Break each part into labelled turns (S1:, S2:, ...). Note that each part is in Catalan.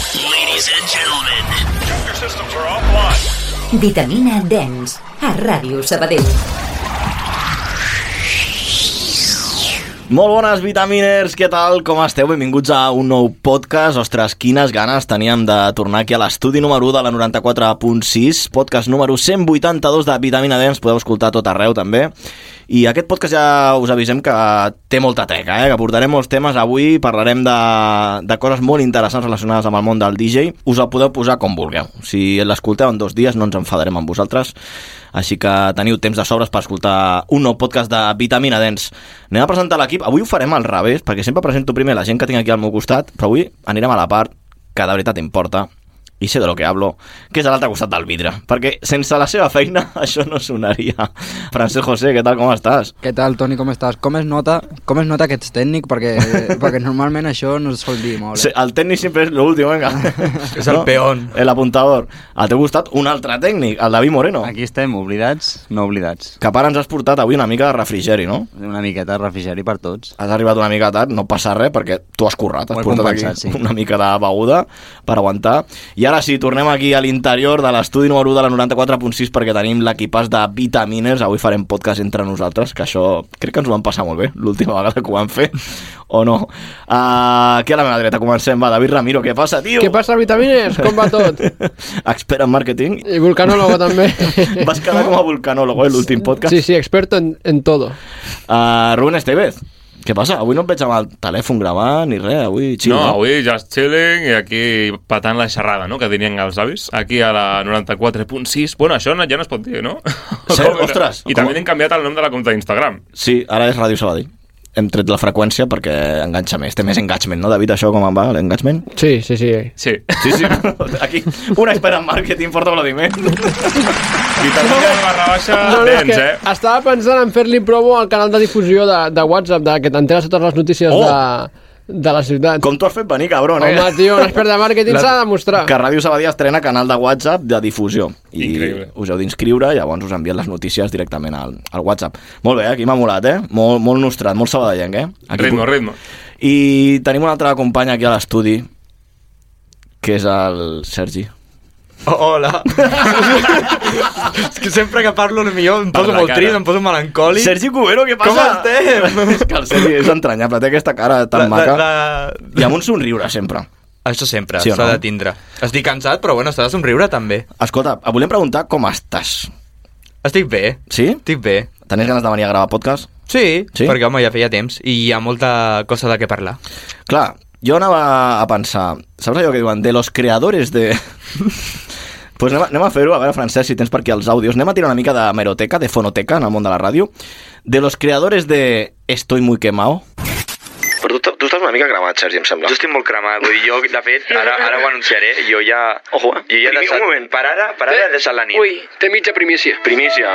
S1: Ladies and gentlemen. Computer systems are offline.
S2: Vitamina Dance, a Ràdio Sabadell.
S3: Molt bones, vitaminers, què tal? Com esteu? Benvinguts a un nou podcast. Ostres, quines ganes teníem de tornar aquí a l'estudi número 1 de la 94.6, podcast número 182 de Vitamina Dance, podeu escoltar a tot arreu també. I aquest podcast ja us avisem que té molta teca, eh? que portarem molts temes avui, parlarem de, de coses molt interessants relacionades amb el món del DJ. Us el podeu posar com vulgueu. Si l'escolteu en dos dies no ens enfadarem amb vosaltres, així que teniu temps de sobres per escoltar un nou podcast de Vitamina Dance. Anem a presentar l'equip. Avui ho farem al revés, perquè sempre presento primer la gent que tinc aquí al meu costat, però avui anirem a la part que de veritat importa i sé de lo que hablo, que és a l'altre costat del vidre, perquè sense la seva feina això no sonaria. Francesc José, què tal, com estàs?
S4: Què tal, Toni, com estàs? Com es nota, com es nota que ets tècnic? Perquè, perquè normalment això no es sol dir molt.
S3: Sí,
S4: Eh?
S3: el tècnic sempre és l'últim, vinga.
S5: És el peón.
S3: El apuntador. Al teu costat, un altre tècnic, el David Moreno,
S5: Aquí estem, oblidats, no oblidats.
S3: que a part ens has portat avui una mica de refrigeri, no?
S5: Una miqueta de refrigeri per tots.
S3: Has arribat una mica tard, no passa res perquè tu has currat, has
S5: Ho he
S3: portat aquí
S5: compensat, sí.
S3: una mica de beguda per aguantar. I ara sí, tornem aquí a l'interior de l'estudi número 1 de la 94.6 perquè tenim l'equipàs de Vitamines. Avui farem podcast entre nosaltres, que això crec que ens ho vam passar molt bé l'última vegada que ho vam fer, o no. Uh, aquí a la meva dreta comencem, va, David Ramiro, què passa, tio?
S6: Què passa, vitamines? Com va tot?
S3: Expert en màrqueting.
S6: I vulcanólogo també.
S3: Vas quedar com a vulcanòlogo, eh, l'últim podcast.
S6: Sí, sí, experto en, en todo.
S3: Uh, Rubén Estevez, què passa? Avui no et veig amb el telèfon gravant ni res, avui
S7: Sí,
S3: xiu,
S7: no, avui just chilling i aquí patant la xerrada, no?, que dirien els avis, aquí a la 94.6. Bueno, això no, ja no es pot dir, no? Com
S3: Sí,
S7: era?
S3: ostres,
S7: I
S3: com-
S7: també hem canviat el nom de la compta d'Instagram.
S3: Sí, ara és Ràdio Sabadell. Hem tret la freqüència perquè enganxa més, té més engagement, no, David? Això com en va, l'engagement?
S6: Sí, sí, sí.
S7: Sí.
S3: Sí, sí, aquí, un expert en màrqueting, fort aplaudiment.
S7: I també hi ha la barra baixa
S3: Ah,
S6: No, no, és
S7: dents,
S6: que
S7: eh?
S6: estava pensant en fer-li promo al canal de difusió de, de WhatsApp, de, que t'enteres totes les notícies
S3: Oh!
S6: de, de la ciutat.
S3: Com t'ho has fet venir, cabron, eh?
S6: Home, tio, un expert de màrqueting s'ha de mostrar.
S3: que Ràdio Sabadell estrena canal de WhatsApp de difusió. I
S7: Increïble.
S3: us heu d'inscriure, llavors us envien les notícies directament al, al WhatsApp. Molt bé, aquí m'ha molat, eh? Molt, molt nostrat, molt sabadellenc, eh? Aquí
S7: Ritmo, ritmo.
S3: I tenim una altra companya aquí a l'estudi, que és el Sergi.
S5: Oh, hola! és que sempre que parlo, potser em
S7: poso molt trist, em
S5: poso melancòlic.
S3: Sergi Cubero, què passa?
S5: estem?
S3: És que el Sergi és entranyable, té aquesta cara tan maca. I amb un somriure, sempre.
S8: Això sempre,
S3: Sí
S8: s'ha
S3: o no?
S8: de tindre. Estic cansat, però bueno, s'ha de somriure també.
S3: Escolta, et volem preguntar com estàs.
S8: Estic bé,
S3: Sí?
S8: estic bé.
S3: Tenies ganes de venir a gravar podcast?
S8: Sí,
S3: Sí?
S8: sí? perquè home, ja feia temps i hi ha molta cosa de què parlar.
S3: Clar, jo anava a pensar... Saps allò que diuen? De los creadores de... Pues anem a, anem a fer-ho, a veure, Francesc, si tens per aquí els àudios. Anem a tirar una mica de meroteca, de fonoteca, en el món de la ràdio. De los creadores de Estoy muy quemado. Però tu, tu estàs una mica cremat, Sergi, em sembla.
S8: Jo estic molt cremat, vull dir, jo, de fet, ara, ara ho anunciaré, jo ja...
S3: Ojo, eh?
S8: Jo ja
S3: Primer-
S8: he
S3: un
S8: deixat...
S3: moment.
S8: Per ara, per ara he deixat la nit.
S6: Ui, té mitja primícia.
S3: Primícia.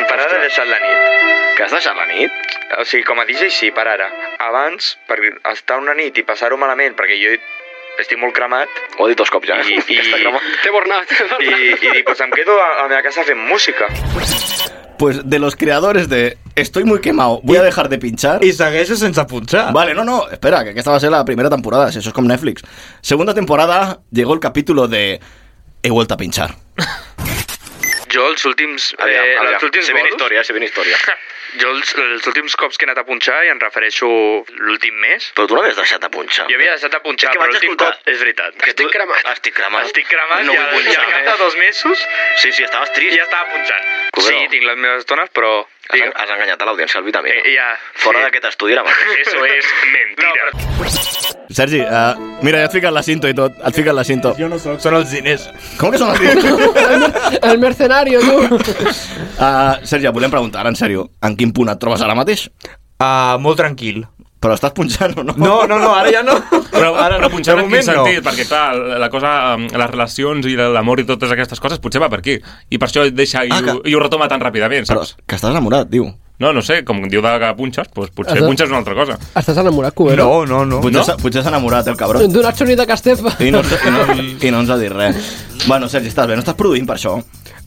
S8: Per ara he deixat la nit.
S3: Que has deixat la nit?
S8: O sigui, com a DJ sí, per ara. Abans, per estar una nit i passar-ho malament, perquè jo estic molt cremat,
S3: Ho he dit dos cops ja. eh?
S8: I- i-
S3: Aquesta crema.
S6: Té bornat.
S8: i, i dic, pues em quedo a, a la meva casa fent música.
S3: Pues de los creadores de Estoy muy quemado, voy a dejar de pinchar.
S5: I segueixo sense punxar.
S3: Vale, no, no, espera, que esta va a ser la primera temporada, si eso es como Netflix. Segunda temporada llegó el capítulo de He vuelto a pinchar.
S8: Jo els últims... eh, els últims bolos, història, se història. Jo els, els últims cops que he anat a punxar, i em refereixo l'últim mes,
S3: Però tu no havies deixat de punxar.
S8: jo havia deixat de punxar,
S3: que
S8: però
S3: vaig
S8: l'últim
S3: escoltar-
S8: cop... És veritat. Que
S6: Estic cremat.
S3: Estic cremat.
S8: Estic cremat,
S3: No
S8: no ja,
S3: vull
S8: ja,
S3: punxar,
S8: ja
S3: eh?
S8: de dos mesos,
S3: Sí, sí, estaves trist.
S8: ja estava punxant.
S3: Cubero.
S8: Sí, tinc les meves estones, però... Digue,
S3: has enganyat a l'audiència, el vitamina.
S8: eh, ja... sí.
S3: estudi ara mateix.
S8: Eso es mentira. No, però...
S3: Sergi, eh, mira, ja et fiquen la cinto i tot. Et fiquen la cinto.
S5: Jo no soc, són els diners.
S3: Com que són els diners?
S6: El mercenario, tu.
S3: uh, Sergi, et volem preguntar, ara, en sèrio, en quin punt et trobes ara mateix?
S9: Ah,
S5: Uh, molt tranquil.
S3: Però estàs punxant o no?
S5: No, no, no, ara ja no.
S7: Però ara no punxar
S5: De
S7: en quin
S5: moment no.
S7: sentit, perquè clar, la- la cosa, eh, les relacions i l'amor i totes aquestes coses potser va per aquí. I per això et deixa i,
S3: Ah,
S7: ho,
S3: que-
S7: i ho retoma tan ràpidament,
S3: Però
S7: saps?
S3: que estàs enamorat, diu.
S7: No, no sé, com diu de que punxes, doncs potser
S6: Estàs-
S7: punxes una altra cosa.
S6: Estàs enamorat, Cubero?
S5: No, no, no.
S3: Potser, s'ha- potser s'ha enamorat, el cabró.
S6: D'una xonita que estef...
S3: I no, i, no, I no ens ha dit res. Bueno, Sergi, estàs bé, no estàs produint per això?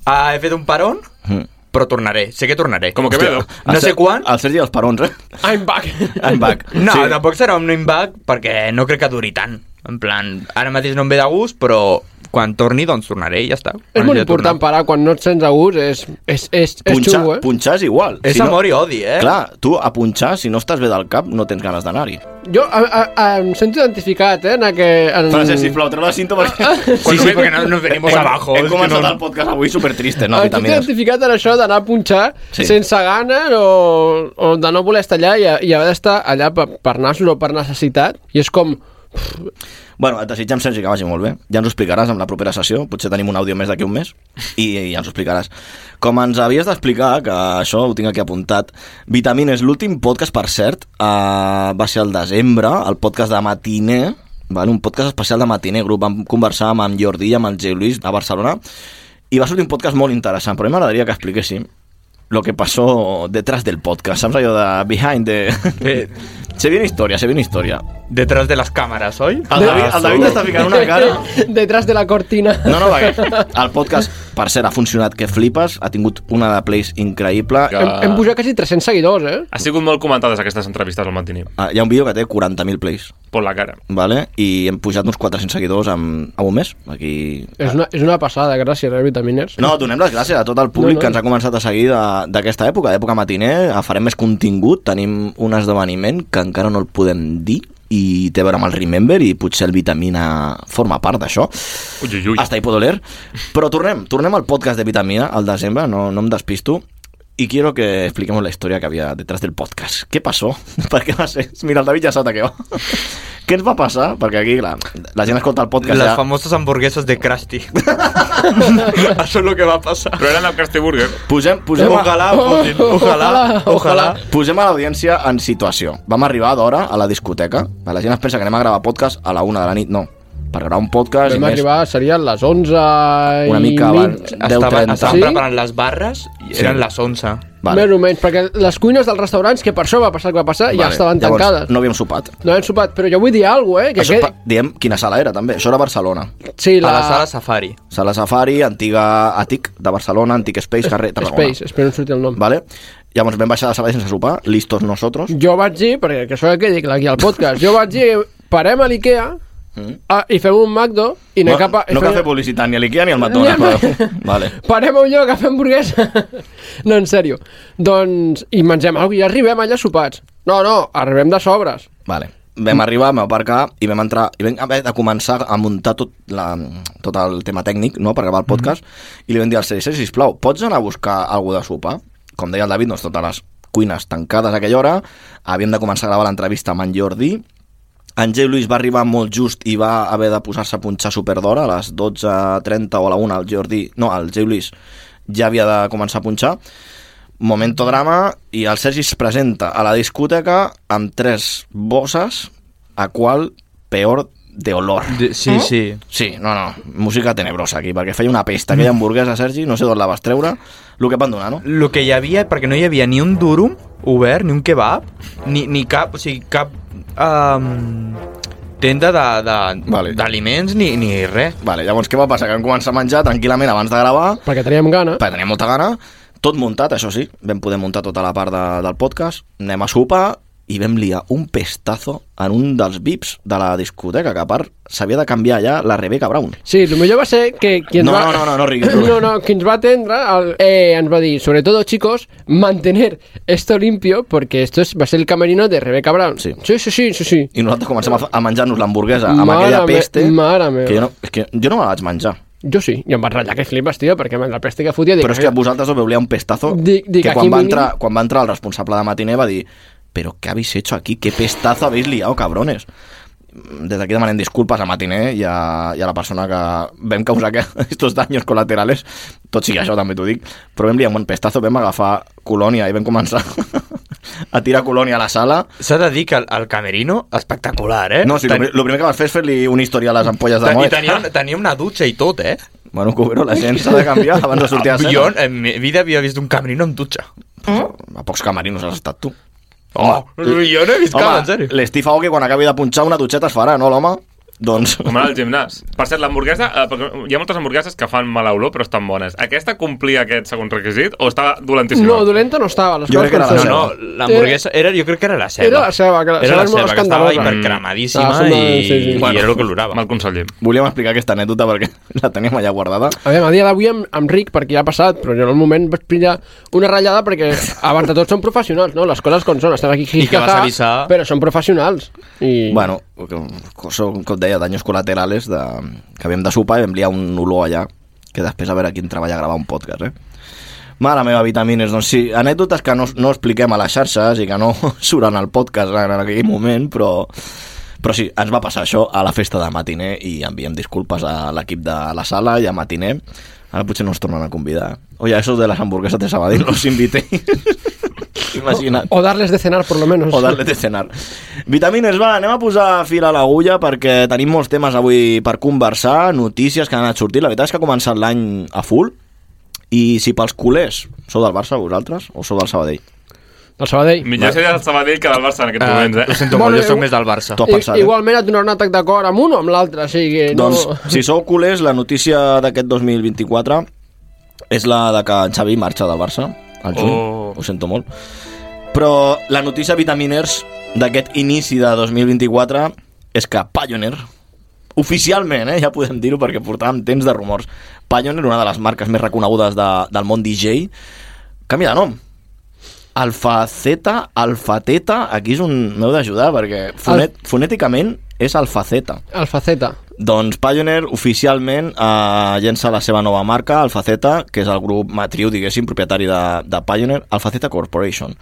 S8: Ah, he fet un parón,
S5: Mm.
S8: però tornaré, sé que tornaré.
S7: Com que vedo.
S8: No
S3: El Ser-
S8: sé quan.
S3: El Sergi dels Parons, eh?
S6: I'm back.
S3: En back.
S8: No, sí. tampoc serà un name back perquè no crec que duri tant.
S9: En plan, ara mateix no em ve de gust, però quan torni, doncs tornaré i ja està.
S6: És
S9: Quan
S6: molt
S9: hagi de
S6: important
S9: tornar.
S6: parar quan no et sents a gust, és, és, és, és
S3: Punxar,
S6: xungo, eh?
S3: punxar és igual.
S9: És amor i odi, eh?
S3: Clar, tu a punxar, si no estàs bé del cap, no tens ganes d'anar-hi.
S6: Jo a, a, a, em sento identificat, eh, en aquell... En...
S3: Frases, sisplau, treu la cinta perquè...
S9: Mm. Sí, sí, perquè no nos venimos
S3: Hem-
S9: abajo.
S3: Hem
S9: es que
S3: començat
S9: no-
S3: el podcast avui supertriste, no?
S6: em sento
S3: Vitamines.
S6: identificat en això d'anar a punxar
S3: Sí.
S6: sí. sense gana o, o de no voler estar allà i, i haver d'estar allà per, per nassos o per necessitat. I és com...
S3: Bueno, et desitgem, Sergi, que vagi molt bé. Ja ens ho explicaràs amb la propera sessió. Potser tenim un àudio més d'aquí un mes i ja ens ho explicaràs. Com ens havies d'explicar, que això ho tinc aquí apuntat, Vitamines, l'últim podcast, per cert, eh, va ser el desembre, el podcast de matiner, val? un podcast especial de matiner grup. Vam conversar amb en Jordi i amb el J. Luis a Barcelona i va sortir un podcast molt interessant, però a mi m'agradaria que expliquéssim lo que pasó detrás del podcast, saps allò de behind the...
S9: Eh.
S3: se viene historia, se viene historia.
S9: Detrás de las cámaras, hoy.
S3: El David, el David està ficant una cara...
S6: Detrás de la cortina.
S3: No, no, perquè el podcast, per cert, ha funcionat que flipes, ha tingut una de plays increïble.
S7: Que-
S6: Hem, hem pujat quasi 300 seguidors, eh?
S7: Ha sigut molt comentades aquestes entrevistes al matiner.
S3: Ah, Hi ha un vídeo que té 40.000 plays,
S7: Por la cara.
S3: vale? i hem pujat uns 400 seguidors en, en un mes. Aquí...
S6: És una, és una passada, gràcies, eh, Vitaminers.
S3: No, donem les gràcies a tot el públic
S6: No, no.
S3: que ens ha començat a seguir de- d'aquesta època, d'època matiner. Ah, Farem més contingut, tenim un esdeveniment que encara no el podem dir, i té a veure amb el Remember i potser el Vitamina forma part d'això.
S7: Ui, ui, ui.
S3: Hasta ahí puedo leer. Pero tornem, tornem al podcast de Vitamina, al desembre, no, no em despisto. Y quiero que expliquemos la historia que había detrás del podcast. ¿Qué pasó? Per què va ser? Mira, el David ja sap de què va. què ens va passar? Perquè aquí, clar, la gent escolta el podcast
S9: Las
S3: ja...
S9: famosas hamburguesas de Krusty. Eso es lo que va a pasar.
S7: Però eren el Krusty Burger.
S3: Posem, posem, a,
S9: Ojalá, Putin, ojalá, ojalá.
S3: posem a l'audiència en situació. Vam arribar d'hora a la discoteca. La gent es pensa que anem a gravar podcast a la una de la nit. No, per gravar un podcast... i
S6: Vam
S3: més,
S6: arribar, serien les 11
S3: Una
S6: i
S3: mica
S6: mig,
S3: abans,
S9: Estaban,
S3: 10.30.
S9: estaban
S6: ¿Sí?
S9: preparando las barras y eran las 11.
S6: Vale. Més o menys, perquè les cuines dels restaurants, que per això va passar el que va passar, vale. ja estaven
S3: Llavors,
S6: tancades.
S3: no havíem sopat.
S6: No hem sopat, però jo vull dir alguna cosa, eh? Que
S3: Això,
S6: aquest...
S3: pa- Diem quina sala era, també. Això era Barcelona.
S6: Sí,
S9: A
S6: la...
S9: la sala Safari.
S3: Sala Safari, antiga Atic de Barcelona, antic Space, carrer Tarragona.
S6: Space, espero que em surti el nom.
S3: Vale? Llavors vam baixar de Sabadell sense sopar, listos nosotros.
S6: Jo vaig dir, perquè que això que dic aquí al podcast, jo vaig dir, parem a l'IKEA a, i fem un McDo i anem
S3: Mm. No,
S6: cap a... i
S3: no
S6: fem-
S3: cal fer publicitat ni a l'Ikea ni al McDonald's.
S6: Ni al-
S3: però- vale.
S6: Parem a un lloc a fer hamburguesa. no, en sèrio. Doncs, i mengem alguna cosa, i arribem allà sopats. No, no, arribem de sobres.
S3: Vale. Vam arribar, vam aparcar i vam entrar i vam haver de començar a muntar tot, la, tot el tema tècnic no, per gravar el podcast mm -hmm.
S6: Mm-hmm.
S3: i li vam dir al Sergi, Sergi, sisplau, pots anar a buscar algú de sopar? Com deia el David, doncs totes les cuines tancades a aquella hora, havíem de començar a gravar l'entrevista amb en Jordi, en J. Luis va arribar molt just i va haver de posar-se a punxar super d'hora, a les 12.30 o a la 1, el Jordi... No, el J. Luis ja havia de començar a punxar. Momento drama i el Sergi es presenta a la discoteca amb tres bosses, a qual peor de olor.
S9: Sí, sí.
S3: Sí, no, no, música tenebrosa aquí, perquè feia una pesta. Aquella hamburguesa, Sergi, no sé d'on la vas treure, el que et van donar, no?
S9: Lo que hi havia, perquè no hi havia ni un durum obert, ni un kebab, ni, ni cap, o sigui, cap um, tenda d'aliments,
S3: Vale.
S9: vale. d'aliments ni, ni res.
S3: Vale, llavors què va passar? Que vam començar a menjar tranquil·lament abans de gravar,
S6: Perquè teníem gana.
S3: perquè tenia molta gana, tot muntat, això sí, vam poder muntar tota la part de, del podcast, anem a sopar i vam liar un pestazo en un dels VIPs de la discoteca, que a part s'havia de canviar ja la Rebeca Brown.
S6: Sí, el millor va ser que... Qui ens
S3: No,
S6: va...
S3: no, no, no, no riguis, Rubén.
S6: No, no, qui ens va atendre el, eh, ens va dir, sobretot, chicos, mantener esto limpio, porque esto es, va ser el camerino de Rebeca Brown.
S3: Sí.
S6: sí, sí, sí, sí. sí.
S3: I nosaltres comencem a, fa- a menjar-nos l'hamburguesa amb
S6: Mare
S3: aquella
S6: me-
S3: peste
S6: mare meva.
S3: que jo no, és que jo no me la vaig menjar
S6: Jo sí, i em vaig ratllar que flipes, tio, perquè amb la peste que fotia... Dic,
S3: però és que vosaltres us veu liar un pestazo
S6: Dic- dic,
S3: que
S6: aquí
S3: quan va,
S6: mínim-
S3: entrar, quan va entrar el responsable de matiner va dir però què habéis hecho aquí? ¿Qué pestazo habéis liado, cabrones? Des d'aquí demanem disculpes a Matiner i a, i a la persona que vam causar que estos daños colaterales, tot sigui això també t'ho dic, però vam liar un bon pestazo, vam agafar colònia i vam començar a tirar colònia a la sala.
S9: S'ha de dir que el, el camerino, espectacular, eh?
S3: No, sí,
S9: Ten-
S3: el primer que vas fer és fer-li un història a les ampolles de
S9: ten- I
S3: Moet.
S9: tenia,
S6: Ah.
S9: una- tenia una dutxa i tot, eh?
S3: Bueno, Cubero, la gent s'ha de canviar abans de
S6: Ah,
S3: sortir a escena.
S9: Jo en mi vida havia vist un camerino amb dutxa.
S3: A pocs camerinos has estat tu.
S9: Oh, jo no he vist cap, en
S3: Home,
S9: sèrio.
S3: l'Steve Aoki quan acabi de punxar una dutxeta es farà, no, l'home? Doncs...
S7: Com anar al gimnàs. Per cert, l'hamburguesa... Eh, perquè hi ha moltes hamburgueses que fan mala olor, però estan bones. Aquesta complia aquest segon requisit o està dolentíssima?
S6: No, dolenta no estava. Les
S3: Jo crec
S6: coses
S3: que era
S6: com
S3: la
S6: són.
S3: seva.
S9: No, l'hamburguesa era, jo crec que era la ceba.
S6: Era la ceba, que la
S9: era
S6: ceba
S9: la
S6: és
S9: ceba,
S6: molt
S9: que estava
S6: escandalosa.
S9: hipercremadíssima
S6: Ah, sí,
S9: i,
S6: sí, sí.
S9: i
S6: Bueno,
S9: era el que olorava.
S7: Mal consellem.
S3: Volíem explicar aquesta anècdota perquè la teníem allà guardada.
S6: A veure, a dia d'avui amb, amb Ric, perquè ja ha passat, però jo en el moment vaig pillar una ratllada perquè abans de tot són professionals, no? Les coses com són, estem aquí
S9: I que vas
S6: jijijaja,
S9: avisar.
S6: Però són professionals. I...
S3: Bueno, com, com deia, danys col·laterales de, que havíem de sopar i vam liar un olor allà, que després a veure quin treballa a gravar un podcast, eh? Mare meva, vitamines, doncs sí, anècdotes que no, no expliquem a les xarxes i que no surten al podcast en aquell moment, però, però sí, ens va passar això a la festa de Matiner i enviem disculpes a l'equip de la sala i a Matiner. Ara potser no ens tornen a convidar. Oye, esos de las hamburguesas de Sabadell, los invité. Imagina't.
S6: O darles de cenar, por lo menos.
S3: O darle de cenar. Vitamines, va, anem a posar fil a l'agulla perquè tenim molts temes avui per conversar, notícies que han anat sortint. La veritat és que ha començat l'any a full i si pels culers, sou del Barça vosaltres o sou del Sabadell?
S6: Del Sabadell.
S7: Millor seria el Sabadell que del Barça en aquests
S9: Eh,
S7: moments,
S9: ho
S7: eh?
S9: sento
S6: Bueno,
S9: molt, jo
S6: eh,
S9: soc més del Barça.
S3: Top.
S6: I,
S3: pensat, eh?
S6: igualment et donarà un atac de cor amb un o amb l'altre, o sigui que no...
S3: Doncs, si sou culers, la notícia d'aquest 2024 és la de que en Xavi marxa del Barça al juny.
S7: Oh.
S3: Ho sento molt. Però la notícia Vitaminers d'aquest inici de 2024 és que Pioneer, oficialment, eh, ja podem dir-ho perquè portàvem temps de rumors, Pioneer, una de les marques més reconegudes de, del món DJ, canvia de nom. Alfa Z, Alfa Teta, aquí és un... m'heu d'ajudar perquè fonet, fonèticament és Alfa Zeta.
S6: El faceta.
S3: Doncs Pioneer oficialment eh, llença la seva nova marca, Alfaceta, que és el grup matriu, diguéssim, propietari de, de Pioneer, Alfaceta Corporation.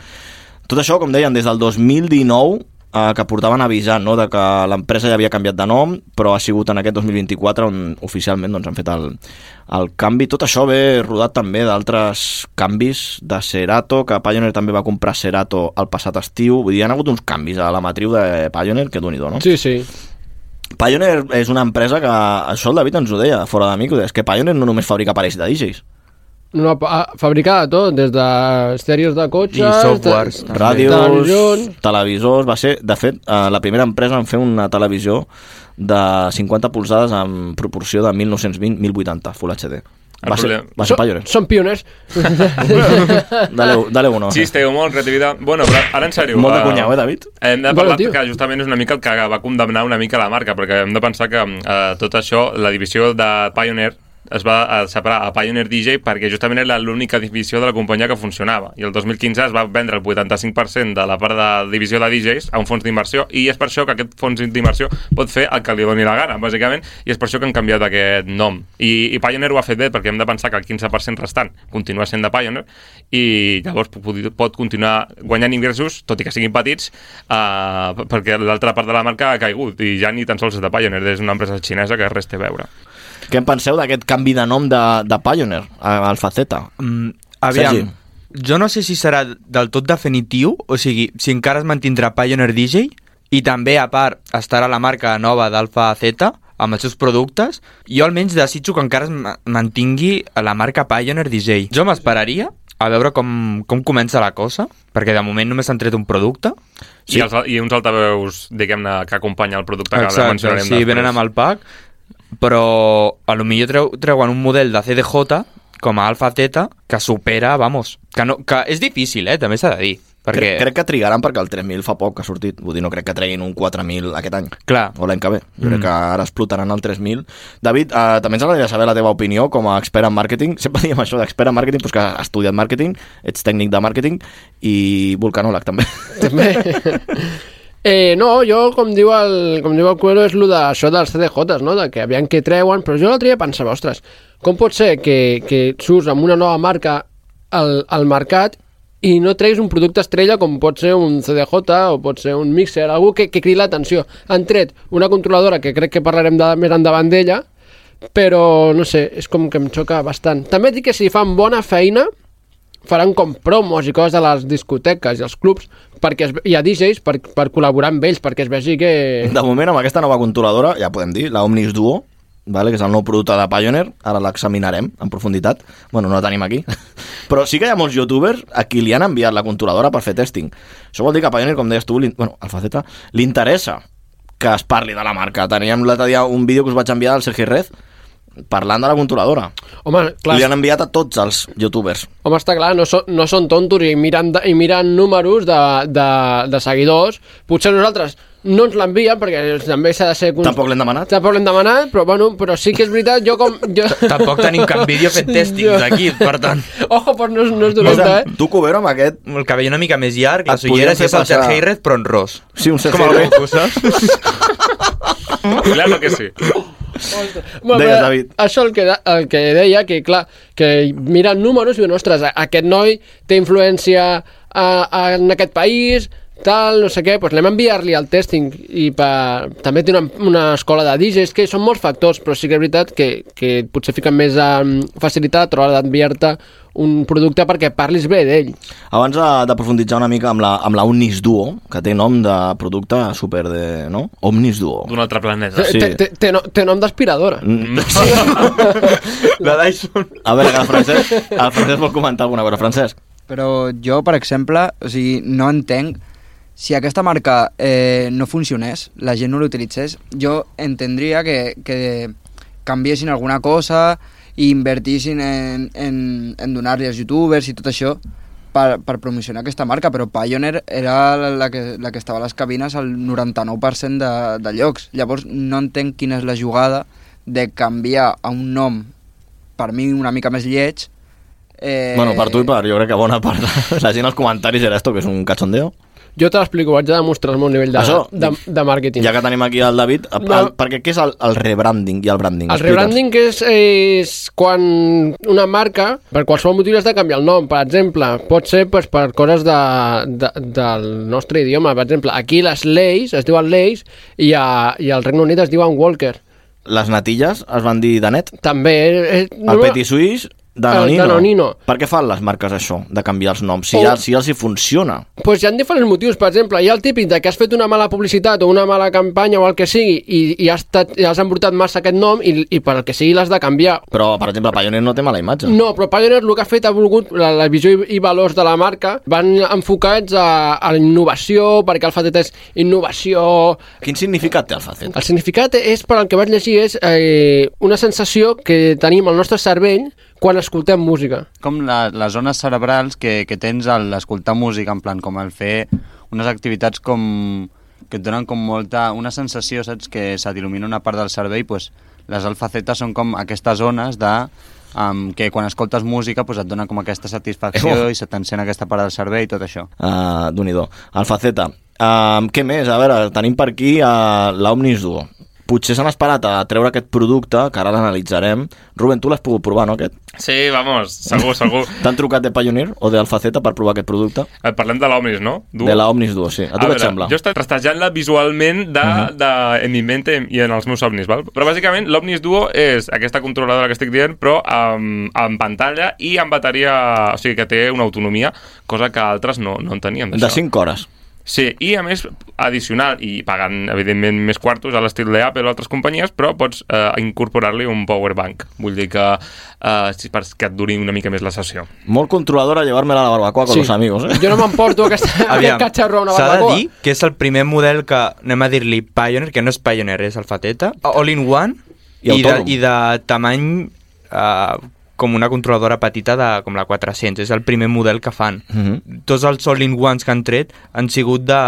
S3: Tot això, com deien, des del 2019, eh, que portaven avisant no, de que l'empresa ja havia canviat de nom, però ha sigut en aquest 2024 on oficialment doncs, han fet el, el canvi. Tot això ve rodat també d'altres canvis de Cerato, que Pioneer també va comprar Cerato el passat estiu. Vull dir, hi ha hagut uns canvis a la matriu de Pioneer, que d'un i do, no?
S6: Sí, sí.
S3: Pioneer és una empresa que... Això el David ens ho deia, fora de mi, que ho deia, és que Pioneer no només fabrica aparells de DJs,
S6: No, pa- ah, fabricar de tot, des de estèrios de cotxes...
S9: I softwares.
S6: De...
S9: També.
S3: ràdios,
S6: Televisions.
S3: televisors... Va ser, de fet, eh, la primera empresa en fer una televisió de 50 polzades en proporció de 1920-1080 Full HD.
S7: El
S3: Va ser,
S7: problema-
S3: va ser
S6: Són-
S3: Pioneer.
S6: Són pioners.
S3: Dale, dale uno.
S7: Xiste, humor, creativitat... Bueno, però ara en sèrio...
S3: Molt de
S7: eh,
S3: cunyau, eh, David?
S7: Hem de
S6: Bueno,
S7: parlar
S6: tio.
S7: que justament és una mica el que va condemnar una mica la marca, perquè hem de pensar que eh, tot això, la divisió de Pioneer es va eh, separar a Pioneer DJ perquè justament era l'única divisió de la companyia que funcionava. I el 2015 es va vendre el 85% de la part de divisió de DJs a un fons d'inversió i és per això que aquest fons d'inversió pot fer el que li doni la gana, bàsicament, i és per això que han canviat aquest nom. I, i Pioneer ho ha fet bé perquè hem de pensar que el 15% restant continua sent de Pioneer i llavors pot, pot continuar guanyant ingressos, tot i que siguin petits, eh, perquè l'altra part de la marca ha caigut i ja ni tan sols és de Pioneer, és una empresa xinesa que res té a veure.
S3: Què en penseu d'aquest canvi de nom de, de Pioneer, a Alfaceta?
S9: Mm, aviam,
S3: Sergi.
S9: jo no sé si serà del tot definitiu, o sigui, si encara es mantindrà Pioneer DJ, i també, a part, estarà la marca nova d'Alfa Z, amb els seus productes, jo almenys desitjo que encara es ma- mantingui la marca Pioneer DJ. Jo m'esperaria a veure com, com comença la cosa, perquè de moment només han tret un producte.
S7: Sí. I, els, I uns altaveus, diguem-ne, que acompanyen el producte que ara
S9: Exacte,
S7: mencionarem
S9: sí, venen amb el pack, però a lo millor treu, treuen un model de CDJ com a Alfa Teta que supera, vamos, que, no, que és difícil, eh, també s'ha de dir, perquè,
S3: Crec, crec que trigaran perquè el 3.000 fa poc que ha sortit. Vull dir, no crec que treguin un 4.000 aquest any.
S9: clar,
S3: o l'any que ve. Jo crec que ara explotaran el 3.000. David, eh, també ens agradaria saber la teva opinió com a expert en màrqueting. Sempre diem això d'expert en màrqueting, però és que has estudiat màrqueting, ets tècnic de màrqueting i volcanòleg també.
S6: També. Eh, no, jo, com diu el, com diu el Cuero, és lo de, això dels CDJs, no? de que aviam què treuen, però jo l'altre dia pensava, ostres, com pot ser que, que surts amb una nova marca al, al mercat i no treguis un producte estrella com pot ser un CDJ o pot ser un mixer, algú que, que cridi l'atenció. Han tret una controladora que crec que parlarem de, més endavant d'ella, però no sé, és com que em xoca bastant. També et dic que si fan bona feina, faran com promos i coses de les discoteques i els clubs perquè es, ve- i a DJs per, per col·laborar amb ells perquè es vegi que...
S3: De moment, amb aquesta nova controladora, ja podem dir, la Omnis Duo, vale, que és el nou producte de Pioneer, ara l'examinarem en profunditat. Bueno, no la tenim aquí. Però sí que hi ha molts youtubers a qui li han enviat la controladora per fer testing. Això vol dir que a Pioneer, com deies tu, l'in- bueno, al faceta, li interessa que es parli de la marca. Teníem l'altre dia un vídeo que us vaig enviar del Sergi Rez parlant de la controladora.
S6: Home, clar,
S3: Li han enviat a tots els youtubers.
S6: Home, està clar, no, so, no són tontos i miren, de, i miren números de, de, de seguidors. Potser nosaltres no ens l'envien perquè també s'ha de ser... Const...
S3: Tampoc l'hem demanat.
S6: Tampoc l'hem demanat, però, bueno, però sí que és veritat, jo com... Jo...
S9: Tampoc tenim cap vídeo fet
S6: Jo-
S9: testings aquí, per tant...
S6: Ojo, però no, és- no és dolenta, eh?
S3: Tu, Cubero, amb aquest...
S9: El cabell una mica més llarg,
S3: Et
S9: les
S3: podien
S9: ulleres i és
S3: fer
S9: el Sergi
S3: passar-
S9: Heyrez, però en ros.
S3: Sí, un
S9: Com el
S3: Sergi Rez.
S9: Goku, saps?
S7: Claro que sí.
S6: Bueno,
S3: Deies,
S6: però
S3: David.
S6: Això el que, de- el que deia, que clar, que miren números i diuen, ostres, a- aquest noi té influència a, a, en aquest país, tal, no sé què, doncs anem a enviar-li el testing i per... també té una, una escola de DJs, que són molts factors, però sí que és veritat que, que potser fiquen més um, facilitat a l'hora d'enviar-te un producte perquè parlis bé d'ell.
S3: Abans de, de profunditzar una mica amb la, amb la Omnis Duo, que té nom de producte super de... No? Omnis Duo.
S7: D'un altre planeta.
S3: Sí.
S6: Sí. Té, té, té, no, té nom d'aspiradora.
S3: Mm,
S9: La Dyson.
S3: A veure, que el Francesc, el Francesc vol comentar alguna cosa. Francesc,
S4: Però jo, per exemple, o sigui, no entenc si aquesta marca eh, no funcionés, la gent no l'utilitzés, jo entendria que, que canviessin alguna cosa i invertissin en, en, en donar-li als youtubers i tot això per, per promocionar aquesta marca, però Pioneer era la- la que, la que estava a les cabines al 99% de, de llocs. Llavors no entenc quina és la jugada de canviar a un nom per mi una mica més lleig
S3: eh...
S4: eh,
S3: bueno, per tu i per jo crec que bona part de la gent als comentaris era esto, que és un cachondeo.
S6: Jo te l'explico, vaig a demostrar el meu nivell de,
S3: Això-
S6: de, de màrqueting.
S3: Ja que tenim aquí el David, el,
S6: No.
S3: el, perquè què és el, el rebranding i el branding?
S6: El
S3: Explica'ns.
S6: rebranding que és, és quan una marca, per qualsevol motiu, has de canviar el nom. Per exemple, pot ser doncs, per coses de, de, del nostre idioma. Per exemple, aquí les Leis es diuen Leis i, a, i al Regne Unit es diuen Walker.
S3: Les natilles es van dir Danet,
S6: També... Eh,
S3: el Petit Suís, Danonino.
S6: El Danonino.
S3: Per què fan les marques això, de canviar els noms? Si,
S6: O-
S3: ja, si ja els hi funciona.
S6: pues hi ha diferents motius, per exemple, hi ha el típic de que has fet una mala publicitat o una mala campanya o el que sigui i, i has, estat, i has embrutat massa aquest nom i, i per el que sigui l'has de canviar
S3: Però, per exemple, Pioneer no té mala imatge.
S6: No, però Pioneer el que ha fet ha volgut, la, la visió i, i valors de la marca van enfocats a, a la innovació, perquè el FATT és innovació...
S3: Quin significat té el facet?
S6: El significat és, per al que vaig llegir, és eh, una sensació que tenim al nostre cervell quan escoltem música.
S10: com la, les zones cerebrals que, que tens al escoltar música, en plan, com el fer unes activitats com que et donen com molta, una sensació, saps, que se t'il·lumina una part del cervell, pues, les alfacetes són com aquestes zones de um, que quan escoltes música pues, et dona com aquesta satisfacció
S3: Eh, oh.
S10: i se t'encén aquesta part del cervell i tot això.
S3: Uh, d'un i do. El faceta. Uh, què més? A veure, tenim per aquí uh, l'Omnis Duo. Potser s'han esperat a treure aquest producte, que ara l'analitzarem. Ruben, tu l'has pogut provar, no, aquest?
S7: Sí, vamos, segur, segur.
S3: T'han trucat de Pioneer o de Alfaceta per provar aquest producte?
S7: Eh, Parlem de l'Omnis, no? Du.
S3: De la Omnis Duo, sí. A tu Mhm. què et
S7: veure,
S3: sembla?
S7: Jo estic rastejant-la visualment de, uh -huh. de, en mi mente i en els meus somnis, val? però bàsicament l'Omnis Duo és aquesta controladora que estic dient, però amb, amb pantalla i amb bateria, o sigui que té una autonomia, cosa que altres no, no en teníem.
S3: De
S7: d'això.
S3: 5 hores.
S7: Sí, i a més, addicional, i pagant, evidentment, més quartos a l'estil de Apple o altres companyies, però pots eh, incorporar-li un power bank. Vull dir que, eh, si- per- que et duri una mica més la sessió.
S3: Molt controladora llevar-me la
S9: Ah,
S3: barbacoa con los amigos, eh?
S6: Jo no m'emporto aquesta, aquest catxarro a una
S9: s'ha de
S6: barbacoa.
S9: dir que és el primer model que, anem a dir-li Pioneer, que no és Pioneer, és el Fateta, all-in-one,
S3: I
S9: i, de,
S3: autònom.
S9: i de tamany eh, com una controladora petita de, com la 400, és el primer model que fan.
S3: Mhm.
S9: Tots els all-in-ones que han tret han sigut de,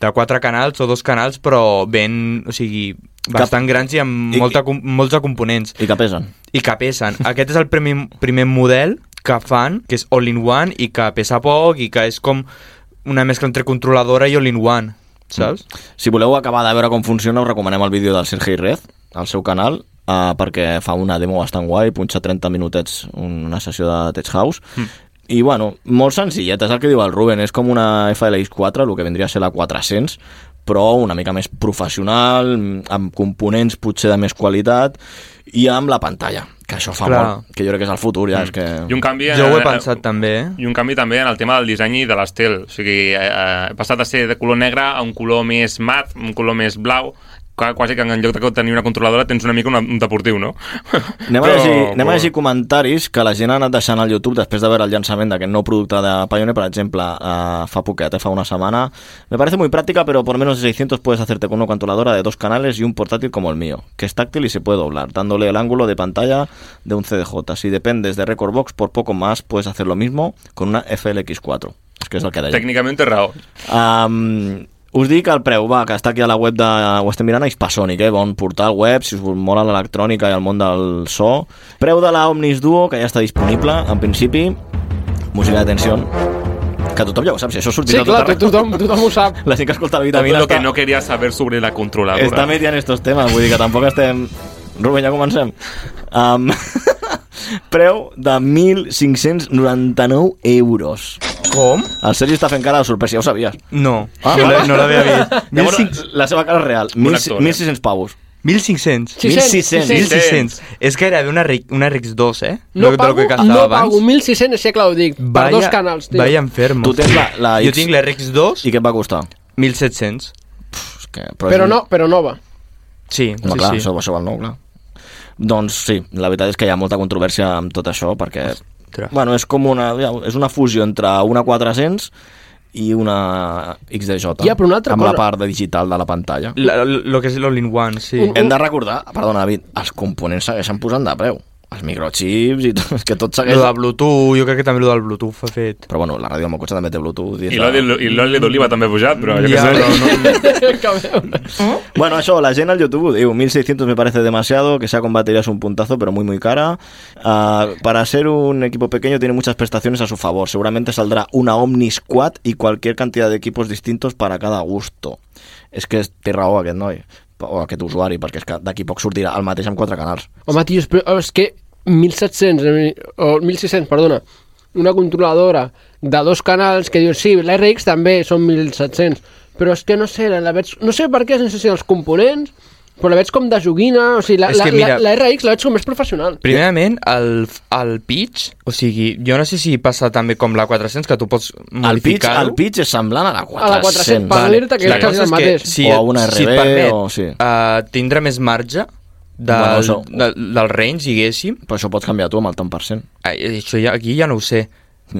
S9: de quatre canals o dos canals, però ben, o sigui, bastant grans i amb
S3: I-
S9: molta, com- molts de components
S3: I que pesen.
S9: i que pesen. Aquest és el primer, primer model que fan, que és all-in-one i que pesa poc i que és com una mescla entre controladora i all-in-one, saps?
S3: Si voleu acabar de veure com funciona, us recomanem el vídeo del Sergi Rez, al seu canal, uh, perquè fa una demo bastant guai, punxa 30 minutets un- una sessió de Tech House.
S9: Hmm.
S3: Mm. I, bueno, molt senzillet, és el que diu el Ruben, és com una FLX4, el que vendria a ser la 400, però una mica més professional, mm, amb components potser de més qualitat, i amb la pantalla, que això fa
S9: Clar. Hmm.
S3: molt, que jo crec que és el futur, ja, és que...
S7: I un canvi... en-
S9: Jo ho he pensat també, eh?
S7: I un canvi també en el tema del disseny i de l'estil. O sigui, eh, eh, he passat de ser de color negre a un color més mat, un color més blau, clar, quasi que en lloc de tenir una controladora tens una mica una, un deportiu, no?
S3: Anem, a llegir, anem a llegir comentaris que la gent ha anat deixant al YouTube després de veure el llançament d'aquest nou producte de Pioneer, per exemple, eh, fa poquet, eh, fa una semana. Me parece muy práctica, pero por menos de 600 puedes hacerte con una controladora de dos canales y un portátil como el mío, que es táctil y se puede doblar, dándole el ángulo de pantalla de un CDJ. Si dependes de Record Box, por poco más puedes hacer lo mismo con una FLX4. És que és el que deia.
S7: Tècnicament té raó.
S3: Um, us dic el preu, va, que està aquí a la web de... Ho estem mirant a Hispasonic, eh? Bon portal web, si us mola l'electrònica i el món del so. Preu de la Omnis Duo, que ja està disponible, en principi. Música d'atenció. Que tothom ja ho sap, si això sortirà a
S6: Sí,
S3: tot
S6: clar,
S3: arreu.
S6: tothom, tothom ho sap.
S3: La gent que escolta la
S7: Tot
S3: vitamina
S7: el que
S3: està,
S7: no quería saber sobre la controladora.
S3: està metiant estos temes, vull dir que tampoc estem... Rubén, ja comencem. Um, preu de 1.599 euros.
S9: Com?
S3: El Sergi està fent cara de sorpresa, ja ho savies.
S9: No,
S3: Ah,
S9: eh. ah, no,
S3: vale.
S9: no l'havia vist.
S3: Llavors,
S9: 1.500
S3: la seva cara és real.
S7: Un actor, eh?
S3: 1.600 pavos.
S9: 1.500.
S3: 1.600.
S9: 1.600. És gairebé una, Ri- una RX 2, eh?
S6: No
S9: Del- del
S6: pago,
S9: que
S6: no
S9: castava abans.
S6: pago 1.600 així, clar, ho dic, per dos canals, tio.
S9: Vaya enfermo.
S3: Tu tens la- la
S9: Jo
S3: X-
S9: tinc la RX2
S3: I què et va costar?
S9: 1.700.
S3: Pues que,
S6: Però no, però nova.
S9: Sí,
S3: Home,
S9: sí,
S3: clar,
S9: sí.
S3: Això, això val nou, clar. Doncs sí, la veritat és que hi ha molta controvèrsia amb tot això, perquè
S9: Ostres.
S3: bueno, és com una, ja, és una fusió entre una 400 i una XDJ.
S6: Ja, però una altra
S3: amb la
S6: cosa-
S3: part de digital de la pantalla.
S9: La, lo que és l'all-in-one, sí.
S6: Un-
S3: Hem de recordar, perdona, David, els components segueixen posant de preu. Els microchips i tot, és que tot segueix...
S9: Lo de Bluetooth, jo crec que també lo del Bluetooth ha fet.
S3: Però bueno, la ràdio del meu cotxe també té Bluetooth.
S7: I l'oli i l'oli d'oliva també ha pujat, però jo
S9: Ja,
S7: què sé.
S9: no, no.
S3: Bueno, eso, la llena al YouTube, digo, 1600 me parece demasiado, que sea con baterías un puntazo, pero muy muy cara. Ah, para ser un equipo pequeño tiene muchas prestaciones a su favor. Seguramente saldrá una Omnis Quad y cualquier cantidad de equipos distintos para cada gusto. És que és té raó aquest noi, o aquest usuari, perquè és que d'aquí poc sortirà el mateix amb quatre canals.
S6: Home, tios, però oh, és que 1.700, eh, o 1.600, perdona, una controladora de dos canals que diu, sí, l'RX també són 1.700, però és que no sé, la, la veig, no sé per què és necessitat els components, però la veig com de joguina, o sigui, la,
S9: És
S6: la,
S9: que mira-
S6: la, la RX la veig com més professional.
S9: Primerament, el, el pitch, o sigui, jo no sé si passa també com la 400, que tu pots
S3: El pitch,
S9: modificar-ho.
S3: el pitch és semblant a la 400.
S6: A la 400, per
S3: vale.
S6: dir-te que
S9: La
S6: és quasi
S9: cosa
S6: el
S9: és que
S6: mateix.
S9: si,
S3: O a una
S9: si et
S3: RB,
S9: permet
S3: o sí.
S9: eh, tindre més marge del,
S3: Bueno, això-
S9: del, del range, diguéssim,
S3: Però això pots canviar tu amb el tant per cent.
S9: ai, això ja, aquí ja no ho sé.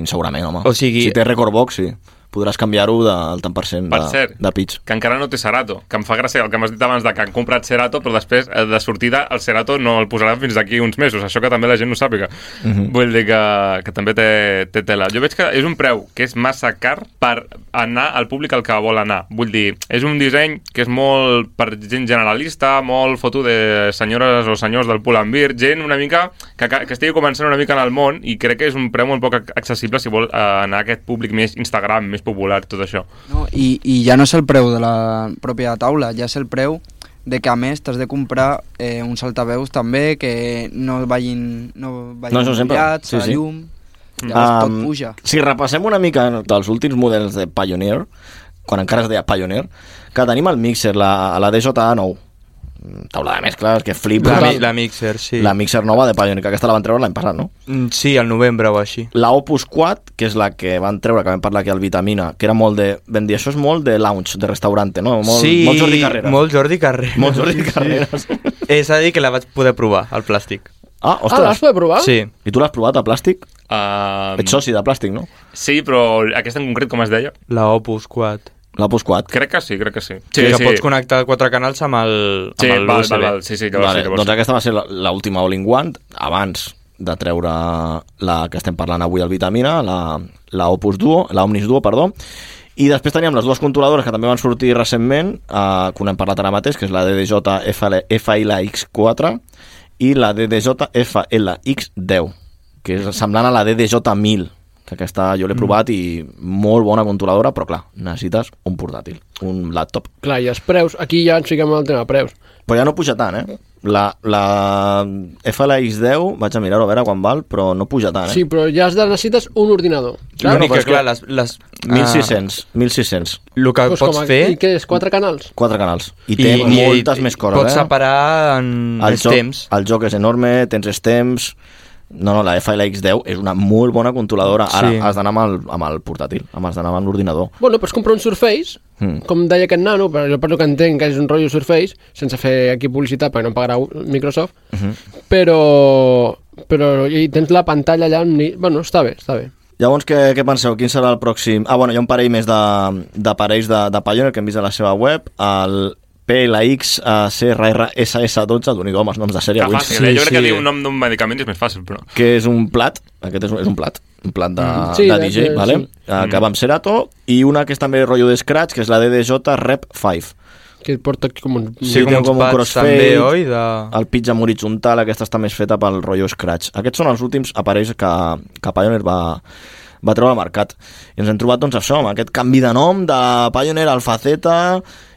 S3: Segurament, home.
S9: O sigui-
S3: Si té record box, sí. Podràs canviar-ho del tant per cent
S7: Per
S3: de,
S7: cert,
S3: de pitch.
S7: que encara no té Cerato, que em fa gràcia el que m'has dit abans de que han comprat Cerato, però després eh, de sortida el Cerato no el posaran fins d'aquí uns mesos, això que també la gent no sàpiga.
S3: Mhm.
S7: Vull dir que, que també té, té tela. Jo veig que és un preu que és massa car per anar al públic al que vol anar. Vull dir, és un disseny que és molt per gent generalista, molt foto de senyores o senyors del Pull&Bear, gent una mica que, que, que estigui començant una mica en el món i crec que és un preu molt poc ac- accessible si vol eh, anar a aquest públic més Instagram, més popular, tot això.
S4: No, i, I ja no és el preu de la pròpia taula, ja és el preu de que a més t'has de comprar eh, uns altaveus també que no vagin, no vagin
S3: No, això sempre.
S4: ampliats,
S3: Sí,
S4: a la
S3: sí. Mm.
S4: llum, llavors tot puja.
S3: Si repassem una mica dels últims models de Pioneer, quan encara es deia Pioneer, que tenim el Mixer, la, la DJA9, Mm, taula de mescles, que flipa.
S9: La, mi- la Mixer, sí.
S3: la Mixer nova de Pioneer, que aquesta la van treure l'any passat, no?
S9: Mm, Sí, al novembre o així.
S3: La Opus 4, que és la que van treure, que vam parlar aquí al Vitamina, que era molt de... Vam dir, això és molt de lounge, de restaurante, no? Molt,
S9: sí,
S3: molt Jordi Carrera.
S9: Molt Jordi Carrera.
S3: Molt Jordi Carreras.
S9: Eh, S'ha de dir que la vaig poder provar, el plàstic.
S3: Ah,
S6: Ah, l'has
S3: ostres.
S6: poder provar?
S9: Sí.
S3: I tu l'has provat a plàstic?
S7: Um,
S3: Ets soci de plàstic, no?
S7: Sí, però aquesta en concret, com es deia?
S9: La Opus 4.
S3: L'Opus 4.
S7: Crec que sí, crec que sí.
S9: Sí, que pots connectar quatre canals amb el,
S7: Sí,
S9: amb el
S7: val,
S9: USB.
S7: val, val. Sí, sí, llavors,
S3: Vale,
S7: sí, llavors.
S3: doncs aquesta va ser la- l'última All in One abans de treure la que estem parlant avui al Vitamina, la, la Opus Duo, la Omnis Duo, perdó. I després teníem les dues controladores que també van sortir recentment, eh, que n'hem parlat ara mateix, que és la DDJ FLX4 i la DDJ FLX10, que és semblant a la DDJ1000, que aquesta jo l'he provat i molt bona controladora, però clar, necessites un portàtil, un laptop.
S6: Clar, i els preus, aquí ja ens fiquem en el tema preus.
S3: Però ja no puja tant, eh? La, la FLX10, vaig a mirar-ho a veure quan val, però no puja tant, eh?
S6: Sí, però ja has de, necessites un ordinador.
S9: L'únic
S3: Bueno, però
S9: que,
S3: és que-
S9: clar,
S3: Ah.
S9: les... les
S3: 1.600, 1.600,
S9: Ah, el que
S6: Doncs
S9: pots
S6: com a-
S9: fer...
S6: I què és, quatre canals?
S3: quatre canals. I, té moltes més coses,
S9: pots
S3: eh?
S9: separar en
S3: el
S9: els
S3: joc,
S9: temps.
S3: El joc és enorme, tens els temps... No, no, la F i la X10 és una molt bona controladora. Ara
S9: Sí.
S3: has d'anar amb, el, amb el portàtil, amb has d'anar amb l'ordinador.
S6: Bueno, pots comprar un Surface,
S9: Hmm.
S3: Mm.
S6: com deia aquest nano, però jo per lo que entenc que és un rotllo Surface, sense fer aquí publicitat perquè no em pagarà Microsoft,
S9: Hmm.
S6: però, però i tens la pantalla allà... amb ni- Bueno, està bé, està bé.
S3: Llavors, què, què penseu? Quin serà el pròxim? Ah, bueno, hi ha un parell més de- d'aparells de, de, de Pioneer que hem vist a la seva web. El PLX eh, CRR SS12, d'únic home, els noms de sèrie
S7: Que
S3: avui.
S7: fàcil, eh? Jo crec que dir un nom d'un medicament és més fàcil, però...
S3: que és un plat, aquest és, un- és un plat, un plat de,
S6: Mm.
S3: sí,
S6: Sí,
S3: de
S6: de-
S3: DJ,
S6: de-
S3: vale?
S6: sí.
S3: Eh,
S9: Mm.
S3: que va amb Cerato, i una que és també rotllo de Scratch, que és la DDJ Rep 5.
S6: Que porta aquí com un...
S9: Sí,
S3: I
S9: com
S3: té
S9: uns pads també, oi, de-
S3: El pitch amb horitzontal, aquesta està més feta pel rotllo Scratch. Aquests són els últims aparells que, que Pioneer va, va treure al mercat. I ens hem trobat, doncs, això, amb aquest canvi de nom de Pioneer al Faceta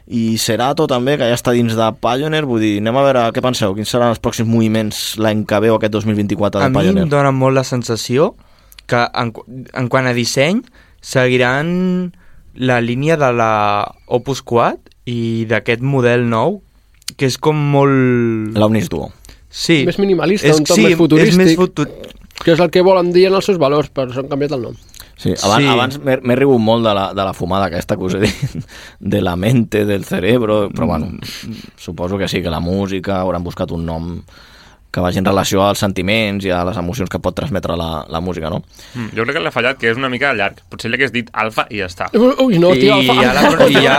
S3: i Cerato també, que ja està dins de Pioneer. Vull dir, anem a veure què penseu, quins seran els pròxims moviments l'any que ve o aquest 2024
S9: A
S3: de
S9: mi em
S3: Pioneer.
S9: dóna molt la sensació que en, qu- en quant a disseny seguiran la línia de la Opus Quad i d'aquest model nou que és com molt...
S3: L'Omnis Duo.
S9: Sí.
S6: Més minimalista, un toc
S9: sí,
S6: més futurístic.
S9: És més futu...
S6: Que és el que volen dir en els seus valors, però s'han canviat el nom.
S3: Sí, abans,
S9: Sí.
S3: sí. abans m'he m'he rigut molt de la, de la fumada aquesta que us he dit, de la mente, del cerebro, però bueno, suposo que sí, que la música, hauran buscat un nom que vagi en relació als sentiments i a les emocions que pot transmetre la, la música, no?
S7: Mm, jo crec que l'ha fallat, que és una mica llarg. Potser li hagués dit alfa i ja està.
S6: Ui, no, tio,
S9: I
S6: alfa,
S9: ja la-
S6: alfa,
S9: i ja-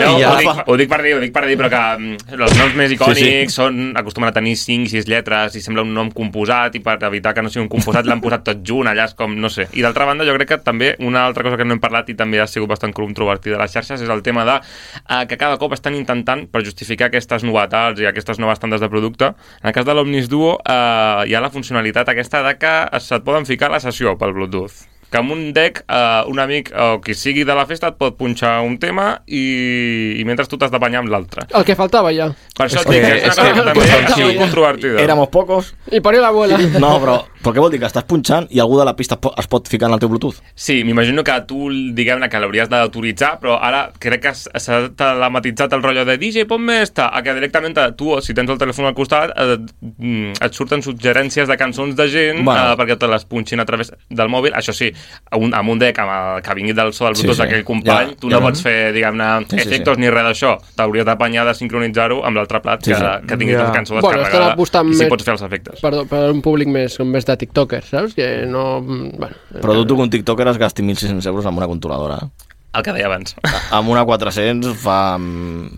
S7: No,
S9: I
S7: ho,
S9: ja-
S7: dic, ho dic per dir, ho dic per dir, però que mm, els noms més icònics sí, sí. són acostumen a tenir 5, 6 lletres i sembla un nom composat i per evitar que no sigui un composat l'han posat tot junt, allà és com, no sé. I d'altra banda, jo crec que també una altra cosa que no hem parlat i també ha sigut bastant controvertida a les xarxes és el tema de eh, que cada cop estan intentant, per justificar aquestes novetats i aquestes noves tandes de producte, en el cas de l'Omnis Duo eh, hi ha la funcionalitat aquesta de que se't poden ficar a la sessió pel Bluetooth que amb un deck eh, un amic o qui sigui de la festa et pot punxar un tema i, i mentre tu t'has de banyar amb l'altre.
S6: El que faltava ja.
S7: Per això et
S9: que-
S7: dic que és una
S9: és
S7: cosa
S9: que-
S7: que també
S9: com
S7: ha
S9: si
S7: sigut controvertida.
S3: Éramos pocos.
S6: I per l'abuela.
S3: No, però, però què vol dir? Que estàs punxant i algú de la pista es po- es pot ficar en el teu Bluetooth?
S7: Sí, m'imagino que tu, diguem-ne, que l'hauries d'autoritzar, però ara crec que s- s'ha telematitzat el rotllo de DJ, ponme esta, a que directament eh, tu, si tens el telèfon al costat, eh, mm, et surten suggerències de cançons de gent
S3: Bueno.
S7: bueno. eh, perquè te les punxin a través del mòbil. Això sí, a un, amb un deck amb el, que vingui del so del
S3: Sí,
S7: Bluetooth sí, sí.
S3: sí.
S7: d'aquell company,
S3: Ja,
S7: ja, tu
S3: ja
S7: no
S3: ho-
S7: pots fer, diguem-ne, sí,
S3: Sí, sí, sí.
S7: efectes sí, sí. ni res d'això. T'hauries d'apanyar de sincronitzar-ho amb l'altre plat sí,
S3: Sí,
S7: que,
S3: sí.
S7: sí. que tinguis
S9: Ja.
S7: yeah. la cançó
S6: Bueno, estan
S7: descarregada
S6: apostant
S7: i si
S6: més-
S7: pots fer els efectes.
S6: Perdó, per un públic més, com més de tiktokers, saps? Que no... mm, Bueno,
S3: Però tu, tu, que un tiktoker es gasti 1.600 euros amb una controladora. eh?
S7: El que deia abans.
S3: Amb una 400 fa,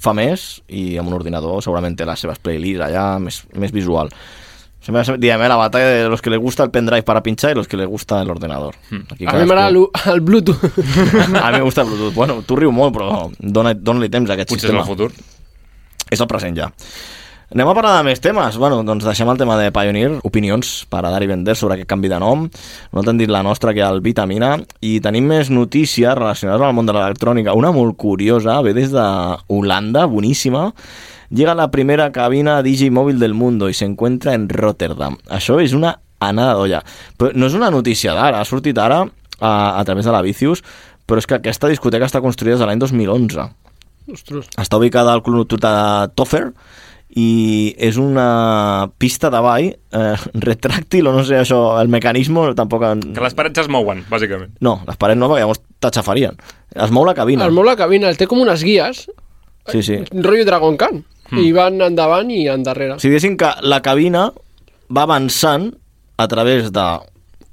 S3: fa més i amb un ordinador segurament té les seves playlists allà, més, més visual. Sempre diem, eh, la batalla de los que les gusta el pendrive para pinchar y los que les gusta el ordenador.
S7: Hmm.
S3: Aquí
S6: A mi
S3: cadascú-
S6: m'agrada l'u- el Bluetooth.
S3: A mi m'agrada el Bluetooth. Bueno, tu riu molt, però dona- dona-li temps a aquest
S7: Potser és
S3: sistema.
S7: el futur.
S3: És el present ja. Anem a parlar de més temes. Bueno, doncs deixem el tema de Pioneer, opinions per a Dari Vender sobre aquest canvi de nom. Nosaltres hem dit la nostra, que el Vitamina, i tenim més notícies relacionades amb el món de l'electrònica. Una molt curiosa, ve des de Holanda, boníssima. Llega la primera cabina DJ móvil del mundo y se encuentra en Rotterdam. Això és una anada d'olla. Però no és una notícia d'ara, ha sortit ara a, a través de la Vicius, però és que aquesta discoteca està construïda des de l'any 2011.
S6: Ostres.
S3: Està ubicada al Club Nocturn de Toffer i és una pista de ball eh, retràctil o no sé això, el mecanisme tampoc... En...
S7: Que les parets es mouen, bàsicament.
S3: No, les parets no, perquè llavors t'aixafarien. Es mou la cabina.
S6: El mou la cabina, el té com unes guies,
S3: Sí, sí.
S6: un rotllo Dragon Khan.
S3: Hmm.
S6: I van endavant i endarrere.
S3: Si diguéssim que la cabina va avançant a través de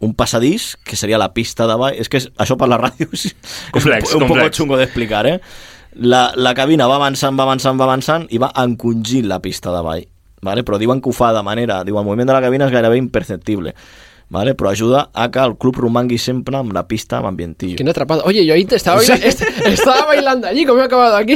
S3: un passadís, que seria la pista de ball... És que és, això per la ràdio és
S7: Complex,
S3: és un, po- un poc
S7: complex.
S3: xungo d'explicar, eh? La, la cabina va avançant, va avançant, va avançant i va encongint la pista de ball. Vale? Però diuen que ho fa de manera... Diu, el moviment de la cabina és gairebé imperceptible. Vale? Però ajuda a que el club romangui sempre amb la pista amb ambientillo.
S6: Quina atrapada. Oye, yo ahí te estaba, bailando, estaba bailando allí, como he acabado aquí.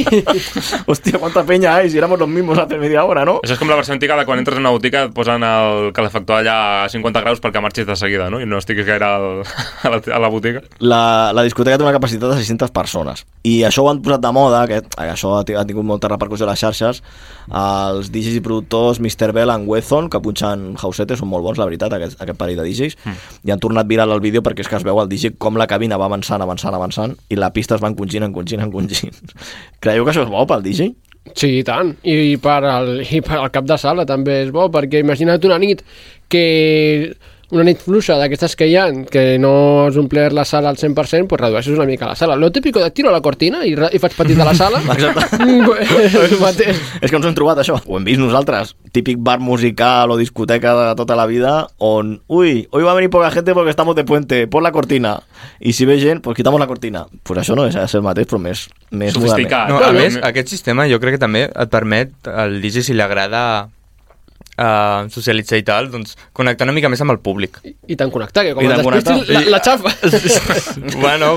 S3: Hòstia, quanta penya, eh? Si éramos los mismos hace media hora, no?
S7: Això és com la versió antiga de quan entres en una botiga et posen el calefactor allà a 50 graus perquè marxis de seguida, no? I no estiguis gaire al, a, la, a la botiga.
S3: la, la discoteca té una capacitat de 600 persones i això ho han posat de moda que això ha ti- ha tingut molta repercussió a les xarxes els DJs i productors Mr. Bell and Wethon que punxen hausete són molt bons la veritat aquest, aquest parell de DJs mm. i han tornat viral el vídeo perquè és que es veu el DJ com la cabina va avançant, avançant, avançant i la pista es va encongint, encongint, encongint creieu que això és bo pel DJ?
S6: Sí, i tant. I per, al, I per al cap de sala també és bo, perquè imagina't una nit que una nit fluixa d'aquestes que hi ha, que no has omplert la sala al 100%, pues redueixes una mica la sala. Lo típico de tiro a la cortina i, re- i faig petita la sala. Exacte. mateix.
S3: És que ens ho hem trobat, això. Ho hem vist nosaltres. Típic bar musical o discoteca de tota la vida on, ui, hoy va a venir poca gente porque estamos de puente, pon la cortina. I si ve gent, pues quitamos la cortina. Pues això no és el mateix, però més, més
S7: Sofisticat.
S3: modern.
S9: No, a
S7: Bueno,
S9: més,
S7: no-
S9: aquest sistema jo crec que també et permet al DJ, si li agrada eh, socialitzar i tal, doncs connectar una mica més amb el públic.
S6: I tan connectar, que com
S3: I
S6: et
S3: tan
S6: despistis, la,
S3: connectar.
S6: la xafa.
S9: bueno,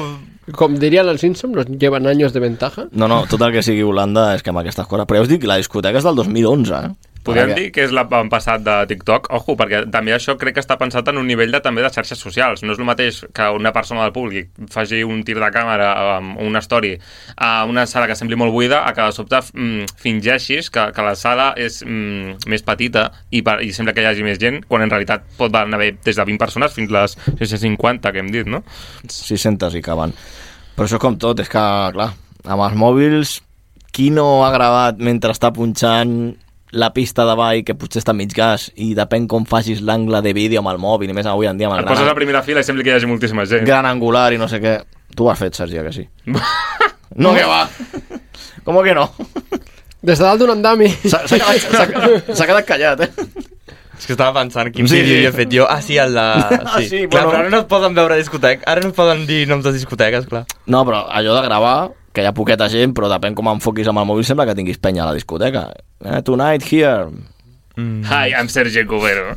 S6: com dirien els Simpsons, los llevan años de ventaja.
S3: No, no, tot el que sigui Holanda és que amb aquestes coses... Però ja us dic, la discoteca és del 2011, eh?
S7: Podríem
S3: Ara que-
S7: dir que és l'avantpassat de TikTok, ojo, perquè també això crec que està pensat en un nivell de, també de xarxes socials. No és el mateix que una persona del públic faci un tir de càmera um, o una story a una sala que sembli molt buida, a que de sobte mm, fingeixis que, que la sala és mm, més petita i, per, i sembla que hi hagi més gent, quan en realitat pot haver des de 20 persones fins les 650 que hem dit, no?
S3: 600 i caben. Però això és com tot, és que, clar, amb els mòbils, qui no ha gravat mentre està punxant la pista de ball que potser està a mig gas i depèn com facis l'angle de vídeo amb el mòbil i més avui en dia amb el
S7: Et poses a
S3: gran,
S7: la primera fila i sembla que hi hagi moltíssima gent.
S3: gran angular i no sé què tu ho has fet Sergi, a que sí? no que va com que no?
S6: Des de dalt d'un andami.
S3: s'ha s'ha quedat, s'ha quedat- s'ha quedat callat eh?
S9: és que estava pensant quin
S3: Sí,
S9: sí, vídeo
S3: sí.
S9: sí. he fet jo. Ah, sí, el de...
S3: Ah, sí, bueno.
S9: clar, però ara no et poden veure a discotec, ara no et poden dir noms de discoteques, clar.
S3: no però allò de gravar que hi ha poqueta gent però depèn com enfoquis amb el mòbil sembla que tinguis penya a la discoteca eh, tonight here
S7: Hi, I'm Sergi Cubero.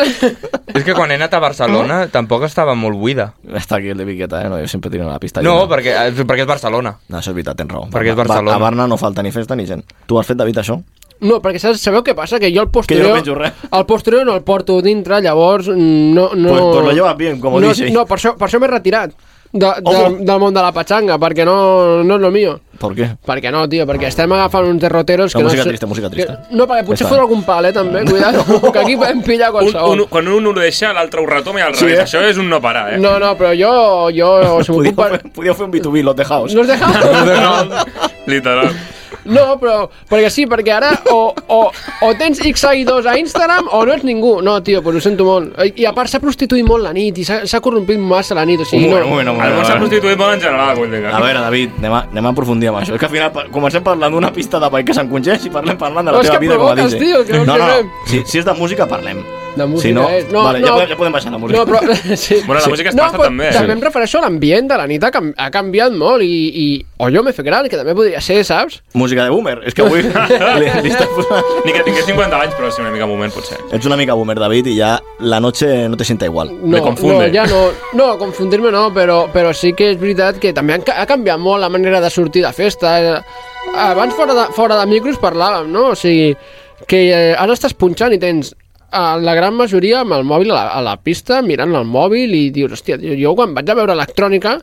S9: És que quan he anat a Barcelona tampoc estava molt buida.
S3: està aquí el de Viqueta eh? no, jo sempre tiro a la pista
S9: No,
S3: llena.
S9: perquè, eh, perquè és Barcelona.
S3: No, això és veritat, tens raó.
S9: Perquè és
S3: Ba- ba-
S9: Barcelona.
S3: A Barna no falta ni festa ni gent. Tu has fet, David, això?
S6: No, perquè saps, sabeu què passa? Que jo
S3: Que jo
S6: el
S3: no
S6: posterior...
S3: menjo res.
S6: el posterior no el porto dintre, llavors mm, no... no
S3: Pues- pues lo llevas bien, como
S6: no,
S3: dice.
S6: No, per això, per això m'he retirat de, de,
S3: Ojo.
S6: del món de la patxanga, perquè no, no és lo mío.
S3: Per què?
S6: Perquè no, tio, perquè estem agafant uns derroteros
S3: No,
S6: que
S3: música
S6: no... sé-
S3: trista, música trista.
S6: Que, no, perquè potser
S3: Està
S6: fot
S3: bé.
S6: algun pal, eh, també, cuidado, que aquí podem pillar
S7: Un,
S6: qualsevol.
S7: un, quan un ho deixa, l'altre ho retoma i al
S3: Sí,
S7: revés.
S3: eh?
S7: Això és un no parar, eh?
S6: No, no, però jo... jo si
S3: Podíeu,
S6: m'ocupa-
S3: fer, podíeu fer un B2B, lot de house.
S6: No us dejamos?
S7: Literal.
S6: No, però... Perquè sí, perquè ara o, o, o tens X seguidors a Instagram o no ets ningú. No, tio, però ho sento molt. I a part s'ha prostituït molt la nit i s'ha s'ha corrompit massa la nit. O sigui,
S3: Un moment,
S6: no.
S3: un moment, un
S7: El
S3: moment.
S7: món s'ha prostituït molt en general, vull dir.
S3: A veure, David, anem a, anem a aprofundir amb això. És que al final pa- comencem parlant d'una pista de ball que s'encongeix i parlem parlant de la
S6: No, és
S3: teva
S6: que
S3: vida com a
S6: provoques,
S3: DJ.
S6: tio, que no
S3: no, no,
S6: sé res.
S3: no. Si, si és de música, parlem.
S6: De música
S3: si no,
S6: és...
S3: vale, Ja, podem, ja podem baixar la música.
S6: No, però... Sí.
S7: Bueno, la música es pasta
S6: però
S7: també. eh.
S6: També em refereixo a l'ambient de la nit. Ha, cam ha canviat molt i, i... O jo m'he fet gran, que també podria ser, saps?
S3: Música de boomer. És que avui li, li està posant...
S7: Ni que tingués 50 anys, però sí, una mica moment, potser.
S3: Ets una mica boomer, David, i ja la noche no te sienta igual.
S6: No,
S7: Me confunde.
S6: No, ja no, no confundir-me no, però, però sí que és veritat que també han ca- ha canviat molt la manera de sortir de festa. Eh, Abans fora de, fora de micros parlàvem, no? O sigui, que eh, ara estàs punxant i tens eh, la gran majoria amb el mòbil a la, a la pista, mirant el mòbil i dius, hòstia, tio, jo quan vaig a veure electrònica,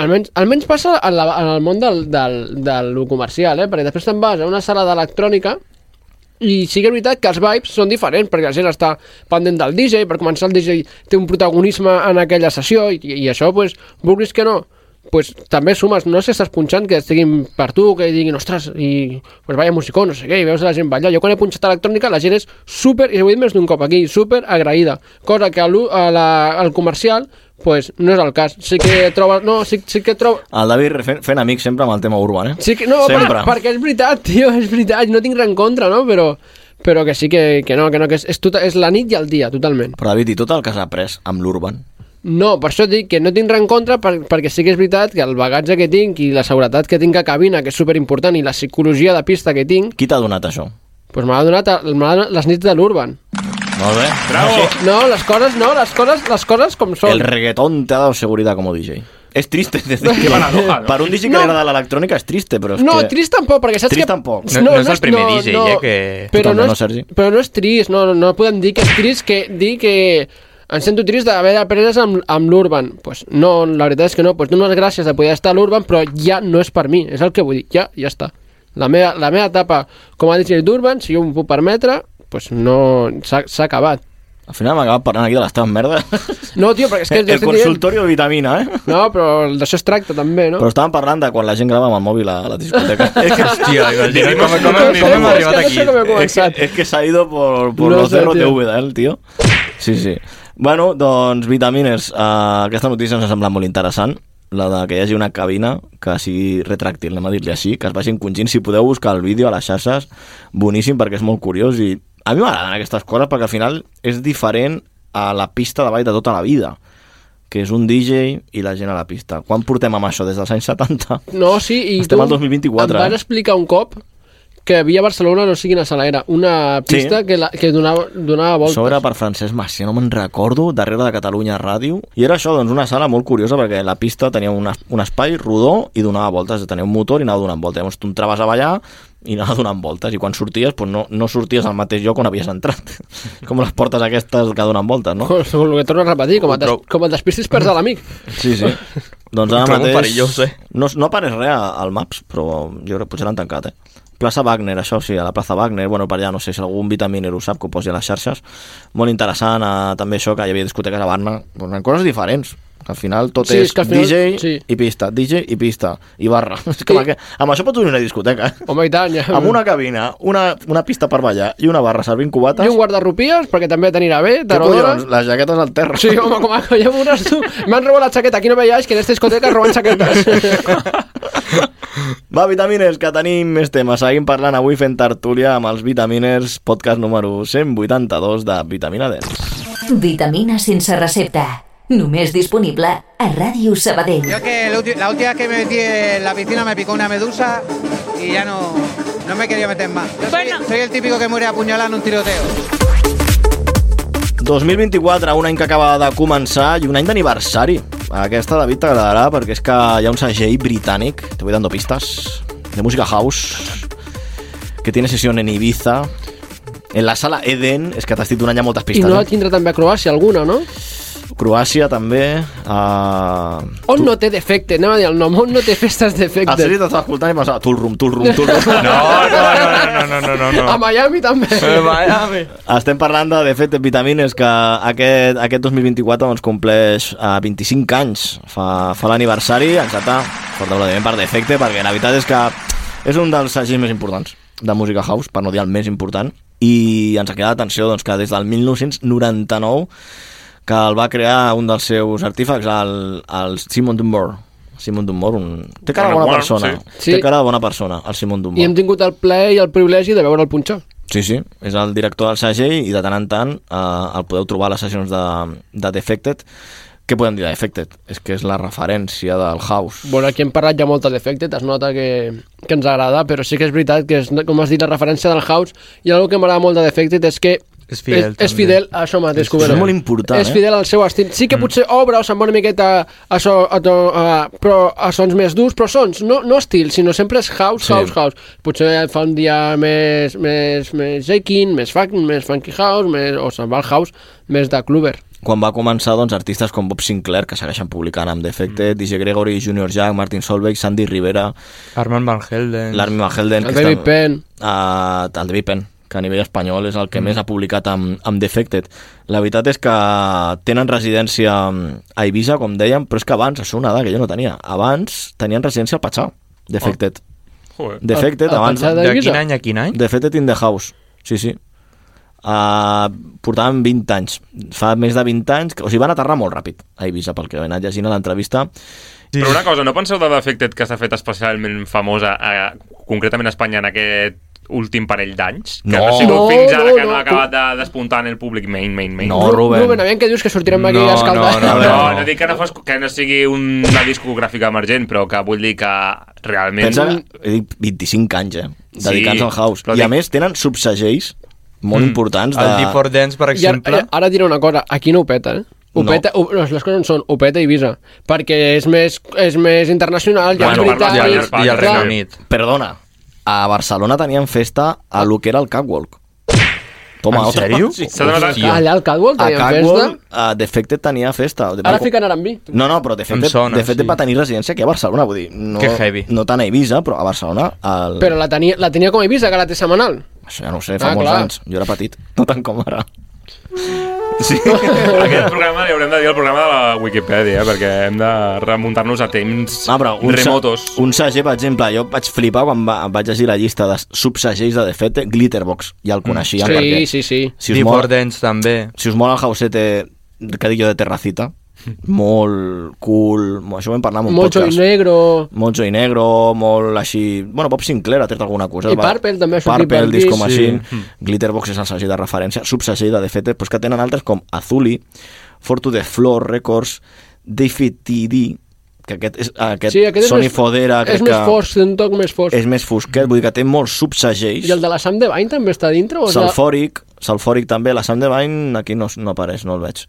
S6: almenys, almenys passa en, la, en el món del, del, del lo comercial, eh? perquè després te'n vas a una sala d'electrònica i sí que és veritat que els vibes són diferents, perquè la gent està pendent del DJ, per començar el DJ té un protagonisme en aquella sessió, i, i això, pues, vulguis que no, pues, també sumes, no sé si estàs punxant, que estiguin per tu, que diguin, ostres, i, pues, vaya musicó, no sé què, i veus la gent ballar. Jo quan he punxat electrònica, la gent és super, i ho he dit més d'un cop aquí, super agraïda, cosa que a l'u- a la- al comercial pues, no és el cas. Sí que troba... No, sí, sí que troba...
S3: El David fent, fent amics sempre amb el tema urban, eh?
S6: Sí que, no,
S3: sempre.
S6: per, perquè és veritat, tio, és veritat, no tinc res en contra, no? Però, però que sí que, que no, que no, que és, és, tota, és la nit i el dia, totalment.
S3: Però David, i tot el que has après amb l'urban?
S6: No, per això et dic que no tinc res en contra per, perquè sí que és veritat que el bagatge que tinc i la seguretat que tinc a cabina, que és superimportant, i la psicologia de pista que tinc,
S3: Qui t'ha donat això?
S6: doncs me l'ha donat, el- me l'ha donat les nits de l'Urban.
S3: Molt bé.
S7: Bravo!
S6: No, les coses no, les coses, les coses com són.
S3: El reggaetón te ha dado seguridad como DJ. Es triste decir que
S7: paradoja, ¿no?
S3: para un DJ que
S6: No.
S3: le agrada la electrónica es triste, pero es
S6: No,
S3: que...
S6: trist tampoc, perquè saps
S3: Trist
S6: que...
S3: tampoc.
S9: No- no és el primer DJ, eh, que-
S6: Però
S3: Totalment,
S6: no,
S3: no,
S6: és,
S3: Sergi?
S6: però no és trist, no, no, no podem dir que és trist que dir que em sento trist d'haver après amb, amb l'Urban. Pues no, la veritat és que no, pues dono les gràcies de poder estar a l'Urban, però ja no és per mi, és el que vull dir, ja, ja està. La meva, la meva etapa com a DJ d'Urban, si jo m'ho puc permetre, pues no, s'ha s'ha acabat.
S3: Al final me acabas parando aquí de las teves merdas.
S6: No, tio, perquè és
S3: Eh,
S6: que...
S3: el,
S6: jo estic dient-
S3: consultorio de vitamina, eh?
S6: No, però d'això es tracta també, no?
S3: Però estaven parlant de quan la gent grava amb el mòbil a la discoteca. és que,
S9: Hòstia,
S7: Vivimos
S9: com, com,
S7: en
S9: com,
S7: un
S9: com hem
S7: món.
S9: arribat
S6: És que no sé
S9: aquí?
S6: com he
S3: és que,
S6: començat.
S3: és que s'ha ido por, por
S6: No
S3: los
S6: sé,
S3: cerros
S6: tío.
S3: de Úbeda, eh, el tío. Sí, sí. Bueno, doncs, vitamines, uh, aquesta notícia ens ha semblat molt interessant, la de que hi hagi una cabina que sigui retràctil, anem a dir-li així, que es vagin congint. Si podeu buscar el vídeo a les xarxes, boníssim, perquè és molt curiós i a mi m'agraden aquestes coses perquè al final és diferent a la pista de ball de tota la vida que és un DJ i la gent a la pista. Quan portem amb això? Des dels anys 70?
S6: No, sí, i
S3: Estem
S6: tu
S3: al 2024,
S6: em vas
S3: eh?
S6: explicar un cop que havia a Barcelona, no sé quina sala era, una pista
S3: Sí.
S6: que, la, que donava, donava voltes.
S3: Això era per Francesc Macià, no me'n recordo, darrere de Catalunya Ràdio. I era això, doncs, una sala molt curiosa, perquè la pista tenia un, es- un espai rodó i donava voltes, tenia un motor i anava donant voltes. Llavors tu entraves a ballar i anava donant voltes, i quan sorties, doncs no, no sorties al mateix lloc on havies entrat. Com les portes aquestes que donen voltes, no?
S6: Com, com el que torno a repetir, com et, des, com et despistis perds a l'amic.
S3: Sí, sí. Doncs
S9: Ho
S3: ara
S9: trobo
S3: mateix...
S9: perillós, eh?
S3: No, no apareix res a- al Maps, però jo crec que potser l'han tancat, eh? Plaça Wagner, això sí, a la plaça Wagner, bueno, per allà no sé si algun vitaminer ho sap, que ho posi a les xarxes. Molt interessant, eh, també això, que hi havia discoteques a Barna, doncs, coses diferents, que al final tot
S6: Sí,
S3: és,
S6: és que al final-
S3: DJ
S6: sí.
S3: i pista, DJ i pista, i barra. És que
S6: I-
S3: amb, aquest- amb això pots unir una discoteca, eh?
S6: Home, i tant, ja.
S3: Amb una cabina, una, una pista per ballar i una barra servint cubates,
S6: I un guardarupies, perquè també t'anirà bé,
S3: què collons?
S6: t'arodores...
S3: Les jaquetes al terra.
S6: Sí, home, com a que ja veuràs tu. M'han robat la xaqueta, aquí no veies que en aquesta discoteca roben xaquetes.
S3: Va, vitamines, que tenim més temes. Seguim parlant avui fent tertúlia amb els Vitamines, podcast número 182 de Vitamina Dents.
S2: Vitamina sense recepta. Només disponible a Ràdio Sabadell.
S11: Yo que la ulti- la última vez que me metí en la piscina me picó una medusa y ya no, no me quería meter más. Yo soy, soy el típico que muere apuñalado en un tiroteo.
S3: 2024, un any que acaba de començar i un any d'aniversari. Aquesta, David, t'agradarà perquè és que hi ha un segell britànic, te voy dando pistas, de música house, que tiene sesión en Ibiza, en la sala Eden, és que t'has dit donant ja moltes
S6: I
S3: pistes.
S6: no la
S3: eh?
S6: tindrà també a Croàcia, alguna, no?
S3: Croàcia, també. Uh...
S6: On no té defecte, anem a dir el nom, on no té festes
S3: El
S6: defecte.
S3: Sergi t'estava escoltant i pensava, Tulrum, Tulrum, Tulrum.
S9: No, no, no, no, no, no,
S3: Ah.
S9: no.
S6: A Miami també.
S9: Eh, Miami.
S3: Estem parlant de, de fet, vitamines, que aquest, aquest 2024 doncs, compleix eh, 25 anys. Fa, fa l'aniversari, exacte, per aplaudiment per defecte, perquè la veritat és que és un dels segells més importants de música house, per no dir el més important, i ens ha quedat atenció doncs, que des del 1999 que el va crear un dels seus artífecs, el, el Simon Dunmore. Simon Dunmore, un... té cara de
S7: Bueno, bueno,
S3: bona persona.
S6: sí.
S3: Té
S6: Sí.
S3: cara de bona persona, el Simon Dunmore.
S6: I hem tingut el plaer i el privilegi de veure el punxó.
S3: Sí, sí, és el director del segell i de tant en tant eh, el podeu trobar a les sessions de, de Defected. Què podem dir de Defected? És que és la referència del House.
S6: Bueno, aquí hem parlat ja molt de defecte, es nota que, que ens agrada, però sí que és veritat que, és, com has dit, la referència del House, i algo que m'agrada molt de defecte és que
S9: És fidel,
S6: és, és
S9: també.
S6: fidel a això mateix
S3: Això
S6: que volem.
S3: és molt important,
S6: És
S3: eh?
S6: fidel al seu estil. Sí que potser obre o se'n va una miqueta a, so, a, to, a, però a sons més durs, però sons, no, no estil, sinó sempre és house,
S3: Sí.
S6: house, house. Potser fa un dia més, més, més shaking, més, funk, més funky house, més, o se'n va al house més de cluber.
S3: Quan va començar, doncs, artistes com Bob Sinclair, que segueixen publicant amb Defected, DJ Gregory, Junior Jack, Martin Solveig, Sandy Rivera,
S9: Armand Van Helden.
S3: l'Armin Van Helden...
S6: El
S3: que
S6: David
S3: està-
S6: Penn.
S3: a, el David Penn, que a nivell espanyol és el que mm. més ha publicat amb, amb Defected. La veritat és que tenen residència a Ibiza, com dèiem, però és que abans, això és una edat que jo no tenia, abans tenien residència al Patxà, Defected.
S7: Joder.
S3: Defected,
S6: Al- al
S3: abans...
S6: Patxà
S3: De...
S9: De quin
S6: Ibiza?
S9: any a quin any?
S3: Defected in the house, sí, sí. Uh, portaven 20 anys fa més de 20 anys que, o sigui, van aterrar molt ràpid a Ibiza pel que he anat llegint a l'entrevista
S9: Sí.
S7: Però una cosa, no penseu de Defected que s'ha fet especialment famosa a, concretament a Espanya en aquest últim parell d'anys? Que
S3: No.
S7: ha sigut
S6: No,
S7: fins ara
S6: no,
S7: que no,
S6: no.
S7: ha acabat de despuntar en el públic main, main, main.
S3: No, Rubén.
S6: Ruben, aviam que dius que sortirem aquí
S9: No,
S6: a escaldar.
S9: no,
S7: No,
S9: no.
S7: no, dic que no, fos, que no sigui una discogràfica emergent, però que vull dir que realment...
S3: Pensa, he dit 25 anys, eh?
S7: Sí,
S3: Dedicats al house.
S7: però
S3: I a
S7: dic-
S3: més tenen subsegells molt importants de...
S9: El Deep for Dance, per
S6: I ara, eh,
S9: exemple.
S6: ara- ara diré una cosa, aquí no ho peta, eh? Ho
S3: No.
S6: peta, ho, les coses on són, ho peta Ibiza, perquè és més, és més internacional, ja
S7: Bueno,
S6: és
S7: parla
S9: I
S7: de-
S6: britànic...
S9: al, i al Regne
S6: clar.
S9: Unit.
S3: Perdona, a Barcelona tenien festa a lo que era el Catwalk. Toma,
S9: en
S3: otra.
S9: sèrio?
S3: Sí.
S7: S'ha donat-
S9: Hòstia.
S6: Allà al Catwalk
S3: A
S6: tenien
S3: Catwalk,
S6: festa.
S3: uh, Defected tenia festa.
S6: Ara fiquen R&B.
S3: No, no, però
S9: Em
S3: Defected,
S9: sona,
S3: Defected
S9: sí.
S3: va tenir residència aquí a Barcelona, vull dir, no,
S9: Que heavy.
S3: no tant a Eivissa, però a Barcelona... El...
S6: Però la tenia, la tenia com a Ibiza, que la té setmanal.
S3: Això ja no ho sé, fa
S6: Ah,
S3: molts
S6: clar.
S3: anys. Jo era petit, no tant com ara.
S7: Sí. Aquest programa li haurem de dir el programa de la Wikipedia, eh, perquè hem de remuntar-nos a temps
S3: Ah, però un, sa-
S7: remotos.
S3: un sager, per exemple, jo vaig flipar quan va, vaig llegir la llista de subsagells de Defete, Glitterbox, ja el coneixia.
S6: Mm. Sí,
S3: perquè,
S6: sí, sí.
S3: Si us
S9: Deep
S3: mola,
S9: Ordens, també.
S3: si us mola el hausete, que dic jo, de Terracita, molt cool, mo- això ho vam parlar en un
S6: Mocho i
S3: podcast.
S6: Mm. Negro...
S3: Mocho i Negro, molt així... Bueno, Pop Sinclair ha tret alguna cosa.
S6: I
S3: va-
S6: Purple també ha sortit
S3: Purple,
S6: per aquí,
S3: Disco
S6: sí. Mm.
S3: Machine, Glitterbox és el segell de referència, subsegell de Defete, però és que tenen altres com Azuli, Fortu de Flor Records, David TD, que aquest és aquest,
S6: Sí, aquest és
S3: Sony
S6: més-
S3: Fodera, crec
S6: és més
S3: que
S6: fosc, té un toc més fosc.
S3: és més fosquet, vull dir que té molts subsegells.
S6: I el de la Sam Devine també està dintre? O és la-
S3: Sulfòric, Sulfòric també, la Sam Devine aquí no, no apareix, no el veig.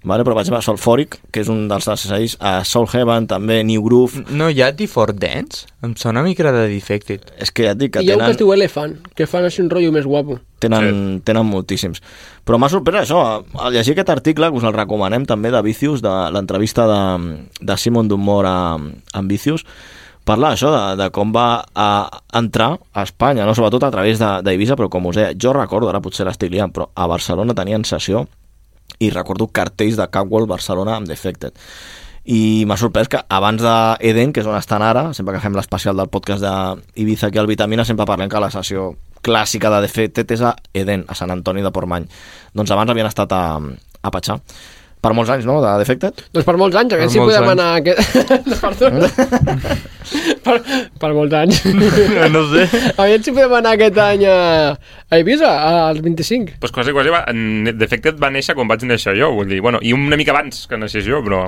S3: Vale, però vaig a Sulfòric, que és un dels segells, a Soul Heaven també, New Groove,
S9: No, hi ha Default Dance? Em sona una mica de Defected.
S3: és que ja et dic que
S6: Hi ha un que
S3: tenen...
S6: es diu Elephant, que fan així un rotllo més guapo.
S3: Tenen, sí. tenen moltíssims. Però m'ha sorprès això, al llegir aquest article, que us el recomanem també, de Vicius, de l'entrevista de, de Simon Dunmore a, a Vicius, parla això de, de com va a entrar a Espanya, no? sobretot a través de- d'Eivissa, però com us deia, jo recordo, ara potser l'estic liant, però a Barcelona tenien sessió i recordo cartells de Catwall Barcelona amb Defected i m'ha sorprès que abans d'Eden, que és on estan ara, sempre que fem l'especial del podcast d'Ibiza aquí al Vitamina, sempre parlem que la sessió clàssica de Defected és a Eden, a Sant Antoni de Portmany. Doncs abans havien estat a, a Patxà. Per molts anys, no?, de Defected.
S6: Doncs per molts anys, a
S9: Per
S6: veure si
S9: molts
S6: podem
S9: anys.
S6: anar a aquest... No, perdó. per, per molts anys.
S9: no sé.
S6: A veure si podem anar aquest any a, a Ibiza, als 25.
S7: Pues quasi, quasi va, en Defected va néixer quan vaig néixer jo, vull dir, bueno, i una mica abans que naixés jo, però...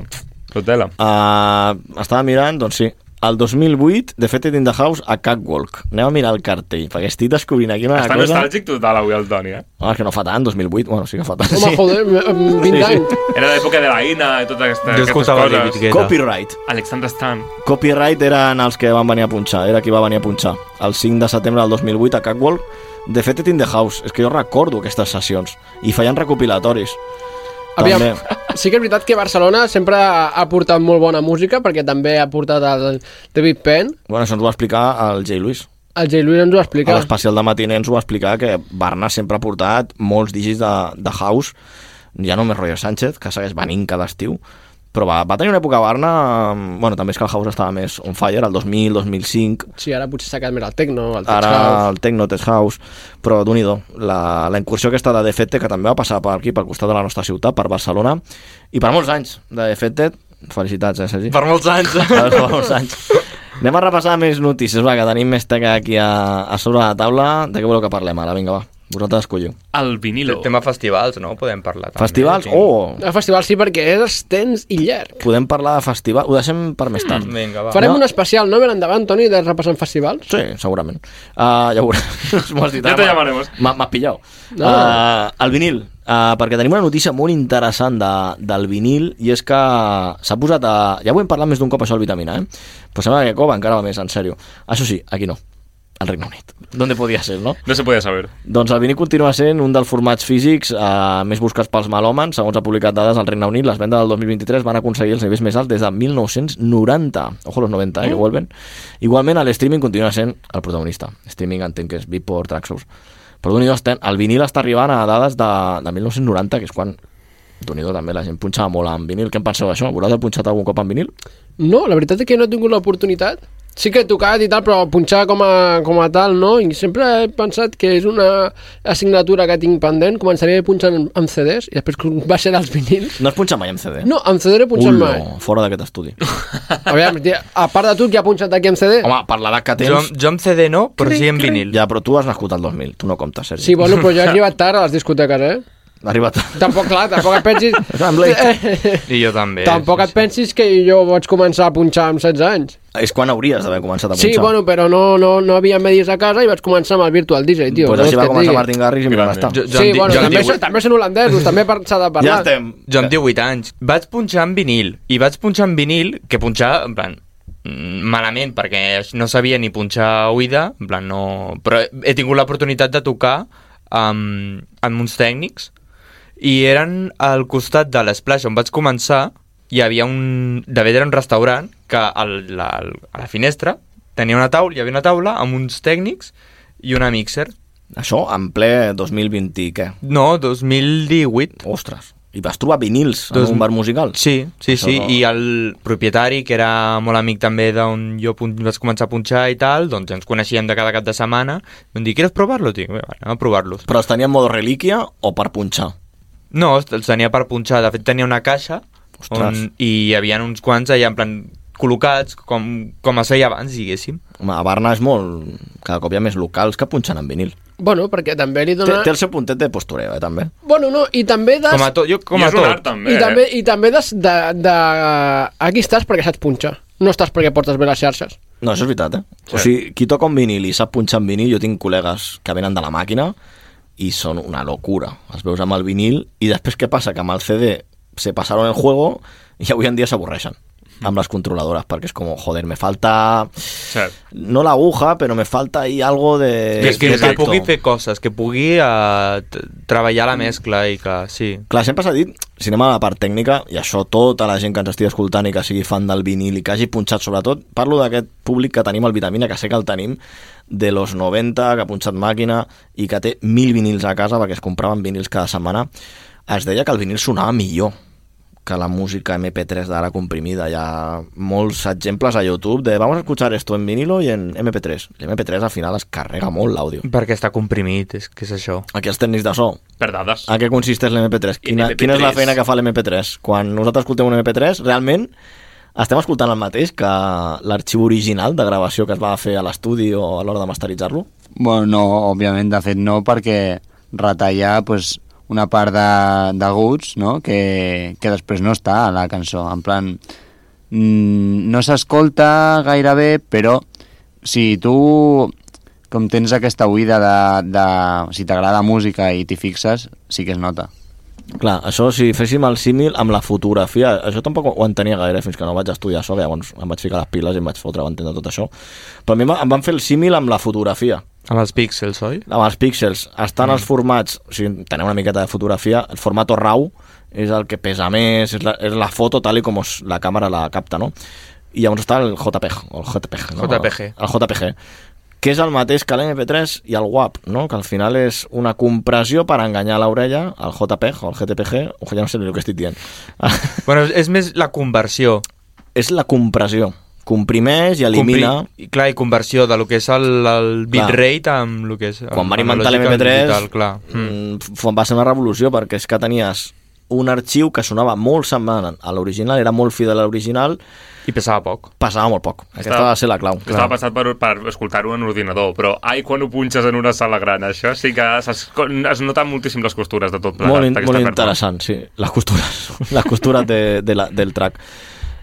S7: Tot tela.
S3: Uh, estava mirant, doncs sí, el 2008, Defected in the House a Catwalk. Anem a mirar el cartell, perquè estic descobrint aquí una
S7: Està
S3: Ah, cosa...
S7: nostàlgic total avui el Toni, eh?
S3: Ah, és que no fa tant, 2008, bueno, sí que fa tant.
S6: Home,
S3: sí.
S6: joder, m- m- 20
S3: Sí, sí.
S6: anys.
S7: Era l'època de la Ina i totes aquestes,
S9: Jo
S7: aquestes
S9: escoltava David
S7: coses.
S9: Guetta.
S3: Copyright.
S7: Alexander Stan.
S3: Copyright eren els que van venir a punxar, era qui va venir a punxar. El 5 de setembre del 2008 a Catwalk, de fet, in the house. És que jo recordo aquestes sessions. I feien recopilatoris.
S6: Aviam,
S3: També.
S6: sí que és veritat que Barcelona sempre ha ha portat molt bona música, perquè també ha portat el David Penn,
S3: Bueno, això ens ho va explicar el J. Lewis.
S6: el J. Lewis ens ho
S3: A
S6: va explicar.
S3: l'especial de matiner ens ho va explicar que Barna sempre ha portat molts digis de, de house, ja només Roger Sánchez, que segueix venint cada estiu, però va, va tenir una època Barna... eh, Bueno, també és que el house estava més on fire, el 2000, 2005,
S6: Sí, ara potser s'ha quedat més el techno, el tech
S3: ara
S6: house.
S3: el Tecno Test House, però d'un i do, la, la incursió aquesta de Defected que també va passar per aquí, pel costat de la nostra ciutat, per Barcelona, i per molts anys de Defected, felicitats, eh, Sergi?
S9: Per molts anys.
S3: Per, per molts anys. Anem a repassar més notícies, va, que tenim més teca aquí a, a sobre la taula. De què voleu que parlem ara? Vinga, va, vosaltres escolliu.
S7: El vinilo.
S9: Tema festivals, no? Podem parlar. També,
S3: Festivals?
S9: Sí.
S3: Oh!
S6: El festival sí, perquè és extens i llarg.
S3: Podem parlar de festival? Ho deixem per més tard.
S9: Vinga, va.
S6: Farem
S3: no.
S6: un especial, no? Ben endavant, Toni, de repassant festivals.
S3: Sí, segurament. Uh, ja ho veurem. M'ho has dit,
S7: Ja te
S3: ah,
S7: llamaremos.
S3: m'ha- M'has pillat.
S6: No.
S3: Uh, el vinil. Uh, perquè tenim una notícia molt interessant de, del vinil i és que s'ha posat a... Ja ho hem parlat més d'un cop això al Vitamina, eh? Però sembla que Cova encara va més, en sèrio. Això sí, aquí no. Al Regne Unit. D'on podia ser, no?
S7: No se podia saber.
S3: Doncs el vinil continua sent un dels formats físics eh, més buscats pels malòmens. Segons ha publicat dades al Regne Unit, les vendes del 2023 van aconseguir els nivells més alts des de 1990. Ojo, los 90, eh, que vuelven. Igualment, l'streaming continua sent el protagonista. Streaming entenc que és Beatport, Traxxus. Però d'un i do, estem- el vinil està arribant a dades de, de 1990, que és quan d'un i do, també la gent punxava molt amb vinil. Què en penseu d'això? Vosaltres heu punxat algun cop amb vinil?
S6: No, la veritat és que no he tingut l'oportunitat. Sí que he tocat i tal, però punxar com a, com a tal, no? I sempre he pensat que és una assignatura que tinc pendent. Començaria punxant amb- amb CDs i després va ser dels vinils.
S3: No has punxat mai amb CD?
S6: No, amb CD he punxat
S3: Ullo,
S6: mai.
S3: fora d'aquest estudi.
S6: Aviam, tia, a part de tu, qui ha punxat aquí amb CD?
S3: Home, parlarà que
S9: Jo,
S3: tens...
S9: jo amb CD no, però sí en vinil.
S3: Ja, però tu has nascut al 2000, tu no comptes, Sergi.
S6: Sí, bueno, però jo he arribat tard a les discoteques, eh?
S3: Arriba tard.
S6: Tampoc, clar, tampoc et pensis...
S3: Amb Blake.
S9: I jo també.
S6: Tampoc et pensis que jo vaig començar a punxar amb 16 anys.
S3: És quan hauries d'haver començat a punxar.
S6: Sí, bueno, però no, no, no havia medis a casa i vaig començar amb el Virtual DJ, tio.
S3: pues
S6: què
S3: així va
S6: vols que et
S3: començar
S6: digui?
S3: Martin Garrix i mira on està.
S9: Jo,
S6: sí,
S9: jo, amb,
S6: bueno,
S9: bueno, jo, amb
S6: també,
S9: 18,
S6: són, també són holandesos, doncs també per- s'ha de parlar.
S3: Ja estem.
S9: jo amb 18 anys vaig punxar en vinil. I vaig punxar en vinil, que punxar, en plan, mm, malament, perquè no sabia ni punxar oïda, en plan, no... Però he tingut l'oportunitat de tocar amb, amb uns tècnics i eren al costat de l'Splash on vaig començar hi havia un... de fet era un restaurant que al, la, a la finestra tenia una taula, hi havia una taula amb uns tècnics i una mixer
S3: Això en ple 2020 i què?
S9: No, 2018.
S3: Ostres. I vas trobar vinils en un bar musical?
S9: Sí, sí,
S3: Això
S9: sí.
S3: no-
S9: I el propietari, que era molt amic també d'on jo pun- vaig començar a punxar i tal, doncs ens coneixíem de cada cap de setmana. Vam dir, ¿quieres provar-lo? Dic, "Bé, vale, anem a provar-lo.
S3: Però els tenia en modo relíquia o per punxar?
S9: No, els tenia per punxar. De fet, tenia una caixa
S3: Ostres.
S9: i hi havia uns quants allà en plan col·locats, com, com es feia abans, diguéssim.
S3: Home, a Barna és molt... Cada cop hi ha més locals que punxen en vinil.
S6: Bueno, perquè també li
S3: Té,
S6: dona...
S3: té el seu puntet de postureo, eh, també.
S6: Bueno, no, i també des...
S3: Com a tot, jo- com I a és un tot. art, també,
S6: I
S3: eh?
S6: també, i també des de, de... eh, Aquí estàs perquè saps punxar. No estàs perquè portes bé les xarxes.
S3: No, això és veritat, eh? Sí. O sigui, qui toca un vinil i sap punxar en vinil, jo tinc col·legues que venen de la màquina i són una locura. Els veus amb el vinil i després què passa? Que amb el CD se passaron el juego i avui en dia s'avorreixen amb les controladores, perquè és com, joder, me falta...
S7: Cert.
S3: No l'aguja, però me falta ahí algo de...
S9: que, que,
S3: de
S9: que
S3: tacto.
S9: pugui fer coses, que pugui eh, t- treballar la mescla i que sí.
S3: Clar, sempre s'ha dit, si anem a la part tècnica, i això tota la gent que ens estigui escoltant i que sigui fan del vinil i que hagi punxat sobretot, parlo d'aquest públic que tenim al Vitamina, que sé que el tenim, de los 90, que ha punxat màquina i que té mil vinils a casa perquè es compraven vinils cada setmana, es deia que el vinil sonava millor que la música MP3 d'ara comprimida. Hi ha molts exemples a YouTube de vamos a escuchar esto en vinilo i en MP3. L'MP3 al final es carrega molt l'àudio.
S9: Perquè està comprimit, és que és això.
S3: Aquí els tècnics de so
S7: Per dades.
S3: a què consisteix l'MP3? Quina,
S7: MP3.
S3: quina és la feina que fa l'MP3? Quan nosaltres escoltem un MP3, realment estem escoltant el mateix que l'arxiu original de gravació que es va fer a l'estudi o a l'hora de masteritzar-lo?
S10: Bueno, no, òbviament, de fet no, perquè retallar pues, una part de- d'aguts no? que, que després no està a la cançó. En plan, mm, no s'escolta gaire bé, però si tu com tens aquesta oïda de, de si t'agrada música i t'hi fixes, sí que es nota.
S3: Clar, això si féssim el símil amb la fotografia, això tampoc ho entenia gaire fins que no vaig estudiar això, que llavors em vaig ficar les piles i em vaig fotre, va entendre tot això. Però a mi em va- em van fer el símil amb la fotografia.
S9: Amb els píxels, oi?
S3: amb els píxels estan els formats, o sigui, tenim una miqueta de fotografia, el format RAW és el que pesa més, és la, és la foto tal i com es, la càmera la capta, no? I llavors està el JPG, o el JPG, no?
S9: JPG.
S3: El, el JPG, que és el mateix que l'MP3 i el WAP, no? Que al final és una compressió per enganyar l'orella, el JPG o el GTPG, o ja no sé ni el que estic dient.
S9: Bueno, és, és més la conversió.
S3: És la compressió. Comprimeix i elimina...
S9: Compri... I, clar, i conversió de lo que és el, el
S3: Clar.
S9: bitrate amb lo que és...
S3: quan van
S9: amb la
S3: inventar
S9: lògica
S3: l'MP3
S9: digital, clar.
S3: mm,
S9: Mm.
S3: va ser una revolució perquè és que tenies un arxiu que sonava molt semblant a l'original, era molt fidel a l'original
S9: i pesava poc.
S3: Pesava molt poc. Aquesta va ser la clau.
S7: Estava passat per, per escoltar-ho en ordinador, però ai, quan ho punxes en una sala gran, això sí que es, es noten moltíssim les costures de tot plegat.
S3: molt, in,
S7: d'aquesta
S3: molt
S7: performance.
S3: interessant, sí. Les costures, les costures de, de la, del track.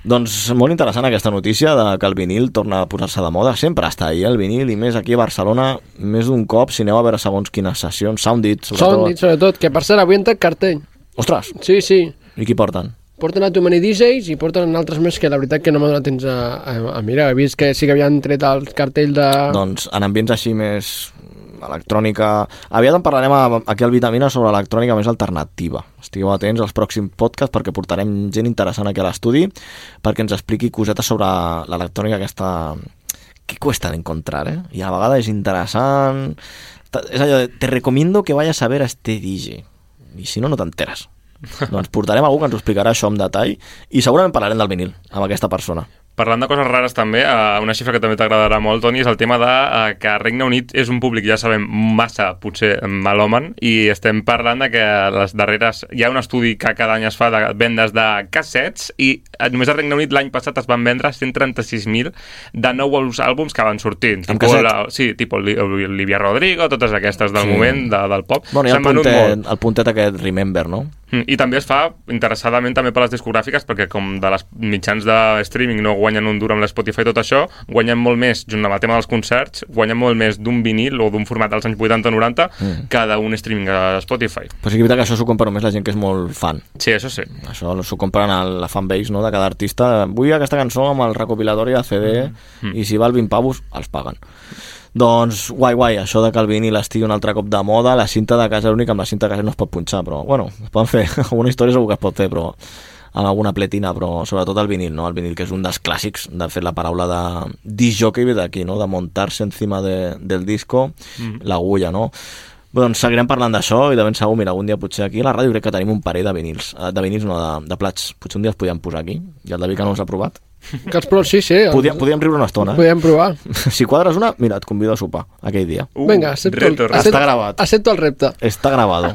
S3: Doncs molt interessant aquesta notícia de que el vinil torna a posar-se de moda. Sempre està ahí el vinil i més aquí a Barcelona més d'un cop si aneu a veure segons quines sessions. Soundit, sobretot.
S6: Sound, sobretot, que per cert, avui han tret cartell.
S3: Ostres!
S6: Sí, sí.
S3: I qui porten?
S6: Porten a Too Many DJs i porten altres més que la veritat que no m'ha donat temps a, a, a mirar. He vist que sí que havien tret el cartell de...
S3: doncs en ambients així més electrònica... Aviat en parlarem a- aquí al Vitamina sobre l'electrònica més alternativa. Estigueu atents als pròxims podcasts perquè portarem gent interessant aquí a l'estudi perquè ens expliqui cosetes sobre l'electrònica aquesta... Que cuesta de encontrar, eh? I a la vegada és interessant... Ta- És allò de, te recomiendo que vayas a ver a este DJ. I si no, no t'enteres. doncs portarem algú que ens ho explicarà això en detall i segurament parlarem del vinil amb aquesta persona.
S7: Parlant de coses rares també, eh, una xifra que també t'agradarà molt, Toni, és el tema de eh, que Regne Unit és un públic, ja sabem, massa, potser malhomen, i estem parlant de que les darreres... Hi ha un estudi que cada any es fa de vendes de cassets i eh, només al Regne Unit l'any passat es van vendre 136.000 de nous àlbums que van sortint.
S3: Amb
S7: Tipo
S3: casset?
S7: la, sí, tipus Li- Olivia Rodrigo, totes aquestes del
S3: Sí.
S7: sí. moment, de, del pop.
S3: Bueno, i el
S7: S'han venut
S3: puntet,
S7: molt.
S3: el puntet aquest Remember, no?
S7: Mm, I també es fa interessadament també per les discogràfiques, perquè com de les mitjans de streaming no guanyen un duro amb l'Spotify i tot això, guanyen molt més, junt amb el tema dels concerts, guanyen molt més d'un vinil o d'un format dels anys 80-90
S3: Mm.
S7: mm. que d'un streaming a Spotify.
S3: Però sí que és veritat que això s'ho compra només la gent que és molt fan.
S7: Sí, això sí.
S3: Això s'ho compren a la fanbase no? de cada artista. Vull aquesta cançó amb el recopilatori de CD mm. i si val 20 pavos, els paguen. Doncs guai, guai, això de que el vinil estigui un altre cop de moda, la cinta de casa única amb la cinta de casa no es pot punxar, però bueno, es poden fer, alguna història segur que es pot fer, però amb alguna pletina, però sobretot el vinil, no? El vinil, que és un dels clàssics, de fet, la paraula de disc jockey ve d'aquí, no? De montar-se encima de, del disco,
S12: Mhm.
S3: l'agulla, no? Bé, doncs seguirem parlant d'això i de ben segur, mira, algun dia potser aquí a la ràdio crec que tenim un parell de vinils, eh, de vinils no, de, de plats. Potser un dia els podíem posar aquí, i el David que no els ha provat.
S6: Que els pro... Sí, sí. els-
S3: Podíem, podíem riure una estona, eh?
S6: Podíem provar.
S3: Si quadres una, mira, et convido a sopar aquell dia.
S7: Uh,
S6: Vinga, accepto, el- accepto,
S3: Uh, Està gravat.
S6: accepto el repte.
S3: Està gravado.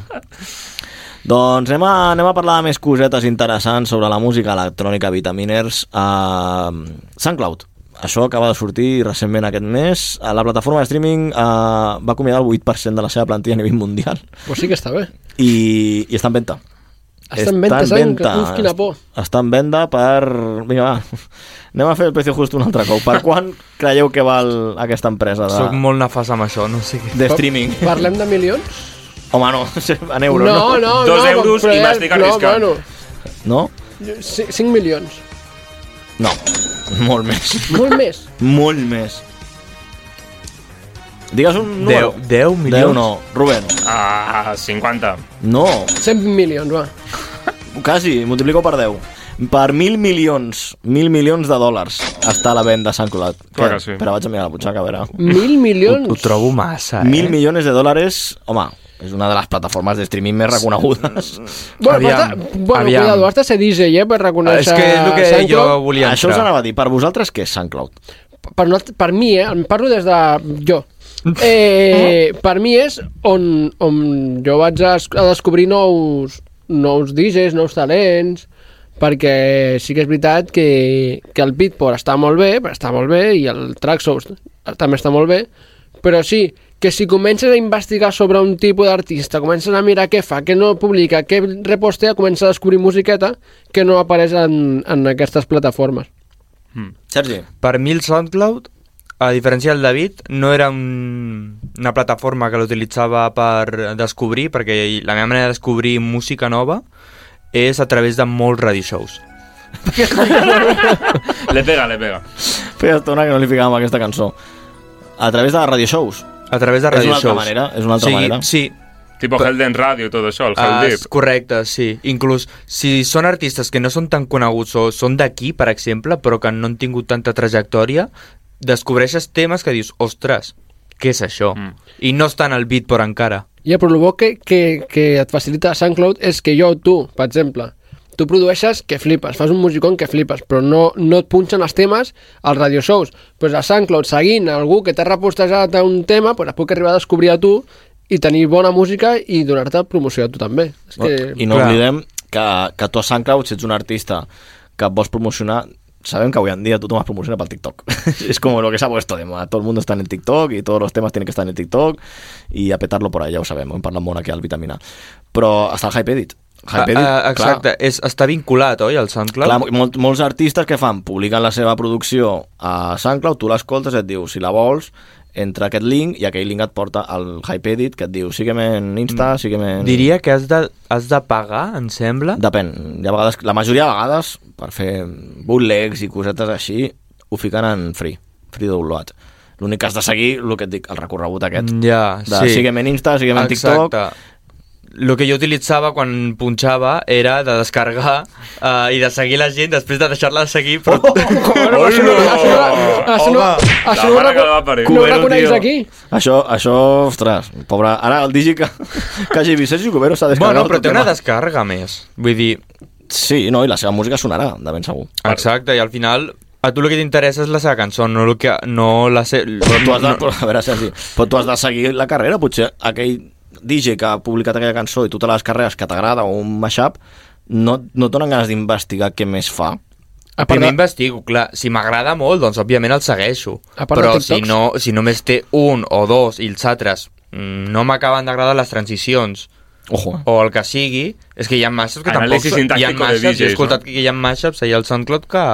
S3: doncs anem a, anem a parlar de més cosetes interessants sobre la música electrònica Vitaminers a um, SoundCloud. Això acaba de sortir recentment aquest mes. Eh, La plataforma de streaming eh, va acomiadar el 8% de la seva plantilla a nivell mundial
S6: Pues sí que està bé. eh?
S3: i, i està en venda.
S6: Està en
S3: Està
S6: venda,
S3: en
S6: sang, que-
S3: venda.
S6: uf, quina por.
S3: Està en venda per... Vinga, va, anem a fer el precio just un altre cop. Per quan creieu que val aquesta empresa de,
S9: Soc molt nefas amb això, no sé què.
S3: de streaming?
S6: Parlem de milions?
S3: Home, no, en euros.
S6: No, no, no, però ja- no, bueno,
S3: No?
S6: ci- 5 milions.
S3: No. Molt més.
S6: Molt més.
S3: Molt més. Digues un número.
S7: 10, 10 milions?
S3: 10 no, Rubén.
S7: Ah, 50.
S3: No,
S6: 100 milions, va.
S3: quasi, multiplico per 10. Per mil milions, mil milions de dòlars està a la venda a Sant Colat.
S7: Clar que
S3: Què?
S7: sí.
S3: Espera, vaig a mirar la butxaca, a veure.
S6: Mil milions?
S9: Ho trobo massa, eh?
S3: Mil milions de dòlars, home, és una de les plataformes de streaming més reconegudes.
S6: Bueno, aviam, bueno cuidado, has de ser DJ, eh, per reconèixer... SoundCloud.
S3: Això us anava a dir, per vosaltres què és SoundCloud?
S6: per, no, per mi, eh, em parlo des de jo. Eh, per mi és on, on jo vaig a, es- a descobrir nous, nous DJs, nous talents, perquè sí que és veritat que, que el Beatport està molt bé, està molt bé, i el Traxos també està molt bé, però sí, que si comences a investigar sobre un tipus d'artista, comences a mirar què fa, què no publica, què repostea, comences a descobrir musiqueta que no apareix en, en aquestes plataformes.
S7: Mm.
S3: Sergi.
S9: Per mi el SoundCloud, a diferència del David, no era un, una plataforma que l'utilitzava per descobrir, perquè la meva manera de descobrir música nova és a través de molts radio shows.
S7: Le pega, le pega.
S3: Feia estona que no li ficàvem aquesta cançó. A través de radio shows.
S9: A través de radio
S3: és una altra
S9: shows.
S3: manera, és una altra
S9: o sigui,
S3: manera.
S9: Sí.
S7: Tipo
S9: Pe-
S7: Helden Radio, tot això, el
S9: Ah,
S7: Hell
S9: és correcte, sí. Inclús, si són artistes que no són tan coneguts o són d'aquí, per exemple, però que no han tingut tanta trajectòria, descobreixes temes que dius, ostres, què és això? Mm. I no estan al beat, però encara.
S6: Ja, però el bo que, que, que et facilita SoundCloud és que jo, tu, per exemple, tu produeixes que flipes, fas un musicón que flipes, però no, no et punxen els temes als radioshows. Doncs pues a SoundCloud, seguint algú que t'ha repostejat a un tema, pues et puc arribar a descobrir a tu i tenir bona música i donar-te promoció a tu també. És que...
S3: I no Clar. oblidem que, que tu a SoundCloud, si ets un artista que et vols promocionar, sabem que avui en dia tothom es promociona pel TikTok. es como lo que se ha puesto de moda. Todo el mundo está en el TikTok y todos los temas tienen que estar en el TikTok y a petarlo por ahí, ja ho sabem. Hem parlat molt aquí al Vitamina. Però està el Hype Edit. Hype Edit,
S9: Ah, ah,
S3: clar,
S9: exacte, és, està vinculat, oi, al SoundCloud?
S3: Clar, mol, molts artistes que fan, publiquen la seva producció a SoundCloud, tu l'escoltes i et diu, si la vols, entra a aquest link i aquell link et porta al Hype Edit que et diu, sigue'm en Insta, sigue'm en...
S9: Mm. Diria que has de, has de pagar, em sembla.
S3: Depèn. Hi ha vegades, la majoria de vegades, per fer bootlegs i cosetes així, ho fiquen en free, free download. L'únic que has de seguir, el que et dic, el recorregut aquest.
S9: Mm, Ja,
S3: de,
S9: sí.
S3: Siguem en Insta, siguem en TikTok...
S9: Exacte. El que jo utilitzava quan punxava era de descarregar uh, i de seguir la gent després de deixar-la de seguir, però... Oh,
S6: Ah, Això no, ah, això no, reco- no ho
S3: Cubero,
S6: reconeix
S3: tio.
S6: aquí.
S3: Això, això, ostres, pobre... Ara el digi que, que hagi vist Sergi Cubero s'ha descarregat...
S9: Bueno, però té una
S3: tema.
S9: descàrrega més. Vull dir...
S3: Sí, no, i la seva música sonarà, de ben segur.
S9: Exacte, i al final a tu el que t'interessa és la seva cançó, no, el que, no la se...
S3: Però tu has de, però, a veure, Sergi, però tu has de seguir la carrera, potser aquell DJ que ha publicat aquella cançó i tu te les carreres que t'agrada o un mashup, no, no et donen ganes d'investigar què més fa.
S9: A part Primer investigo, clar, si m'agrada molt, doncs òbviament el segueixo.
S3: A part de
S9: Però
S3: TikToks?
S9: si, no, si només té un o dos i els altres mm, no m'acaben d'agradar les transicions
S3: Ojo.
S9: o el que sigui, és que hi ha mashups que
S7: Anàlisi
S9: tampoc... Hi ha
S7: sintàctico de
S9: mashups, jo he
S7: DJs,
S9: escoltat que hi ha mashups allà al SoundCloud que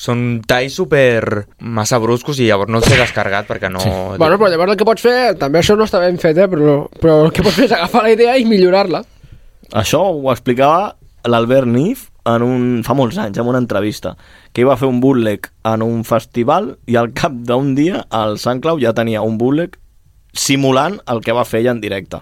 S9: són talls super massa bruscos i llavors no els he descarregat perquè no...
S6: Bueno, però llavors el que pots fer, també això no està ben fet, eh, però, però el que pots fer és agafar la idea i millorar-la.
S3: Això ho explicava l'Albert Nif en un, fa molts anys, en una entrevista, que va fer un bootleg en un festival i al cap d'un dia el SoundCloud ja tenia un bootleg simulant el que va fer ella en directe.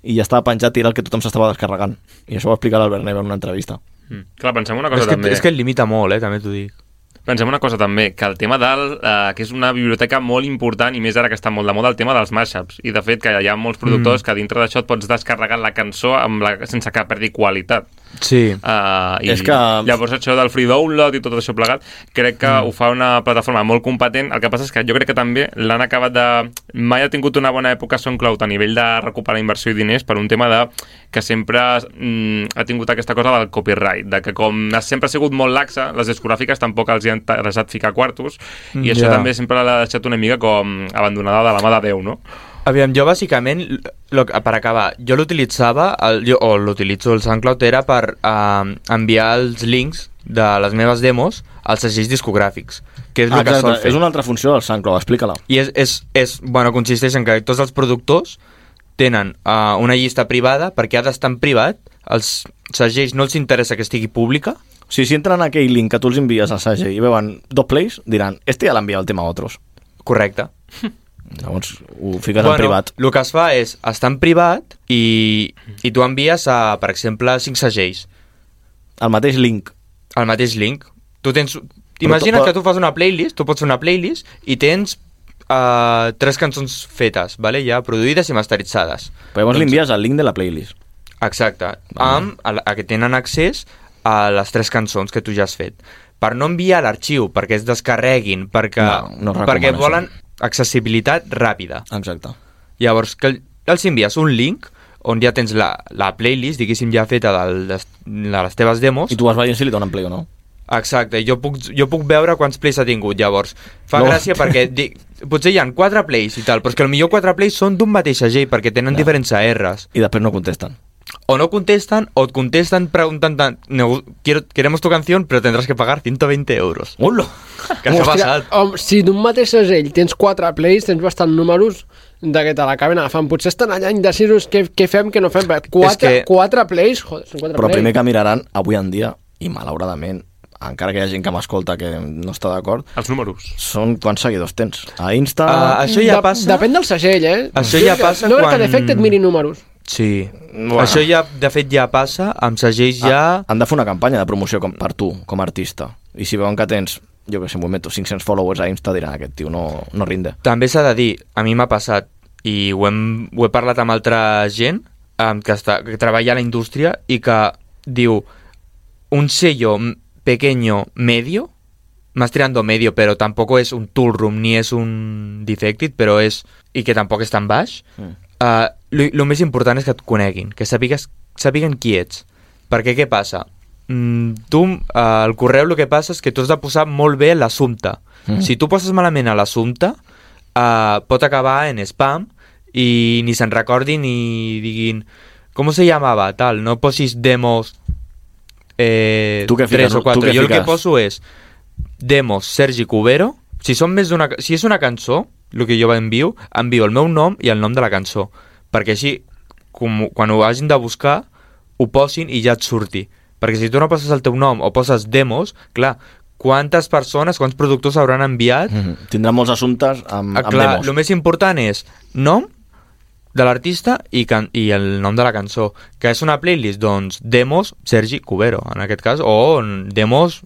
S3: I ja estava penjat i era el que tothom s'estava descarregant. I això ho va explicar l'Albert Nif en una entrevista.
S7: Mm. Clar, pensem una
S9: És
S7: cosa
S9: que,
S7: també.
S9: és que et limita molt, eh, també t'ho dic.
S7: Pensem una cosa també, que el tema del... Eh, que és una biblioteca molt important i més ara que està molt de moda el tema dels mashups. I de fet que hi ha molts productors
S9: Mm.
S7: mm. que dintre d'això et pots descarregar la cançó amb la, sense que perdi qualitat.
S9: Sí.
S7: Uh, i
S9: És
S7: és
S9: que-
S7: que... Llavors això del free download i tot això plegat, crec que mm. ho fa una plataforma molt competent. El que passa és que jo crec que també l'han acabat de... Mai ha tingut una bona època SoundCloud a nivell de recuperar inversió i diners per un tema de que sempre mm, ha tingut aquesta cosa del copyright, de que com ha- sempre ha sigut molt laxa, les discogràfiques tampoc els hi han interessat ficar quartos, i
S9: Mm,
S7: això
S9: ja.
S7: també sempre l'ha deixat una mica com abandonada de la mà de Déu, no?
S9: Aviam, jo bàsicament, l- lo, que- per acabar, jo l'utilitzava, el- jo- o l'utilitzo el SoundCloud, era per eh, enviar els links de les meves demos als segells discogràfics, que és el que sol
S3: Ah, Exacte,
S9: fer.
S3: és una altra funció del SoundCloud, explica-la.
S9: I és, és, és, bueno, consisteix en que tots els productors tenen uh, una llista privada perquè ha d'estar en privat, els segells no els interessa que estigui pública.
S3: O sigui, si entren a aquell link que tu els envies al Sage i veuen dos plays, diran, este ja l'ha enviat el tema a otros.
S9: Correcte.
S3: Llavors ho fiques bueno, en privat.
S9: El que es fa és estar en privat i, i tu envies, a, per exemple, cinc segells.
S3: El mateix link.
S9: El mateix link. Tu tens...
S3: Però
S9: Imagina't
S3: tu-
S9: que tu fas una playlist, tu pots fer una playlist i tens uh, tres cançons fetes, vale? ja produïdes i masteritzades.
S3: Però llavors li envies el link de la playlist.
S9: Exacte, amb a, la- a que tenen accés a les tres cançons que tu ja has fet. Per no enviar l'arxiu, perquè es descarreguin, perquè,
S3: No, no recomano
S9: perquè
S3: això.
S9: volen accessibilitat ràpida.
S3: Exacte.
S9: Llavors, que el- els envies un link on ja tens la, la playlist, diguéssim, ja feta del, des- de les teves demos. I
S3: tu vas veient si li donen play o no.
S9: Exacte, jo puc, jo puc veure quants plays ha tingut, llavors. Fa
S3: No.
S9: gràcia perquè dic, potser hi ha quatre plays i tal, però és que millor quatre plays són d'un mateix segell perquè tenen diferents ARs.
S3: I després no contesten.
S9: O no contestan, o et contesten preguntant tant, "No, quiero, queremos tu canción, pero tendrás que pagar 120 euros.
S3: ¡Hola!
S9: Que això ha passat.
S6: Home, si d'un mateix segell tens quatre plays, tens bastant números de que te l'acaben agafant. Potser estan allà indecisos què, què fem, què no fem. Però quatre,
S3: que-
S6: que... quatre plays, joder, són quatre
S3: Però
S6: plays.
S3: primer que miraran avui en dia, i malauradament, encara que hi ha gent que m'escolta que no està d'acord...
S7: Els números.
S3: Són quants seguidors tens. A Insta...
S6: Ah,
S9: Ah,
S6: Dep- Depèn del segell, eh?
S9: Això
S6: Jo
S9: ja
S6: crec que-
S9: passa
S6: No crec
S9: quan-
S6: que d'efecte et miri números.
S9: Sí.
S3: Bueno.
S9: Això ja, de fet, ja passa, amb segells ja...
S3: Ah, Han de fer una campanya de promoció com per tu, com a artista. I si veuen que tens, jo que sé, m'ho invento, 500 followers a Insta, diran aquest tio no, no rinde.
S9: També s'ha de dir, a mi m'ha passat, i ho, hem, ho he parlat amb altra gent um, que, està, que treballa a la indústria i que diu un sello m- pequeño medio, más tirando medio, pero tampoco es un tool room ni es un defected, però és... i que tampoc és tan baix,
S12: Mm.
S9: Uh, el més important és que et coneguin, que sàpigues, sàpiguen qui ets. Perquè què passa? Mm, tu, uh, el correu el que passa és que tu has de posar molt bé l'assumpte.
S12: Mm.
S9: Mm. Si tu poses malament a l'assumpte, uh, pot acabar en spam i ni se'n recordin ni diguin com se llamava, tal. No posis demos eh,
S3: Tu què fiques,
S9: tres o
S3: tu què
S9: quatre. Jo el que
S3: fiques?
S9: poso és demos Sergi Cubero. Si, són més d'una, si és una cançó, el que jo envio, envio el meu nom i el nom de la cançó. Perquè així, com, quan ho hagin de buscar, ho posin i ja et surti. Perquè si tu no poses el teu nom o poses demos, clar, quantes persones, quants productors hauran enviat...
S3: Mm -hmm. Tindrà molts assumptes amb,
S9: Mhm. Ah,
S3: amb
S9: clar,
S3: demos.
S9: el més important és nom de l'artista i, can i el nom de la cançó, que és una playlist, doncs, demos Sergi Cubero, en aquest cas, o demos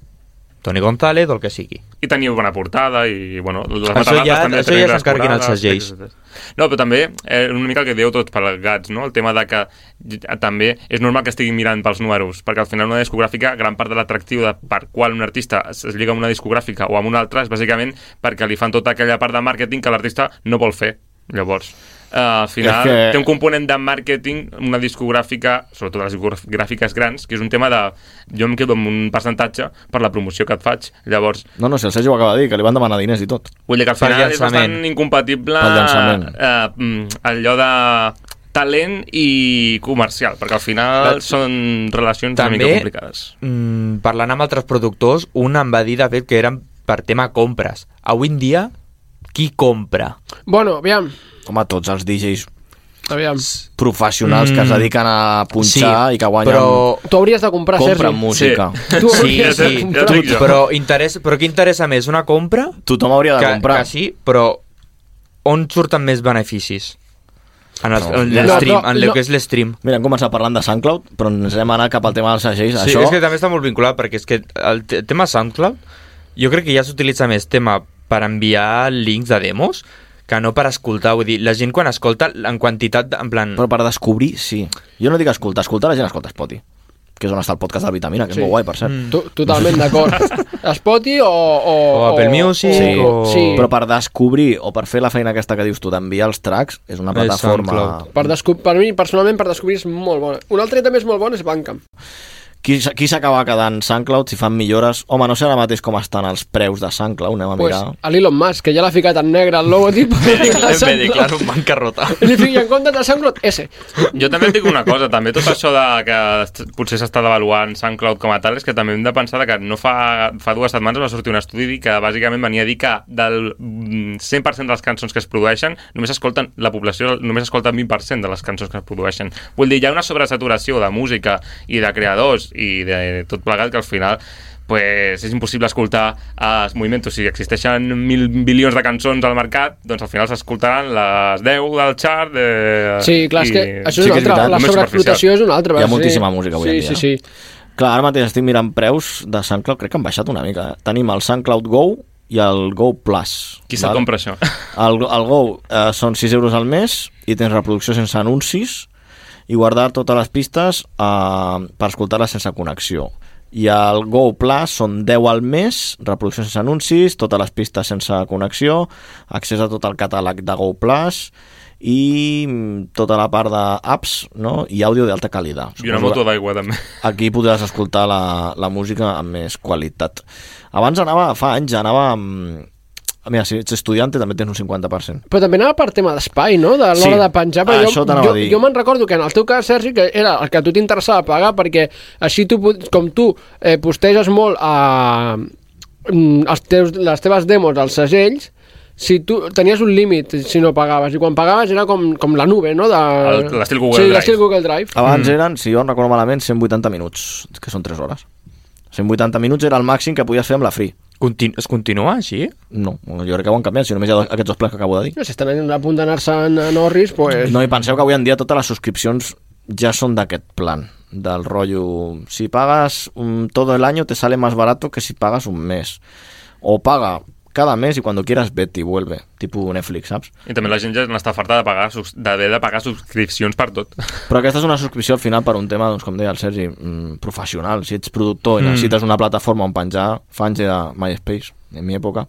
S9: Toni González o el que sigui.
S7: i tenia bona portada i bueno, les
S9: Això
S7: matabates
S9: ja-
S7: també
S9: això
S7: tenien
S9: ja
S7: les
S9: s'encarguen els
S7: portades,
S9: segells.
S7: etcètera, etcètera. No, però també eh, una mica el que dieu tots plegats, no? El tema de que eh, també és normal que estiguin mirant pels números, perquè al final una discogràfica, gran part de l'atractiu de per qual un artista es es lliga amb una discogràfica o amb una altra és bàsicament perquè li fan tota aquella part de màrqueting que l'artista no vol fer, llavors. eh, al final,
S3: És que-
S7: té un component de màrqueting, una discogràfica, sobretot les discogràfiques grans, que és un tema de... Jo em quedo amb un percentatge per la promoció que et faig. Llavors,
S3: No, no, si el Sergi ho acaba de dir, que li van demanar diners i tot.
S7: Vull dir que al
S3: Per
S7: final és
S3: llançament.
S7: bastant incompatible
S3: Pel llançament.
S7: eh, mm, allò de talent i comercial, perquè al final
S9: Clar.
S7: són relacions
S9: També,
S7: una mica complicades.
S9: Mm, parlant amb altres productors, un em va dir, de fet, que eren per tema compres. Avui en dia, qui compra?
S6: Bueno, aviam,
S3: Home, tots els DJs
S6: aviam.
S3: professionals mm. que es
S9: Mm.
S3: dediquen a punxar
S9: Sí,
S3: i que guanyen...
S9: però-
S6: Tu hauries de comprar,
S3: Compra
S6: Sergi.
S3: música.
S6: Sí. Tu
S9: Sí,
S6: hauries de
S9: sí,
S6: comprar.
S9: tu- però, interessa, però què interessa més? Una compra?
S3: Tothom hauria de
S9: que,
S3: comprar.
S9: Que sí, però on surten més beneficis? En el, en l'estream, en el que és l'estream.
S3: Mira, hem començat parlant de SoundCloud, però ens hem anat cap al tema dels segells.
S9: Sí,
S3: Això...
S9: és que també està molt vinculat, perquè és que el te- tema SoundCloud jo crec que ja s'utilitza més tema per enviar links de demos que no per escoltar, vull dir, la gent quan escolta en quantitat, de- en plan...
S3: Però per descobrir, sí. Jo no dic escoltar, escoltar la gent escolta Spotify, que és on està el podcast de la Vitamina, que
S6: Sí.
S3: és molt guai, per cert.
S6: Mm.
S9: Mm.
S6: To Totalment d'acord. Spotify o... O,
S3: sí.
S6: o- Sí.
S3: Però per descobrir o per fer la feina aquesta que dius tu d'enviar els tracks, és una
S9: És
S3: plataforma...
S9: SoundCloud.
S6: Per, descu- per mi, personalment, per descobrir és molt bona. Un altre també és molt bon és Bandcamp.
S3: Qui, s- qui s'acaba quedant SoundCloud si fan millores? Home, no sé ara mateix com estan els preus de SoundCloud, anem a
S6: Pues,
S3: mirar.
S6: a l'Elon Musk, que ja l'ha ficat en negre el logotip.
S7: Em ve,
S9: claro, en bancarrota.
S6: Li fico en compte de SoundCloud S.
S7: Jo també et dic una cosa, també tot això de que est- potser s'està devaluant SoundCloud com a tal, és que també hem de pensar de que no fa, fa dues setmanes va sortir un estudi que bàsicament venia a dir que del mm, 100% de les cançons que es produeixen només escolten, la població només escolta el 20% de les cançons que es produeixen. Vull dir, hi ha una sobresaturació de música i de creadors i de tot plegat que al final pues, és impossible escoltar eh, els moviments. Si existeixen mil bilions de cançons al mercat, doncs al final s'escoltaran les 10 del chart. Eh,
S6: Sí, clar, és que això és una altra. La sobreexplotació és una altra.
S3: Hi ha
S6: sí.
S3: moltíssima música avui
S6: sí,
S3: en dia.
S6: Sí, sí,
S3: Clar, ara mateix estic mirant preus de SoundCloud, crec que han baixat una mica. eh? Tenim el SoundCloud Go i el Go Plus.
S7: Qui se'l
S3: val?
S7: compra, això?
S3: El, el Go eh, són 6 euros al mes i tens reproducció sense anuncis i guardar totes les pistes eh, per escoltar-les sense connexió. I el Go Plus són 10 al mes, reproducció sense anuncis, totes les pistes sense connexió, accés a tot el catàleg de Go Plus i mm, tota la part d'apps no? i àudio d'alta qualitat.
S7: I una
S3: Suposo que-
S7: moto d'aigua, també.
S3: aquí podràs escoltar la, la música amb més qualitat. Abans anava, fa anys, anava amb... Mira, si ets estudiante també tens un 50%.
S6: Però també anava per tema d'espai, no? De l'hora
S3: Sí, Ah,
S6: de penjar. Però
S3: això
S6: jo,
S3: t'anava
S6: jo,
S3: a dir.
S6: jo me'n recordo que en el teu cas, Sergi, que era el que a tu t'interessava pagar perquè així tu, pot- com tu eh, posteges molt a, mm, els teus, les teves demos als segells, si tu tenies un límit si no pagaves i quan pagaves era com, com la nube no? de...
S3: El- l'estil Google
S6: sí,
S3: Drive.
S6: l'estil Google Drive
S3: Abans mm. eren, si jo no recordo malament, 180 minuts, que són 3 hores. 180 minuts era el màxim que podies fer amb la Free.
S9: Continu es continua així?
S3: No, jo crec que ho han canviat, si només hi ha dos- aquests dos plans que acabo de dir.
S6: no, si estan a punt d'anar-se en, en Norris pues...
S3: No, i penseu que avui en dia totes les subscripcions ja són d'aquest plan, del rotllo... Si pagas um, todo el año te sale más barato que si pagas un mes. O paga cada mes y cuando quieras vete y vuelve. Tipo Netflix, saps?
S7: I també la gent ja n'està farta de pagar, subs- d'haver de pagar subscripcions per tot.
S3: Però aquesta és una subscripció al final per un tema, doncs, com deia el Sergi, mm, professional. Si ets productor i
S7: Mm.
S3: necessites una plataforma on penjar, fa anys era MySpace, en mi època.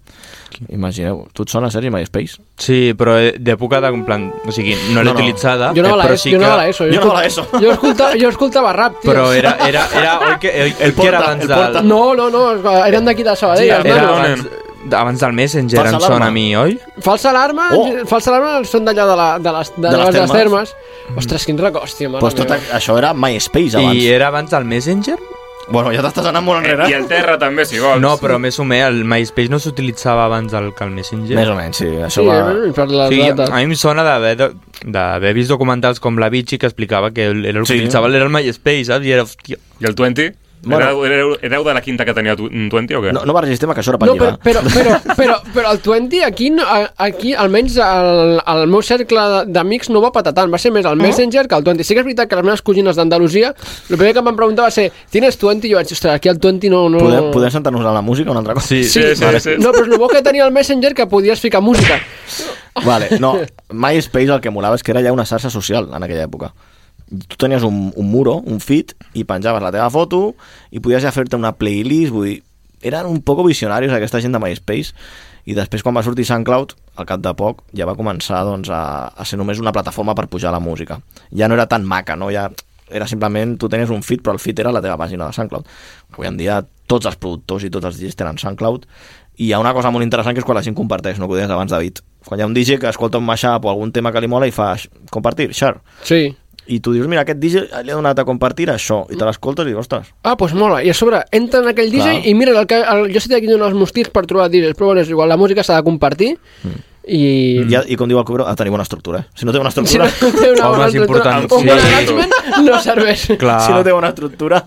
S3: Imagineu, tu et sona, Sergi, MySpace?
S9: Sí, però eh, d'època de, en plan, o sigui, no l'he
S3: No, no.
S9: utilitzada,
S6: jo anava a
S9: eh, però
S6: l'ESO
S9: sí
S6: jo
S9: que...
S6: anava a l'ESO
S3: Jo anava a E l'ESO.
S6: escolta- jo escoltava, jo escoltava rap tio.
S9: Però era, era, era, oi que, oi, el que era
S6: Porta,
S9: abans
S6: el
S9: del...
S6: Porta. No, no, no, eren d'aquí de Sabadell. els
S9: era
S6: nanos.
S9: abans, abans del Messenger,
S6: Falsa
S9: em sona
S6: alarma.
S9: a mi, oi?
S6: Falsa alarma, oh. falsa alarma són d'allà de, la, de, les, de, de, les, de les termes. Ostres, quin record, hòstia, mare
S3: Pues tot
S6: meva.
S3: a, això era MySpace abans.
S9: I eh, era abans del Messenger?
S3: Bueno, ja t'estàs anant molt enrere.
S7: I el Terra també, si vols.
S9: No, però més o menys el MySpace no s'utilitzava abans del que el Messenger.
S3: Més o menys, sí. Això Sí, va- eh, per les
S9: sí,
S3: dates.
S9: a mi em sona d'haver de- d'haver vist documentals com la Vichy que explicava que el, el
S7: Sí.
S9: utilitzava era el MySpace, saps? I era, hòstia...
S7: I el 20? Bueno.
S9: Bueno.
S7: Éreu, éreu, éreu de la quinta que tenia tu- un 20 o què?
S3: No, no barregis tema, que això era per
S7: No,
S3: no, lligar.
S6: Però, però, però, però el 20 aquí, no- a- aquí almenys el, el meu cercle de- d'amics no va patar tant, va ser més el Messenger que el 20. Sí que és veritat que les meves cosines d'Andalusia, el primer que em van preguntar va ser, tienes 20? I jo vaig dir, ostres, aquí el 20 no... no...
S3: Podem, podem sentar-nos a la música un altre cop?
S6: vale. No, però és el bo que tenia el Messenger que podies ficar música.
S3: Vale, no, MySpace el que molava és que era ja una xarxa social en aquella època. Tu tenies un, un muro, un feed, i penjaves la teva foto i podies ja fer-te una playlist, vull dir, eren un poc visionaris aquesta gent de MySpace i després quan va sortir SoundCloud, al cap de poc, ja va començar doncs, a, a ser només una plataforma per pujar la música. Ja no era tan maca, no? Ja era simplement, tu tenies un feed, però el feed era la teva pàgina de SoundCloud. Avui en dia tots els productors i tots els DJs tenen SoundCloud i hi ha una cosa molt interessant que és quan la gent comparteix, no que ho deies abans, David. Quan hi ha un DJ que escolta un mashup o algun tema que li mola i fa "Sh- compartir, share.
S6: Sí.
S3: I tu dius, mira, aquest DJ li ha donat a compartir això,
S6: Mm.
S3: i te l'escoltes i dius, ostres,
S6: Ah, doncs pues mola. I a sobre, entra en aquell DJ
S3: Clar.
S6: i mira, el que, el, jo sé que aquí donar els mostics per trobar DJs, però bueno, és igual, la música s'ha de compartir. I...
S3: I, I com diu el Cubró, ha de tenir bona estructura. Eh? Si no té bona
S6: Si Mm. no
S3: estructura...
S6: té una bona estructura, un bon management no serveix.
S3: Si no té bona estructura...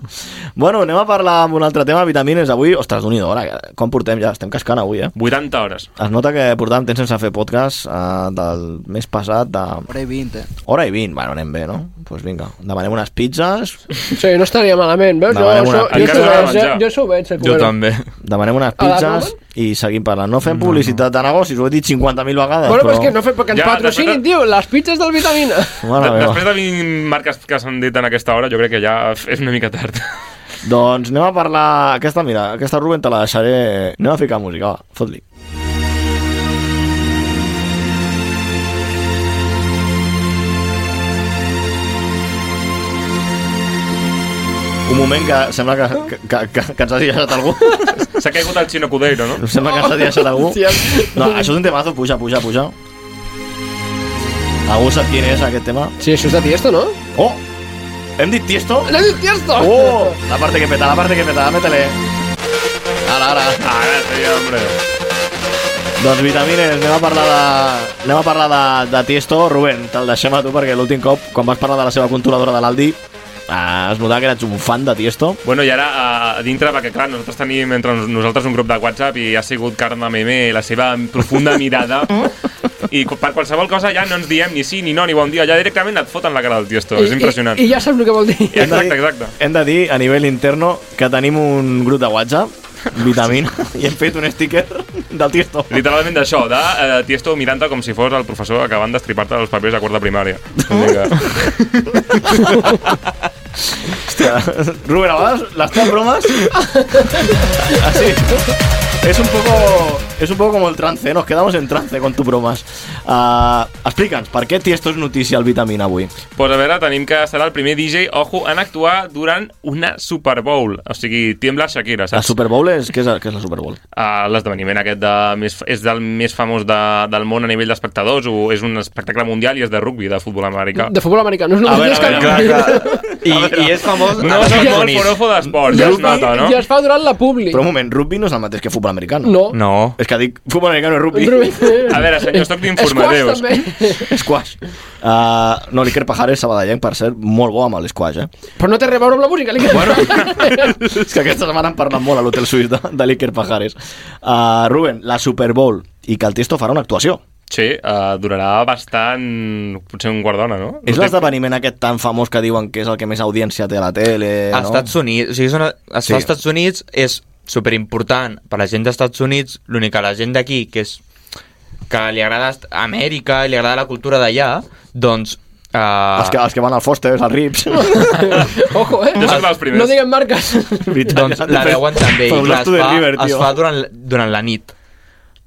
S3: Bueno, anem a parlar amb un altre tema, vitamines. Avui, ostres, d'un i d'hora, que- com portem ja? Estem cascant avui, eh?
S7: 80 hores.
S3: Es nota que portàvem temps sense fer podcast eh, del mes passat de...
S4: Hora i 20, eh?
S3: Hora i 20, bueno, anem bé, no? Doncs pues vinga, demanem unes pizzas...
S6: Sí, no estaria malament, veus? Jo,
S3: Demanem
S6: això,
S3: una-
S6: jo,
S3: Encara
S6: això,
S3: no
S6: ho
S3: he
S6: veig, eh?
S3: menjat.
S6: jo això ho veig, eh, Cuero.
S3: Demanem unes
S6: A la
S3: pizzas i seguim parlant. No fem publicitat de negocis, ho he dit 50.000 vegades,
S6: Bueno, però
S3: però...
S6: és que no fem perquè ens
S7: Ja,
S6: patrocinin,
S7: després-
S6: tio, les pizzas del Vitamina.
S3: Mare
S7: De-
S3: meva.
S7: Després de 20 marques que s'han dit en aquesta hora, jo crec que ja és una mica tard.
S3: Doncs anem a parlar... Aquesta, mira, aquesta Rubén te la deixaré... Anem a ficar música, va, fot-li. Un moment que sembla que, que, que, que, que ens hagi deixat algú.
S7: S'ha caigut el Chino Cudeiro, no?
S3: Em sembla que ens hagi deixat algú.
S7: Hòstia.
S3: No, això és un temazo, puja, puja, puja. Algú sap quin és aquest tema?
S6: Sí, això és de Tiesto, no?
S3: Oh! Hem dit Tiesto?
S6: L'he dit Tiesto!
S3: Oh! La parte que peta, la parte que peta, métele. Ara, ara.
S7: Ara, sí, hombre.
S3: Doncs vitamines, anem a parlar de, anem a parlar de, de Tiesto. Rubén, te'l deixem a tu perquè l'últim cop, quan vas parlar de la seva controladora de l'Aldi, eh, es notava que eres un fan de Tiesto.
S7: Bueno, i ara a, a dintre, perquè clar, nosaltres tenim entre nos- nosaltres un grup de WhatsApp i ha sigut Carme Meme la seva profunda mirada
S6: Mm.
S7: i co- per qualsevol cosa ja no ens diem ni sí ni no ni bon dia, ja directament et foten la cara del tiesto, és impressionant.
S6: I, i ja saps el que vol dir.
S3: Hem de
S7: Exacte,
S3: dir-
S7: exacte.
S3: Hem de dir, a nivell interno, que tenim un grup de WhatsApp, Vitamina, i hem fet un sticker del Tiesto.
S7: Literalment d'això, de eh, Tiesto mirant-te com si fos el professor acabant d'estripar-te els papers a quart de primària.
S6: Oh.
S7: O sigui que-
S3: Hòstia, Rubén, a vegades les teves bromes... Así. Es un poco, es un poco como el trance, nos quedamos en trance con tus bromas. Uh, Explica'ns, per què Tiesto és notícia al Vitamina avui?
S7: Pues a veure, tenim que serà el primer DJ, ojo, en actuar durant una Super Bowl. O sigui, tiembla Shakira,
S3: La
S7: saps?
S3: Super Bowl és... Què és, què és la Super Bowl?
S7: Uh, L'esdeveniment aquest de, més, és del més famós de, del món a nivell d'espectadors o és un espectacle mundial i és de rugby, de futbol americà.
S6: De futbol americà, no és
S7: A veure,
S6: només és que...
S7: a veure,
S9: I, i és famós...
S7: No, és el molt forofo d'esports, ja es nota, no?
S6: I es fa durant la publi.
S3: Però un moment, rugby no és el mateix que futbol americà?
S6: No.
S9: No.
S3: És que dic futbol americà no és rugby.
S7: A veure, senyor, toc
S6: Esquash,
S7: d'informadeus.
S6: també.
S3: Squash. Uh, no, l'Iker Pajares sabadellenc, per ser molt bo amb l'esquash, eh?
S6: Però no té res a veure amb la música, li bueno.
S3: És que aquesta setmana han parlat molt a l'Hotel Suís de, de l'Iker Pajares. Uh, Ruben, la Super Bowl i que el Tiesto farà una actuació.
S7: Sí, uh, durarà bastant... Potser un quart d'hora, no? No
S3: És
S7: té-
S3: l'esdeveniment aquest tan famós que diuen que és el que més audiència té a la tele,
S9: A
S3: Eh, no?
S9: Estats Units, o sigui, és una, es
S3: Sí.
S9: fa als Estats Units, és superimportant per la gent dels Estats Units, l'únic que la gent d'aquí, que és que li agrada est- Amèrica, i li agrada la cultura d'allà, doncs... Eh,
S3: Els que, els que van al Foster, als Rips...
S6: Ojo, eh?
S9: Jo soc dels primers.
S6: No diguem marques.
S9: doncs la veuen també, i
S3: Fa un
S9: clar,
S3: acto
S9: es
S3: de
S9: fa,
S3: River,
S9: es
S3: tio.
S9: fa durant, durant la nit.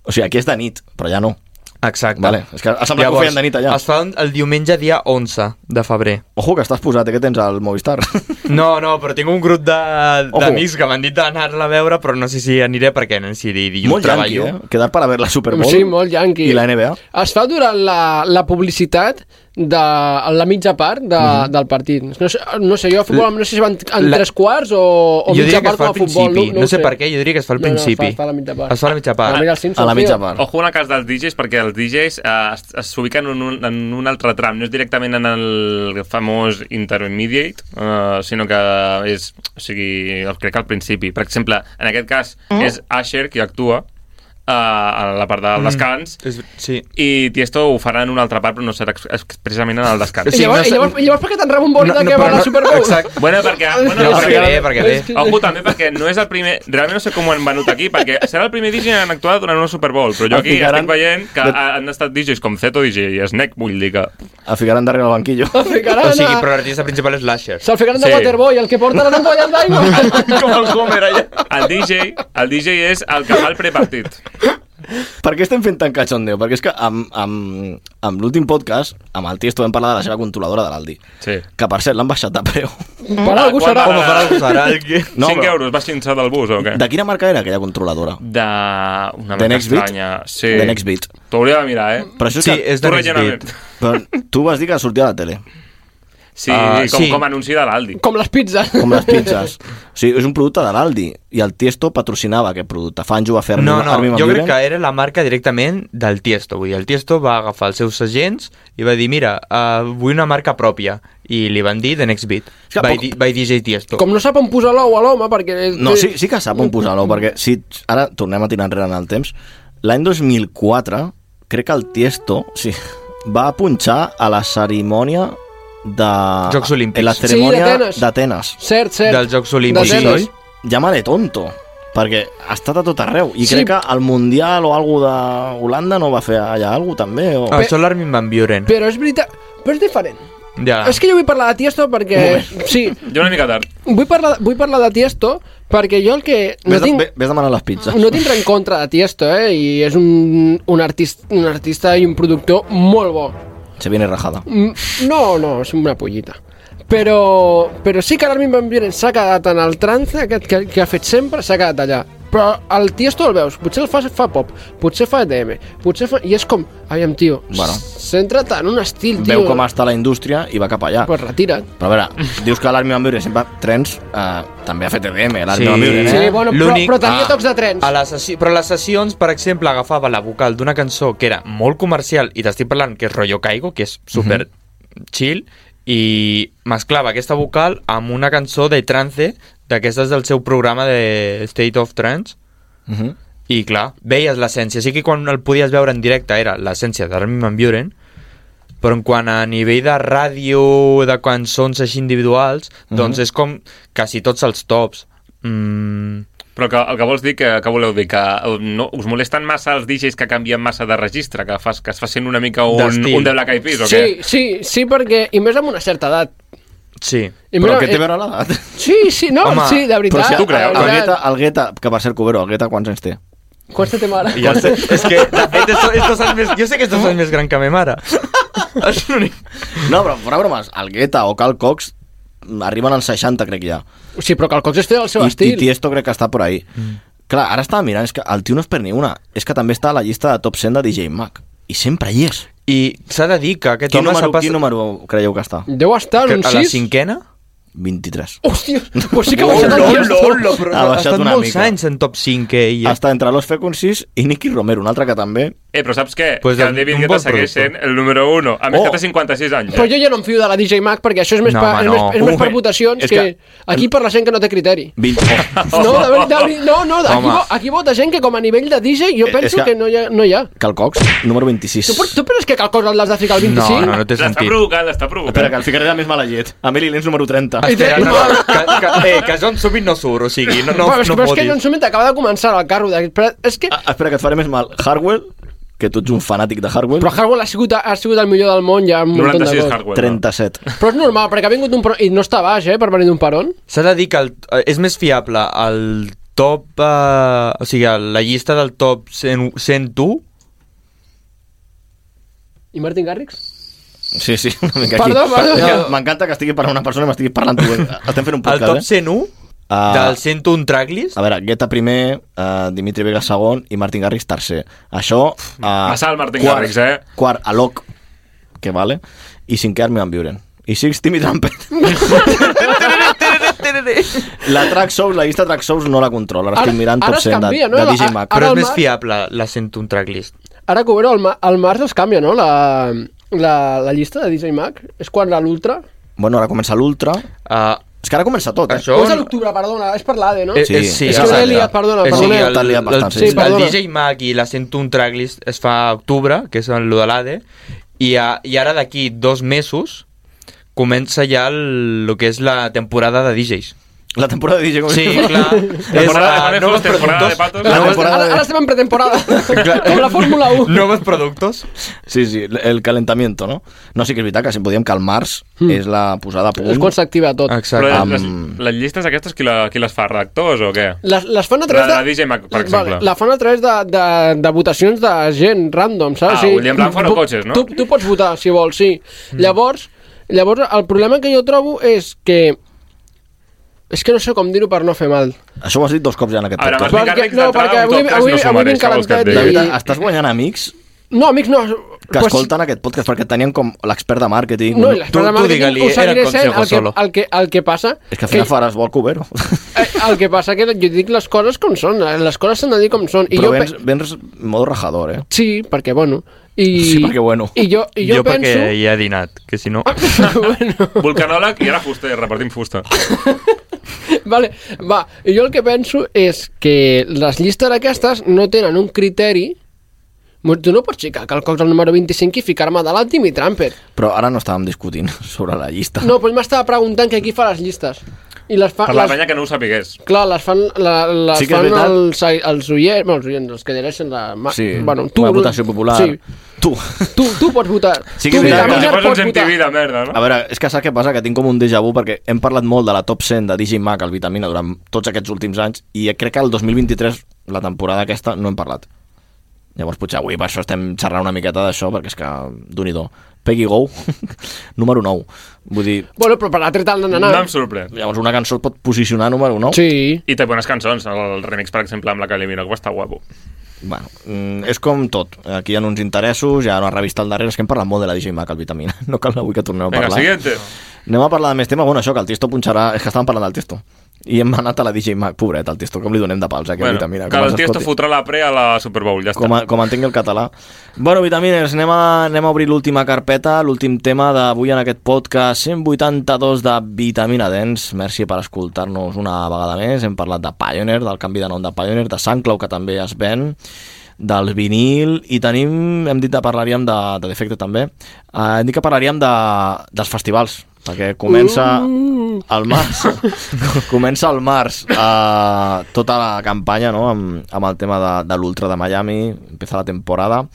S3: O sigui, aquí és de nit, però ja no.
S9: Exacte.
S3: Vale, és que ha semblat que ho feien de nit allà.
S9: Es fa el diumenge dia 11 de febrer.
S3: Ojo, que estàs posat, eh, que tens al Movistar.
S9: No, no, però tinc un grup de-
S3: Ojo.
S9: d'amics que m'han dit d'anar-la a veure, però no sé si aniré perquè no sé si dilluns
S3: Molt yanqui,
S9: treballo.
S3: eh? Quedar per a veure la Super Bowl
S6: Sí, molt yanqui.
S3: i la NBA.
S6: Es fa durant la, la publicitat de la mitja part de, del partit. No sé, no sé, jo a futbol no sé si van en
S9: Mhm. La-
S6: tres quarts o,
S3: eh?
S6: o
S9: jo
S6: mitja
S9: diria que
S6: part
S9: es
S6: com
S9: fa al
S6: a futbol.
S9: principi, no, sé per què, jo diria que es fa al
S6: No, no,
S9: principi.
S6: es fa- es fa a la mitja part.
S9: Es fa a la mitja
S6: A
S9: part.
S6: la mitja- Simpsons,
S3: a la mitja
S6: tio.
S3: part.
S7: Ojo en el cas dels DJs, perquè els DJs eh, es- es s'ubiquen en, un, en un altre tram, no és directament en el famós intermediate, eh, sinó que és, o sigui, el- crec que al principi. Per exemple, en aquest cas
S9: Mm.
S7: és Asher qui actua, eh, a la part del
S9: Mm.
S7: descans,
S9: És- sí.
S7: i Tiesto ho farà en una altra part, però no serà ex- expressament en el descans.
S6: I llavors, i llavors, i llavors per què tan rebombori
S9: No,
S6: de
S9: no,
S6: que va
S9: però
S6: a la
S9: no-
S6: Super Bowl?
S9: exacte.
S7: Bueno, perquè... Bueno,
S9: No,
S7: és
S9: perquè
S7: que-
S9: ve, perquè ve.
S7: Ojo, també, perquè no és el primer... Realment no sé com ho han venut aquí, perquè serà el primer DJ en actuar durant una Super Bowl,
S9: Ah,
S7: però jo
S3: El
S7: aquí
S3: ficaran-
S7: estic veient que ha- han estat DJs com Zeto DJ i Snake, vull dir que...
S3: El ficaran darrere el banquillo.
S6: El ficaran
S9: O sigui,
S6: a-
S9: però l'artista principal és l'Asher.
S6: Se'l ficaran de
S7: Sí.
S6: Waterboy, el que porta les ampolles d'aigua.
S9: Com el Homer allà.
S7: El DJ, el DJ és el que fa el prepartit.
S3: Per què estem fent tan cachondeo? Perquè és que amb, amb, amb l'últim podcast, amb el Tiesto vam parlar de la seva controladora de l'Aldi.
S7: Sí.
S3: Que, per cert, l'han baixat de preu.
S9: Eh?
S6: Per algú
S7: Quan
S6: serà.
S7: va-
S9: Home, per algú serà.
S7: 5 euros, vas xinxar del bus o què?
S3: De quina marca era aquella controladora?
S7: De... Una
S3: The
S7: mica
S3: Next Beat?
S7: estranya. Sí.
S3: The Next Beat.
S7: T'ho hauria de mirar, eh?
S3: Però això
S9: Sí,
S3: que...
S9: és de
S7: Tu
S9: Next
S7: rellenament.
S9: Beat.
S3: Però tu vas dir que sortia a la tele.
S7: Sí,
S3: Ah,
S7: com,
S3: sí.
S7: com anunci de l'Aldi.
S6: Com les pizzas.
S3: Com les pizzas. O sigui, és un producte de l'Aldi. I el Tiesto patrocinava aquest producte. Fanjo va fer
S9: No, no,
S3: Armin van
S9: jo crec
S3: Buuren.
S9: que era la marca directament del Tiesto. Vull dir, el Tiesto va agafar els seus agents i va dir, mira, uh, vull una marca pròpia. I li van dir The Next Beat,
S6: que
S9: by,
S6: poc-
S9: di- by DJ Tiesto.
S6: Com no sap on posar l'ou a l'home, perquè...
S3: No, sí, sí que sap on posar-lo, perquè si ara tornem a tirar enrere en el temps, l'any 2004 crec que el Tiesto sí, va punxar a la cerimònia de...
S9: Jocs Olímpics.
S3: en La
S9: Sí,
S3: cerimònia
S9: d'Atenes.
S3: d'Atenes.
S6: Cert, cert.
S9: Dels Jocs Olímpics, oi?
S3: Llámale tonto, perquè ha estat a tot arreu. I
S9: Sí.
S3: crec que el Mundial o algú de Holanda no va fer allà alguna també. O...
S9: Ah, això l'Armin van Buuren.
S6: Però és veritat... Però és diferent.
S3: Ah.
S9: Ja.
S6: És que jo vull parlar de Tiesto perquè... Sí,
S7: Jo una mica tard.
S6: vull parlar, vull parlar de Tiesto perquè jo el que... No
S3: Ves, de,
S6: tinc,
S3: ve- ves demanar les pizzas.
S6: no tinc res en contra de Tiesto, eh? I és un, un, artista, un artista i un productor molt bo.
S3: Se viene rajada.
S6: Mm, No, no, és una pollita. Però, però sí que l'Armin Van Buren s'ha quedat en el trance aquest que, que ha fet sempre, s'ha quedat allà. Però el Tiesto el veus, potser el fa, fa pop, potser fa EDM, potser fa... I és com, aviam, tio,
S3: Bueno.
S6: centra't en un estil, tio.
S3: Veu com està la indústria i va cap allà.
S6: Pues retira't.
S3: Però a veure, dius que l'Armin Van Buuren sempre... Trens eh, també ha fet EDM, l'Armin Van Buuren, eh?
S9: L'únic-
S3: Ah.
S6: de trens.
S9: A les sessi... Però les sessions, per exemple, agafava la vocal d'una cançó que era molt comercial, i t'estic parlant que és Rollo Caigo, que és super chill, i mesclava aquesta vocal amb una cançó de trance, d'aquestes del seu programa de State of Trance,
S3: Mhm.
S9: i clar, veies l'essència. Sí que quan el podies veure en directe era l'essència d'Armin Van Buren, però en quant a nivell de ràdio, de cançons així individuals, doncs
S7: Mhm.
S9: és com quasi tots els tops. Mm,
S7: Però que, el que vols dir, que, que voleu dir? Que eh, no, us molesten massa els DJs que canvien massa de registre, que, fas, que es facin una mica un,
S9: D'estil.
S7: un de Black Eyed Peas, o
S6: Sí,
S7: què?
S6: sí, sí, perquè... I més amb una certa edat.
S9: Sí.
S6: I mira, eh, Sí, sí, no, sí, de
S3: Però
S6: veritat.
S3: si,
S6: de veritat.
S3: el, gueta, el gueta, que per ser Cubero, el gueta quants anys té?
S6: Costa tema ara.
S9: Ja sé, és que, de fet, estos, estos anys més, jo sé que estos anys més gran que me mare.
S3: No, però fora bromes, el gueta o Cal Cox arriben als 60, crec ja.
S6: Sí, però Cal Cox és el seu
S3: I,
S6: estil. Mm.
S3: I Tiesto crec que està por ahí. Clar, ara estava mirant, és que el tio no es perd ni una. És que també està a la llista de top 100 de DJ Mac. I sempre hi és.
S9: I s'ha de dir que aquest
S3: quin
S9: home s'ha
S3: número,
S9: passat-
S3: Quin número creieu que està?
S6: Deu estar en un
S9: a la
S6: 6.
S9: cinquena?
S3: 23.
S6: Hòstia, pues sí que
S3: Olo,
S6: ho
S3: olo, però ha
S9: ha
S3: baixat
S9: estat
S3: una
S9: molts
S3: mica.
S9: anys en top 5 ell.
S3: Està entre los Fecuncís i Nicky Romero, un altre que també...
S7: Eh, però saps què? Pues
S3: Pues
S7: que el
S3: un-
S7: David
S3: un
S7: Guetta
S3: bon
S7: segueix
S3: producte.
S7: sent el número 1. A més,
S3: Oh.
S7: oh. que té 56 anys.
S6: Però jo ja no em fio de la DJ Mac perquè això és més,
S7: No,
S6: no, pa,
S7: home,
S6: és
S7: no.
S6: més, és més per
S7: Home,
S6: votacions
S7: és
S6: que...
S7: que-
S6: Aquí per la gent que no té criteri.
S3: 20...
S6: No, de veritat, no, no, aquí,
S3: Home.
S6: vo, aquí vota gent que com a nivell de DJ jo
S3: Eh, és que-
S6: penso que... no hi ha. No hi ha.
S3: Cal Cox, número 26.
S6: Tu, per- tu penses que cal cosa l'has de ficar al 25?
S7: provocant, l'està provocant.
S3: Espera, que el ficaré de més mala llet. Amelie Lenz, número 30.
S9: Espera, no, no, que, que, eh, que John Summit no surt, o sigui, no, no,
S6: però, és,
S9: no
S6: però és
S9: fotis.
S6: que John Summit acaba de començar el carro. De, però és que
S3: Ah, Espera, que et faré més mal. Hardwell, que tu ets un fanàtic de Hardwell.
S6: però Harwell ha sigut, ha sigut el millor del món ja un munt de cops.
S3: 37.
S6: Però és normal, perquè ha vingut un... Pro... I no està baix, eh, per venir d'un peron.
S9: S'ha de dir que el, eh, és més fiable el top... Eh, o sigui, el- la llista del top 100, 101
S6: I Martin Garrix?
S3: Sí, sí, una mica aquí.
S6: Perdó, perdó.
S3: Perquè M'encanta que estigui parlant una persona i m'estigui parlant tu. Estem fent un podcast,
S9: El top
S3: eh? Ah,
S9: 101
S6: Ah.
S9: del 101 tracklist?
S3: A veure, Guetta primer, uh, Dimitri Vega segon i Martin Garrix tercer. Això... Uh,
S7: Passar el Martin Garrix, eh?
S3: Quart, Alok, que vale, i cinquè Armin Van Buren. I six, Timmy Trumpet. la Track Souls, la llista Track Souls no la controla. Ara estic
S6: Ara-
S3: mirant
S6: ara
S3: top
S6: es
S3: 100
S6: canvia,
S3: de,
S6: no?
S3: de
S6: Ara-
S3: DJ Mac.
S6: ara Però és el més Marc-
S9: fiable, la 101 tracklist.
S6: Ara que ho veureu, al, ma al març es canvia, no? La, la, la llista de DJ Mac és quan la l'Ultra...
S3: Bueno, ara comença l'Ultra.
S9: Uh,
S3: és que ara comença tot, eh?
S9: Això...
S6: O és a l'octubre, perdona, és per l'ADE, no?
S9: Eh, eh, sí,
S6: és
S9: ah,
S6: que l'he
S9: exacte.
S6: liat, perdona,
S9: Eh, sí,
S6: perdona.
S9: el, el, el,
S6: sí,
S9: el
S6: perdona.
S9: DJ Mac i la 101 tracklist es fa a octubre, que és el lo de l'ADE, i, a, i ara d'aquí dos mesos comença ja el, lo que és la temporada de DJs.
S3: La temporada de DJs. com
S9: Sí,
S3: dius?
S9: clar.
S3: Temporada de
S9: ah,
S3: Manejos,
S9: nous
S3: temporada de
S9: productors,
S3: Patos.
S9: nous-
S3: La temporada
S6: Ara,
S9: eh.
S6: ara estem en pretemporada, com la Fórmula 1.
S9: Nuevos productos.
S3: Sí, sí, el calentamiento, no? No, sí que és veritat que si podíem que el març és la posada a punt.
S6: Hmm. És quan s'activa tot.
S7: Però les, les,
S3: Amb...
S7: les llistes aquestes, qui, la, qui les fa? Redactors o què?
S6: Les, les fan
S7: La,
S6: a través de...
S7: la DJ Mac, per exemple.
S6: Vale, la fan a través de, de, de votacions de gent random, saps?
S7: Ah, vull dir, en plan fora
S6: tu-
S7: cotxes, no?
S6: Tu, tu pots votar, si vols, sí.
S9: Mm.
S6: Llavors, llavors, el problema que jo trobo és que... És que no sé com dir-ho per no fer mal.
S3: Això ho has dit dos cops ja en aquest
S7: A veure,
S3: podcast.
S7: Martín Perquè- Garrix
S6: no, d'entrada perquè d'un avui- podcast no avui- suma avui res, vinc que vols que et calentet digui.
S3: La
S6: i-
S3: veritat, estàs guanyant amics
S6: No, amics no.
S3: que pues... escolten aquest podcast perquè tenien com l'expert de màrqueting.
S6: No, i l'expert de màrqueting ho seguiré sent, el que, el, que, el que passa...
S3: És que al final faràs vol cubero.
S6: eh, el que passa que jo dic les coses com són, eh, les coses s'han de dir com són.
S3: Però
S6: jo pe-
S3: vens, vens modo rajador, eh?
S6: Sí, perquè bueno... I,
S3: Sí, perquè bueno.
S6: I jo, i jo,
S9: jo
S6: penso... Ah,
S9: perquè hi ha dinat, que si no...
S7: Volcanòleg i ara fuster, repartim fusta.
S6: Vale, va, i jo el que penso és que les llistes aquestes no tenen un criteri tu no pots ficar Cal Cox al número 25 i ficar-me de l'alt Timmy Trumpet.
S3: Però ara no estàvem discutint sobre la llista.
S6: No, però jo m'estava preguntant que qui fa les llistes. I les fa,
S7: Per la
S6: les,
S7: penya que no ho sapigués.
S6: clar, les fan, la, les
S7: Sí que és
S6: fan
S7: veritat.
S6: els, els oients, bueno, els oients, els que llegeixen la... ma-
S3: Sí,
S6: bueno, tu,
S3: una votació popular.
S6: Sí.
S3: Tu.
S6: Tu, tu pots votar.
S3: Sí que
S6: tu,
S3: és veritat.
S6: Vitaminer,
S3: Si fas un
S6: pots votar.
S7: MTV de merda, no?
S3: A veure, és que saps què passa? Que tinc com un déjà vu perquè hem parlat molt de la top 100 de Digimac, el Vitamina, durant tots aquests últims anys i crec que el 2023, la temporada aquesta, no hem parlat. Llavors potser avui per això estem xerrant una miqueta d'això perquè és que, d'un i do. Peggy Go, número 9. Vull dir,
S6: Bueno, però per l'altre tal
S7: No,
S6: d'anar...
S7: em sorprèn.
S3: llavors una cançó es pot posicionar número 9?
S6: Sí.
S7: I té bones cançons, el, el remix, per exemple, amb la Kylie Minogue, està guapo.
S3: Bueno, mm, és com tot. Aquí hi ha uns interessos, hi ha una revista al darrere, és que hem parlat molt de la Digimac, el Vitamina. No cal avui que torneu a
S7: Vinga,
S3: parlar.
S7: siguiente.
S3: Anem a parlar de més temes. Bueno, això, que el Tisto punxarà... És que estàvem parlant del Tisto. I hem anat a la DJ Mac, pobret, el Tisto. Com li donem de pals, eh, aquest
S7: Bueno,
S3: vitamina.
S7: que
S3: com
S7: el
S3: ens
S7: Tiesto
S3: escolti.
S7: fotrà la pre a la Super Bowl, ja està.
S3: Com, a, com entengui el català. Bueno, vitamines, anem a, anem a obrir l'última carpeta, l'últim tema d'avui en aquest podcast 182 de Vitamina Dens. Merci per escoltar-nos una vegada més. Hem parlat de Pioneer, del canvi de nom de Pioneer, de Sanclau, que també es ven, del vinil, i tenim, hem dit que parlaríem de, de Defecte també, eh, hem dit que parlaríem de, dels festivals, perquè comença al març comença al març eh, tota la campanya no? amb, amb el tema de, de l'Ultra de Miami empieza la temporada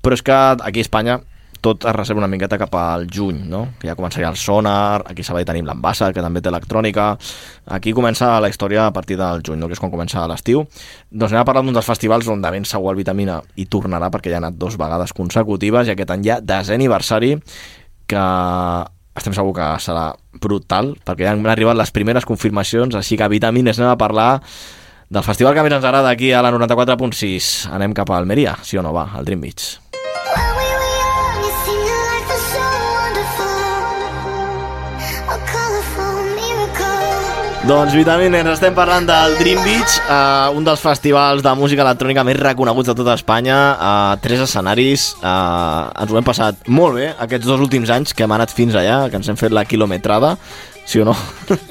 S3: però és que aquí a Espanya tot es reserva una miqueta cap al juny, no? que ja començaria el Sonar, aquí a Sabadell tenim l'Ambassa, que també té electrònica, aquí comença la història a partir del juny, no? que és quan comença l'estiu. Doncs anem a parlar d'un dels festivals on de ben segur el Vitamina hi tornarà, perquè ja ha anat dues vegades consecutives, i aquest any hi ha desè aniversari, que estem segur que serà brutal, perquè ja han arribat les primeres confirmacions, així que Vitamines anem a parlar del festival que més ens agrada aquí a la 94.6. Anem cap a Almeria, sí o no, va, al Dream Beach. Doncs Vitamines, estem parlant del Dream Beach, eh, un dels festivals de música electrònica més reconeguts de tota Espanya, a eh, tres escenaris. Eh, ens ho hem passat molt bé aquests dos últims anys que hem anat fins allà, que ens hem fet la quilometrada, sí o no?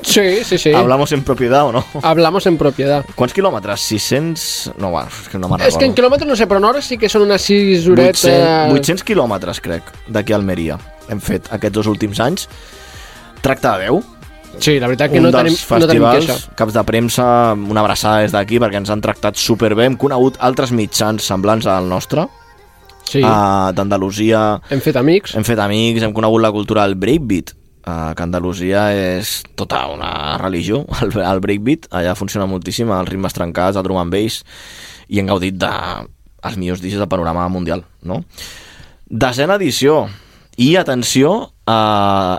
S6: Sí, sí, sí.
S3: ¿Hablamos en propiedad o no?
S6: Hablamos en propiedad.
S3: ¿Cuántos kilómetros? 600... No, va, és que no me'n
S6: És que en eh,
S3: recordo.
S6: quilòmetres no sé, però en hores sí que són unes 6 horetes...
S3: 800, 800 quilòmetres, crec, d'aquí a Almeria. Hem fet aquests dos últims anys. Tracta de Déu.
S6: Sí, la veritat que no tenim, no tenim queixa.
S3: caps de premsa, una abraçada des d'aquí perquè ens han tractat superbé. Hem conegut altres mitjans semblants al nostre,
S6: Sí,
S3: eh, d'Andalusia.
S6: hem fet amics.
S3: Hem fet amics, hem conegut la cultura del breakbeat, eh, que Andalusia és tota una religió, el, el breakbeat. Allà funciona moltíssim, els ritmes trencats, el drum and bass, i hem gaudit de els millors discs del panorama mundial, no? Desena edició. I atenció, eh,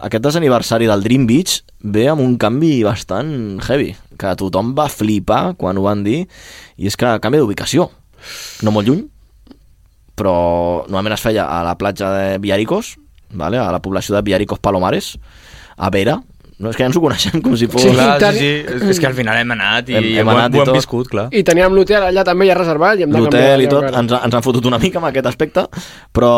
S3: aquest desaniversari del Dream Beach ve amb un canvi bastant heavy, que tothom va flipar quan ho van dir, i és que canvia d'ubicació. No molt lluny, però normalment es feia a la platja de Viaricos, vale? a la població de Viaricos Palomares, a Vera, no, és que ja ens ho coneixem com si fos...
S6: Sí,
S9: Clar,
S6: tant.
S9: Uh, sí, sí. És, és que al final hem anat i
S3: Hem-
S9: hem,
S3: hem
S9: hem ho,
S3: anat
S9: hem-
S3: i
S9: ho hem
S3: tot.
S9: viscut, clar.
S6: I teníem l'hotel allà també ja reservat i hem de canviar.
S3: L'hotel i
S6: de
S3: tot,
S6: lloc.
S3: ens, ens han fotut una mica amb aquest aspecte, però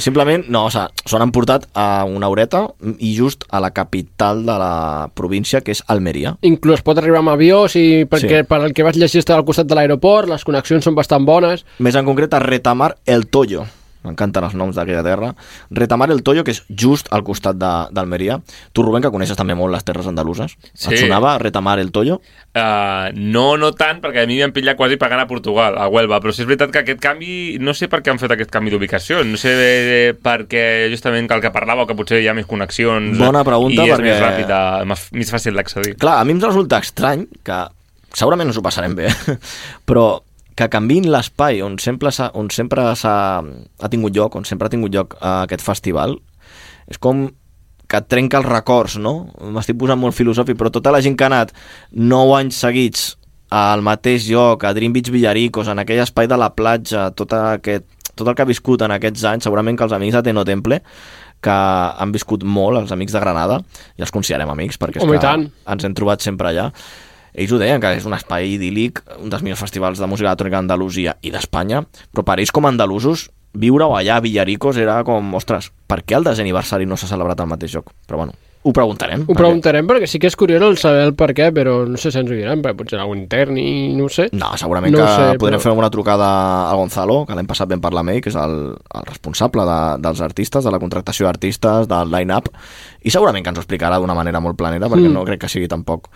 S3: simplement, no, o sigui, s'ho han portat a una horeta i just a la capital de la província, que és Almeria.
S6: Inclús pot arribar amb avió, si, perquè
S3: Sí.
S6: per el que vaig llegir està al costat de l'aeroport, les connexions són bastant bones.
S3: Més en concret a Retamar el Toyo. M'encanten els noms d'aquella terra. Retamar el Toyo, que és just al costat de- d'Almeria. Tu, Rubén, que coneixes també molt les terres andaluses.
S7: Sí.
S3: Et sonava Retamar el Toyo?
S7: Uh, no, no tant, perquè a mi m'han pillat quasi pagant a Portugal, a Huelva, però sí és veritat que aquest canvi, no sé per què han fet aquest canvi d'ubicació, no sé eh, perquè justament que el que parlàveu, que potser hi ha més connexions
S3: Bona pregunta,
S7: i és
S3: perquè-
S7: més ràpida, més, més fàcil d'accedir.
S3: Clar, a mi em resulta estrany que segurament ens ho passarem bé, però que canviïn l'espai on sempre, s'ha- on sempre s'ha- ha tingut lloc, on sempre ha tingut lloc eh, aquest festival, és com que et trenca els records, no? M'estic posant molt filosòfic, però tota la gent que ha anat 9 anys seguits al mateix lloc, a Dream Beach Villaricos, en aquell espai de la platja, tot aquest tot el que ha viscut en aquests anys, segurament que els amics de Teno Temple, que han viscut molt, els amics de Granada, i els considerem amics, perquè és
S6: Home, i
S3: que
S6: tant.
S3: ens hem trobat sempre allà, ells ho deien, que és un espai idíl·lic, un dels millors festivals de música electrònica d'Andalusia i d'Espanya, però per ells com a andalusos, viure-ho allà a Villaricos era com, ostres, per què el desè aniversari no s'ha celebrat al mateix lloc? Però bueno, ho preguntarem.
S6: Ho preguntarem perquè sí que és curiós el saber el per què, però no sé si ens ho diran, perquè potser algun intern i no ho sé.
S3: No, segurament que
S6: No ho sé,
S3: podrem
S6: però-
S3: fer alguna trucada a Gonzalo, que l'hem passat ben parlar amb ell, que és el, el responsable de, dels artistes, de la contractació d'artistes, del line-up, i segurament que ens ho explicarà d'una manera molt planera, perquè
S6: Mm.
S3: no crec que sigui tampoc.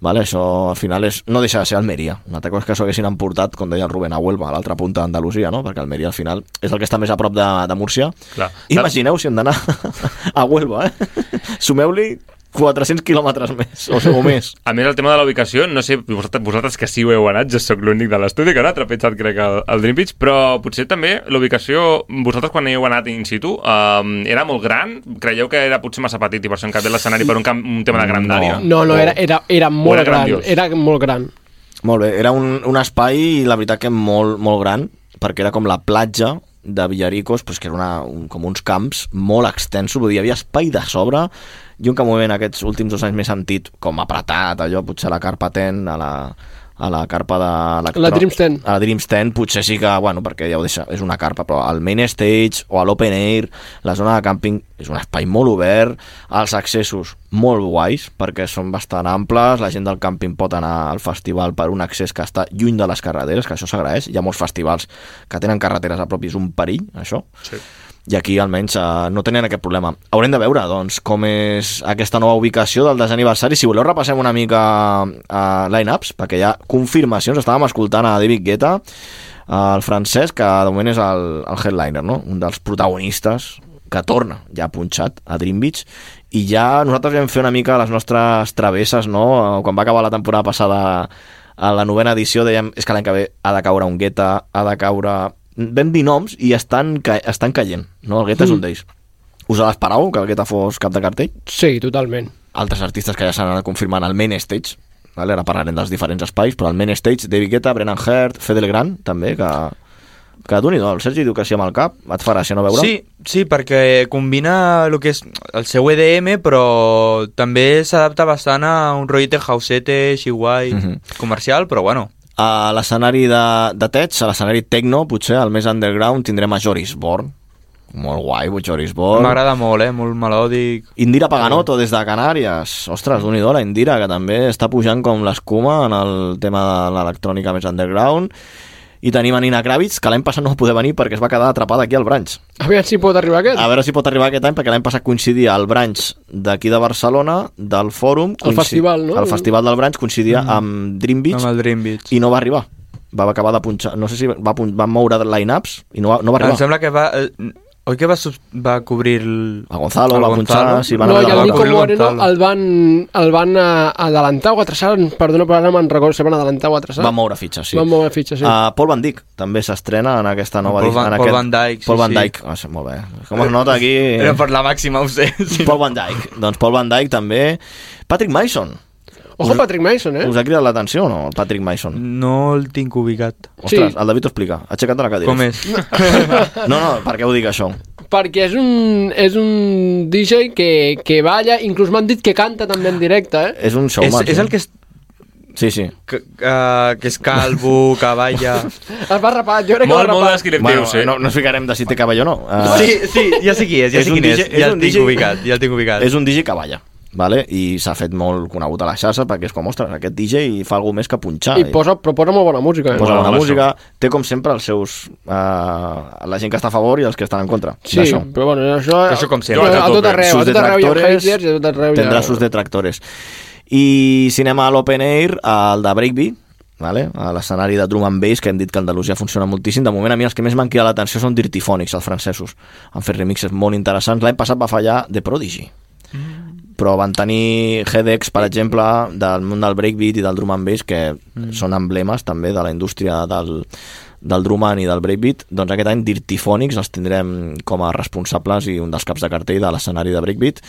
S3: Vale? Això al final és, no deixa de ser Almeria. Una altra cosa és que s'ho haguessin emportat, com deia el Rubén, a Huelva, a l'altra punta d'Andalusia, no? perquè Almeria al final és el que està més a prop de, de Múrcia.
S7: Clar.
S3: Imagineu si hem d'anar a Huelva, eh? Sumeu-li 400 quilòmetres més, o, o més.
S7: A més, el tema de la ubicació, no sé, vosaltres, vosaltres que sí ho heu anat, jo sóc l'únic de l'estudi que no ha trepitjat, crec, el, el Dream Beach, però potser també la ubicació, vosaltres quan heu anat in situ, um, era molt gran? Creieu que era potser massa petit i per això hem canviat l'escenari per un, camp, un tema de grandària?
S6: No, no, era, era, era molt
S7: era
S6: gran.
S7: grandiós.
S6: Era molt gran.
S3: Molt bé, era un, un espai, la veritat que molt, molt gran, perquè era com la platja de Villaricos, pues que era una, un, com uns camps molt extensos, vull dir, hi havia espai de sobre, jo en cap moment aquests últims dos anys m'he sentit com apretat, allò, potser a la carpa ten, a la, a la carpa de...
S6: La Dreams Tent.
S3: A la Dreams Tent potser sí que, bueno, perquè ja ho deixa, és una carpa, però al main stage o a l'open air, la zona de càmping és un espai molt obert, els accessos molt guais, perquè són bastant amples, la gent del càmping pot anar al festival per un accés que està lluny de les carreteres, que això s'agraeix, hi ha molts festivals que tenen carreteres a prop i és un perill, això.
S7: Sí.
S3: I aquí almenys eh, no tenen aquest problema. Haurem de veure, doncs, com és aquesta nova ubicació del desaniversari. Si voleu, repassem una mica eh, line-ups, perquè hi ha confirmacions. Estàvem escoltant a David Guetta, eh, el francès, que de moment és el, el headliner, no? un dels protagonistes que torna, ja punxat, a Dream Beach. I ja nosaltres vam fer una mica les nostres travesses, no? Quan va acabar la temporada passada a la novena edició dèiem és que l'any que ve ha de caure un gueta, ha de caure... Vam dir noms i estan, ca... estan caient, no? El gueta és un d'ells. Us l'esperàveu que el gueta fos cap de cartell?
S6: Sí, totalment.
S3: Altres artistes que ja s'han anat confirmant al main stage, vale? ara parlarem dels diferents espais, però al main stage, David Guetta, Brennan Hart, Fede Gran, també, que... Que d'un i do, el Sergi diu que sí amb el cap, et farà si no veure?
S9: Sí, sí, perquè combina el que és el seu EDM, però també s'adapta bastant a un rollete hausete, així guai,
S3: Mhm.
S9: comercial, però bueno.
S3: A l'escenari de, de Tets, a l'escenari Tecno, potser al més underground, tindrem a Joris Born. Molt guai, Joris Born.
S9: M'agrada molt, eh? Molt melòdic.
S3: Indira Paganoto des de Canàries. Ostres, d'un i la Indira, que també està pujant com l'escuma en el tema de l'electrònica més underground. I tenim a Nina Kravitz, que l'any passat no va poder venir perquè es va quedar atrapada aquí al Branch.
S6: Aviam si pot arribar aquest.
S3: A veure si pot arribar aquest any, perquè l'any passat coincidia el Branch d'aquí de Barcelona, del Fòrum... coinci-
S6: festival, no?
S3: El Festival del Branch coincidia amb Dream Beach.
S9: Amb el Dream Beach.
S3: I no va arribar. Va acabar de punxar... No sé si va, pun- va moure line-ups i no va, no va
S9: Em
S3: arribar.
S9: sembla que va... Eh, oi que va, sub- va cobrir el...
S3: A Gonzalo, va punxar, sí, van
S6: No,
S3: haver
S6: i
S3: de
S6: el Nico
S3: cobrir el
S6: Moreno
S3: Gonzalo.
S6: el van, el van eh, adelantar o atrasar, perdona, però ara me'n recordo, se van adelantar o atrasar.
S3: Va moure fitxes, sí.
S6: Van moure fitxes, sí.
S3: Uh, Paul Van Dyck també s'estrena en aquesta nova...
S9: Paul
S3: edi-
S9: Van-
S3: en
S9: Paul Van Dyck, sí,
S3: Paul Van
S9: sí.
S3: Dyck, ah, sí, molt bé. Com es nota aquí... eh.
S9: Era per la màxima, ho sé.
S3: Paul Van Dyck. doncs Paul Van Dyck també. Patrick Mason.
S6: Ojo Patrick Mason, eh?
S3: Us ha cridat l'atenció o no, el Patrick Mason?
S9: Mm. No el tinc ubicat.
S3: Ostres, el David t'ho explica. Aixeca't de la cadira.
S9: Com és?
S3: No, no, per què ho dic això?
S6: Perquè és un, és un DJ que, que balla, inclús m'han dit que canta també en directe, eh?
S3: És un
S9: És,
S3: showman.
S9: és
S3: sí.
S9: el que és,
S3: Sí, sí.
S9: que, eh, que és calvo, que balla...
S6: Es va rapar, jo crec
S7: Molt,
S6: que
S7: molt
S6: va rapar.
S7: descriptiu, bueno, sí.
S3: no, no ens ficarem de si té cabell o no. Eh,
S9: Sí, sí, ja sé qui és, ja
S3: És
S9: sé
S3: un
S9: quin és.
S3: DJ
S9: Ja
S3: és
S9: el
S3: un
S9: tinc
S3: DJ
S9: ubicat, ja el tinc ubicat.
S3: És un DJ que balla, vale? i s'ha fet molt conegut a la xarxa perquè és com, ostres, aquest DJ fa alguna més que punxar.
S6: I posa, però posa molt bona música, eh?
S3: posa
S7: Mola
S3: bona
S7: molt
S3: música, té com sempre els seus... Eh, la gent que està a favor i els que estan en contra
S6: Sí,
S3: d'això.
S6: però bueno, això...
S9: Això com sempre.
S6: A tot arreu, a
S3: Sus
S6: tot arreu hi ha
S3: detractores
S6: haters i a tot arreu hi ha...
S3: tendrà sus detractores. I cinema a l'Open Air, el de Breakbeat, vale? a l'escenari de Drum and Bass, que hem dit que a Andalusia funciona moltíssim. De moment, a mi els que més m'han cridat l'atenció són Dirtifònics, els francesos. Han fet remixes molt interessants. L'any passat va fallar The Prodigy. Però van tenir Hedex, per exemple, del món del breakbeat i del drum and bass, que són emblemes també de la indústria del, del drum and i del breakbeat. Doncs aquest any Dirtifònics els tindrem com a responsables i un dels caps de cartell de l'escenari de breakbeat.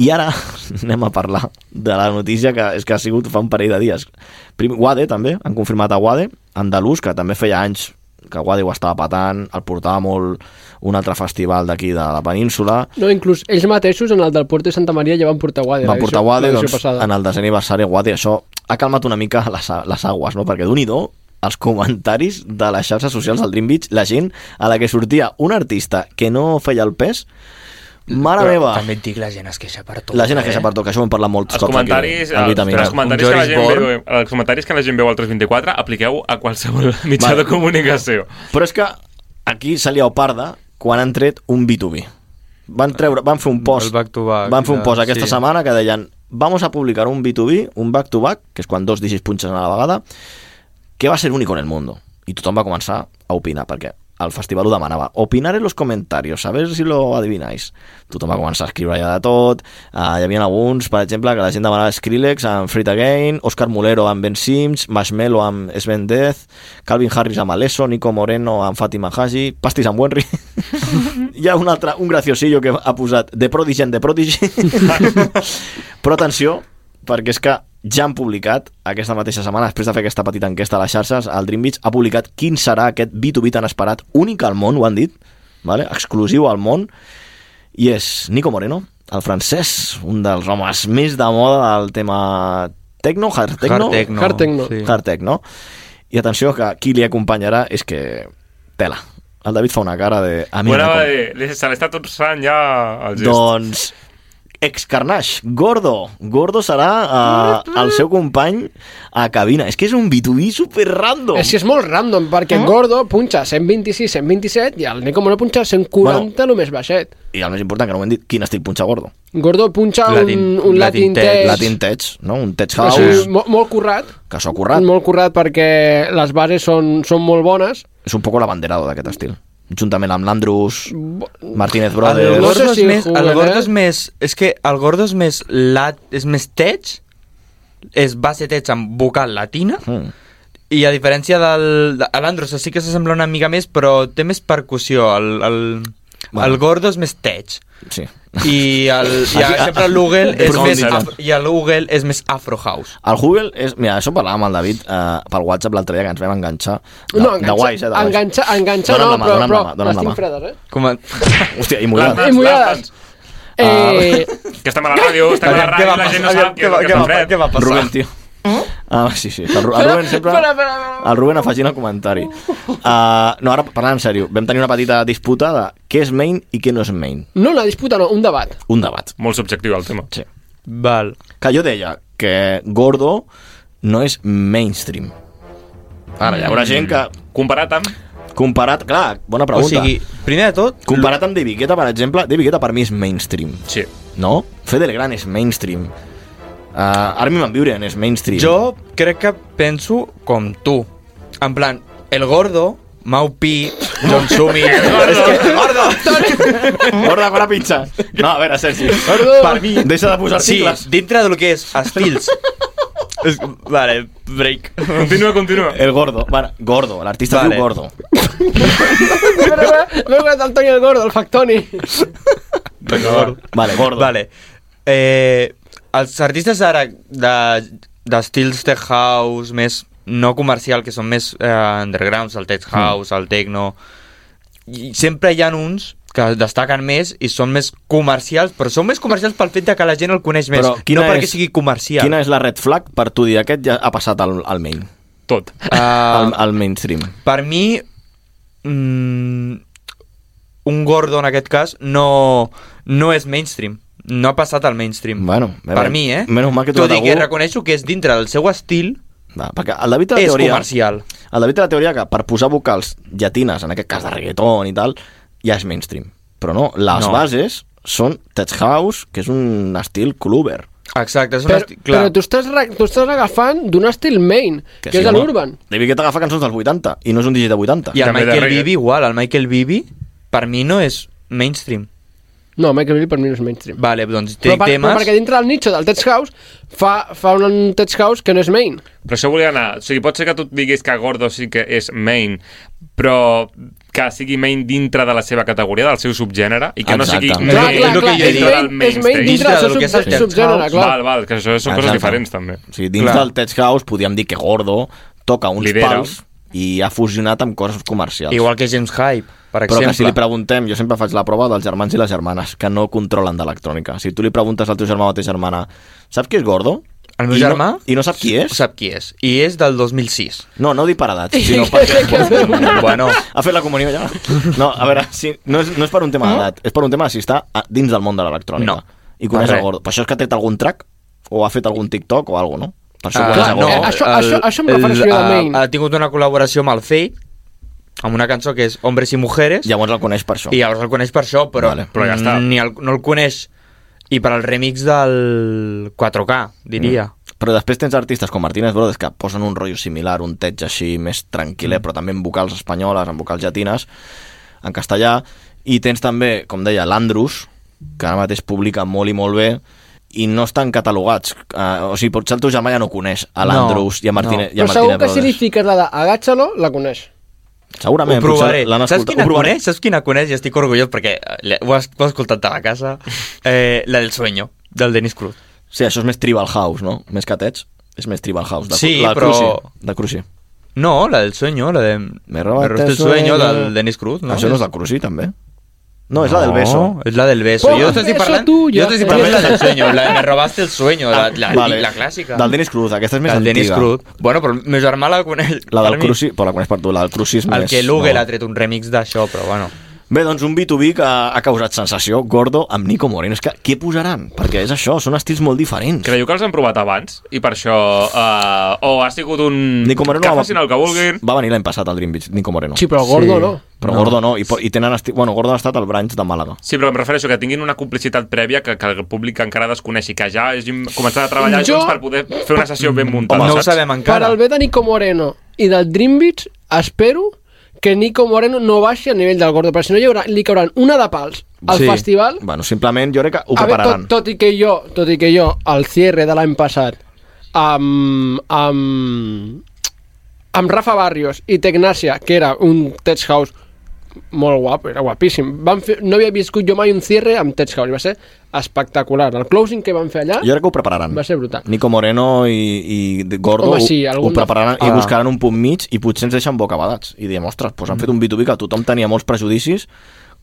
S3: I ara anem a parlar de la notícia que és que ha sigut fa un parell de dies. Primer, Wade, també, han confirmat a Wade, andalús, que també feia anys que Wadi ho estava patant, el portava molt un altre festival d'aquí de la península,
S6: No, inclús ells mateixos en el del Puerto de Santa Maria ja van portar
S9: Eh,
S6: eh, Wade.
S3: va portar Wadi,
S6: Wade,
S3: doncs, en el desè aniversari Wadi, això ha calmat una mica les, a- les agues, no? perquè d'un i do els comentaris de les xarxes socials del Dream Beach, la gent a la que sortia un artista que no feia el pes, mare
S9: Però
S3: meva,
S9: També et dic, la gent es queixa per tot.
S3: la gent
S9: eh?
S3: es queixa per tot, que això ho hem parlat molts
S7: Els
S3: cops aquí,
S7: comentaris,
S3: al
S7: els,
S3: Vitamina.
S7: els, comentaris que la
S9: Joris
S7: gent
S9: Born.
S7: veu, els comentaris que la gent veu al 324 apliqueu a qualsevol mitjà
S3: Vale.
S7: de comunicació.
S3: Però és que aquí se li parda quan han tret un B2B. Van, treure, van fer un post,
S9: El back to back,
S3: van fer un
S9: ja,
S3: post aquesta
S9: sí.
S3: setmana que deien vamos a publicar un B2B, un back to back, que és quan dos DJs punxen a la vegada, que va ser únic en el mundo. I tothom va començar a opinar, perquè el festival ho demanava. Opinar en los comentarios, a ver si lo adivináis. Tothom va començar a escriure ja de tot. Uh, hi havia alguns, per exemple, que la gent demanava Skrillex amb Frit Again, Oscar Mulero amb Ben Sims, Marshmello amb Sven Death, Calvin Harris amb Alesso, Nico Moreno amb Fatima Haji, Pastis amb Wenry. hi ha un altre, un graciosillo que ha posat The Prodigy and The Prodigy. Però atenció, perquè és que ja han publicat aquesta mateixa setmana, després de fer aquesta petita enquesta a les xarxes, el Dream Beach ha publicat quin serà aquest B2B tan esperat, únic al món, ho han dit, vale? exclusiu al món, i és Nico Moreno, el francès, un dels homes més de moda del tema techno, hard techno,
S9: Hard techno,
S6: Hard techno.
S9: sí.
S3: hard techno. I atenció, que qui li acompanyarà és que tela. El David fa una cara de... A mi
S7: Bueno, eh,
S3: no
S7: va
S3: m'acompanya.
S7: dir, li- se l'està torçant ja el gest.
S3: Doncs Excarnage, Gordo. Gordo serà eh, el seu company a cabina. És que és un B2B super random.
S6: És que és molt random, perquè Gordo punxa 126, 127 i el Nico Mono punxa 140, el més baixet.
S3: I el més important, que no ho hem dit, quin estil punxa Gordo.
S6: Gordo punxa
S9: Latin-
S6: un, un Latin,
S9: Latin Tech.
S6: Tech.
S3: Latin Tech, no? Un Tech
S6: O
S3: House,
S6: sigui, mo- molt currat,
S3: que s'ha currat.
S6: molt currat perquè les bases són, són molt bones.
S3: És un poc l'abanderado d'aquest estil. Juntament amb l'Andrus, Martínez
S9: El
S3: Brothers...
S6: No sé
S9: gordo, és
S6: si
S9: més, el
S6: juguen,
S9: gordo
S6: eh?
S9: és més... És que el gordo és més, lat, és més tech, és base tech amb vocal latina,
S3: Mm.
S9: i a diferència del... De, a l'Andros sí que s'assembla una mica més, però té més percussió. El, el,
S3: Bueno.
S9: el gordo és més tech.
S3: Sí.
S9: I el, i
S3: Aquí-
S9: per exemple, l'Ugel és,
S3: Però
S9: més
S3: mira.
S9: afro- i l'Ugel és més afro house.
S3: El Google és... Mira, això ho parlàvem amb el David eh, pel WhatsApp l'altre dia, que ens vam enganxar. De,
S6: No,
S3: de
S6: enganxa,
S3: guais, eh, de guais.
S6: enganxa, enganxa
S3: Dóna'm la
S6: no,
S3: mà,
S6: però,
S3: dóna'm la
S6: però
S3: mà, dóna'm
S6: les
S3: la
S6: tinc
S3: mà.
S6: fredes, eh?
S9: Com a...
S3: Hòstia, i
S7: Les
S3: mullat.
S7: mans,
S6: I mullades.
S7: les mans.
S6: eh
S7: Que estem a la ràdio, estem a la
S9: Aviam,
S7: ràdio, la gent no
S9: aviam,
S7: sap
S9: què
S7: que,
S9: va-
S7: que
S9: què
S7: fa
S9: va-
S7: fred.
S9: què va passar?
S3: Rubén, tio. Ah, sí, sí. El, Ru- el Rubén sempre...
S6: espera, espera, espera.
S3: El Rubén afegint el comentari. Uh, no, ara parlant en sèrio, vam tenir una petita disputa de què és main i què no és main.
S6: No una disputa, no, un debat.
S3: Un debat.
S7: Molt subjectiu el tema.
S3: Sí.
S9: Val.
S3: Que jo deia que Gordo no és mainstream. Ara, hi haurà gent que...
S7: Comparat amb...
S3: Comparat... Clar, bona
S9: O
S3: pregunta.
S9: sigui, primer de tot...
S3: comparat amb David Guetta, per exemple, David Guetta per mi és mainstream.
S7: Sí.
S9: Mm.
S3: No? Fede Legrand és mainstream. Uh, Armin Van Buren és mainstream.
S9: Jo crec que penso com tu. En plan, el gordo, Mau Pi, John Sumi... és que, gordo!
S3: Gorda, quan la pinxa. No, a veure, Sergi. Per mi... Deixa de posar
S9: Sí,
S3: sigles.
S9: dintre del que és estils... és, vale, break.
S7: Continua, continua.
S9: Eh,
S3: El gordo. Bueno, gordo, l'artista vale.
S9: Vale.
S3: diu gordo.
S6: Espera, espera, M'he guardat el Toni el Gordo, el Factoni.
S3: Vale, gordo.
S9: Vale. Eh, els artistes ara de- d'estils tech house, més no comercial, que són més eh, undergrounds, el
S3: Mm.
S9: tech house, el techno... I sempre hi ha uns que destaquen més i són més comercials, però són més comercials pel fet de que la gent el coneix més,
S3: Però quina
S9: no perquè
S3: és-
S9: sigui comercial.
S3: Quina és la red flag per tu dir aquest ja ha passat al, al main,
S7: Tot.
S9: Ah,
S3: al, al mainstream?
S9: Per mi, mm, un gordo en aquest cas no, no és mainstream. No ha passat al mainstream.
S3: Bueno, bé,
S9: per
S3: bé.
S9: mi, eh?
S3: Menys mal que he
S9: Tot
S3: trobat
S9: i que
S3: algú-
S9: reconeixo que és dintre del seu estil,
S3: Va, perquè el David té la
S9: és
S3: teoria...
S9: comercial.
S3: El David té la teoria que per posar vocals llatines, en aquest cas de reggaeton i tal, ja és mainstream. Però no, les
S9: No.
S3: bases són tech house, que és un estil clubber.
S9: Exacte, és un
S6: Però,
S9: estil... Clar,
S6: però tu, estàs, re- tu estàs agafant d'un estil main, que, és
S3: home,
S6: l'urban.
S3: David Guetta agafa cançons dels 80 i no és un DJ de 80.
S9: I el
S7: També de
S9: Michael
S7: reggae.
S9: Bibi igual, el Michael Bibi per mi no és mainstream.
S6: No, Michael Bill per mi no és mainstream.
S9: Vale, doncs
S6: Però,
S9: té
S6: per, però
S9: temes...
S6: perquè dintre del nicho del Tech House fa, fa un Tech House que no és main.
S7: Però això volia anar... O sigui, pot ser que tu et diguis que Gordo sí que és main, però que sigui main dintre de la seva categoria, del seu subgènere, i que no
S3: Exacte.
S7: sigui
S3: Clar,
S9: clar,
S7: main
S9: clar,
S7: dintre del
S6: és
S9: és main-
S6: main
S7: mainstream.
S9: Dintre
S6: dintre
S9: del
S6: del
S9: que és
S6: seu
S9: el
S6: sub-
S9: Tech
S6: subgènere, clar.
S7: Val, val, que això són coses
S3: Exacte.
S7: diferents, també.
S3: O sigui, dins
S9: Clar.
S3: del Tech House podíem dir que Gordo toca uns
S7: Lidera.
S3: pals i ha fusionat amb coses comercials.
S9: Igual que James Hype, per
S3: Però que si li
S9: exemple.
S3: preguntem, jo sempre faig la prova dels germans i les germanes, que no controlen d'electrònica. Si tu li preguntes al teu germà o a la teva germana, saps qui és Gordo?
S9: El meu
S3: I
S9: germà
S3: No, I no sap qui és?
S9: Sap qui és. I és del 2006.
S3: No, no dic per edat, sinó perquè...
S9: bueno,
S3: ha fet la comunió ja? No, a veure, si, no, és, no és per un tema d'edat, és per un tema de si està a- dins del món de l'electrònica.
S9: No.
S3: I coneix
S9: Per
S3: el
S9: res.
S3: Gordo. Per això és que ha tret algun track o ha fet algun TikTok o alguna no? Per això
S9: Ah,
S3: coneix el
S9: no,
S3: Gordo.
S6: eh, això- això- això em refereixo jo de main.
S9: Ha, ha tingut una col·laboració amb el Fade, amb una cançó que és Hombres i Mujeres,
S3: Llavors el coneix per això.
S9: i llavors el coneix per això, però,
S3: Vale,
S7: però ja està.
S9: ni el, no el coneix. I per al remix del 4K, diria. Mm.
S3: Però després tens artistes com Martínez Brodes que posen un rotllo similar, un teig així més tranquil·let,
S6: Mm.
S3: però també amb vocals espanyoles, amb vocals llatines, en castellà, i tens també, com deia, l'Andrus, que ara mateix publica molt i molt bé, i no estan catalogats. Uh, o sigui, potser el teu germà ja no coneix a l'Andrus
S9: No,
S3: i a Martínez, no.
S9: no.
S3: i a
S6: Però segur
S3: Martínez
S6: que si li
S3: Brothers.
S6: fiques la de agatxa-lo, la coneix.
S3: Segurament,
S9: Ho provaré.
S3: potser l'han
S9: Saps
S3: escoltat.
S9: quina
S3: Ho provaré.
S9: coneix? Saps quina coneix? I estic orgullós perquè eh, le- ho has, ho has escoltat a la casa. Eh, la del sueño, del Denis Cruz.
S3: Sí, això és més tribal house, no? Més que tets, és més tribal house. De,
S9: Sí,
S3: la
S9: però-
S3: Cruci, de Cruci.
S9: No, la del sueño, la de... Me robaste el sueño, del Denis Cruz. No?
S3: Això no és la Cruci, també? No, és la del beso.
S9: es la del beso.
S6: Pon
S9: Yo te estoy
S6: beso
S9: parlant-
S6: tuyo.
S9: yo te estoy parlant de la del sueño. La, de me robaste el sueño, la, la,
S3: Ah, Vale.
S9: la clàssica.
S3: Del Dennis Cruz, aquesta és més
S9: del Dennis
S3: antiga.
S9: Cruz. Bueno, però el meu germà la coneix.
S3: La del
S9: per mi.
S3: Cruci, però la coneix per tu, la del Cruci és
S9: El
S3: més...
S9: que Lugue
S3: no.
S9: l'ha tret un remix d'això, però bueno.
S3: Bé, doncs un B2B que ha causat sensació, Gordo amb Nico Moreno. És que què posaran? Perquè és això, són estils molt diferents.
S7: Creieu que els han provat abans i per això... eh, o ha sigut un...
S3: Nico Moreno
S7: que
S3: va-
S7: facin el que vulguin.
S3: Va venir l'any passat al Dream Beach, Nico Moreno.
S6: Sí, però Gordo no.
S3: Però Gordo no, i, po- i tenen esti... bueno, Gordo ha estat al Branch de Màlaga.
S7: Sí, però em refereixo que tinguin una complicitat prèvia que, que el públic encara desconeixi, que ja hagin començat a treballar
S6: Jo-
S7: junts per poder fer una sessió
S3: Mm,
S7: ben muntada,
S9: no ho
S7: saps?
S9: sabem
S6: Per
S9: encara.
S6: al bé de Nico Moreno i del Dream Beach, espero que Nico Moreno no baixi a nivell del Gordo, perquè si no hi haurà, li cauran una de pals al
S9: Sí.
S6: festival.
S3: Bueno, simplement jo crec que ho
S6: a veure,
S3: prepararan.
S6: tot, tot, i que jo, tot i que jo, al cierre de l'any passat, amb, amb, amb Rafa Barrios i Tecnasia, que era un Tech House molt guapo, era guapíssim. Van fer, no havia viscut jo mai un cierre amb Tech House, i va ser espectacular. El closing que van fer allà
S3: Jo crec que ho prepararan.
S6: va ser brutal.
S3: Nico Moreno i, i Gordo
S6: Home, sí,
S3: ho- ho,
S6: algun-
S3: prepararan i
S9: Ah.
S3: buscaran un punt mig i potser ens deixen bocabadats i diem, ostres, doncs han fet un B2B que tothom tenia molts prejudicis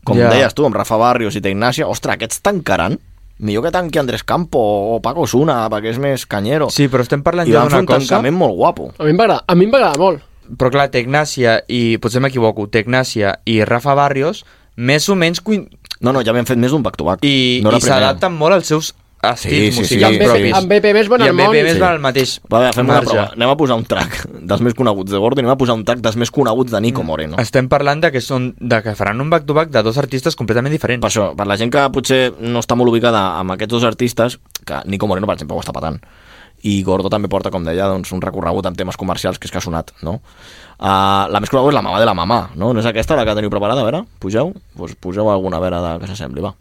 S3: com
S9: Ja.
S3: yeah. deies tu, amb Rafa Barrios i Tecnàcia ostres, aquests tancaran? millor que tanqui Andrés Campo o Paco Osuna perquè és més canyero
S9: Sí, però estem parlant
S3: i
S9: ja
S3: van fer
S9: d'una
S3: un
S9: cosa...
S3: tancament molt guapo
S6: A mi em va agradar, a mi em va agradar molt.
S9: Però clar, Tecnàcia i... Potser m'equivoco. Tecnàcia i Rafa Barrios més o menys coin...
S3: no, no, ja havien fet més d'un back-to-back
S9: i,
S3: no la
S9: no i s'adapten molt als seus estils
S3: Sí, sí, sí,
S6: I
S9: musicals
S6: amb, BP,
S9: propis.
S6: amb BPB es van
S9: I
S6: al
S9: amb
S6: món.
S9: BP més
S3: Sí.
S9: van al mateix
S3: va bé, fem una
S9: marge.
S3: prova anem a posar un track dels més coneguts de Gordo i anem a posar un track dels més coneguts de
S9: Mm.
S3: Nico Moreno
S9: Estem parlant de que, són, de que faran un back-to-back de dos artistes completament diferents.
S3: Per això, per la gent que potser no està molt ubicada amb aquests dos artistes, que Nico Moreno, per exemple, ho està patant. I Gordo també porta, com deia, doncs, un recorregut amb temes comercials que és que ha sonat, no? Uh, la més coneguda és la mamà de la mamà, no? No és aquesta la que teniu preparada, a veure? Pugeu? Pues poseu alguna, a veure, de, que s'assembli, va.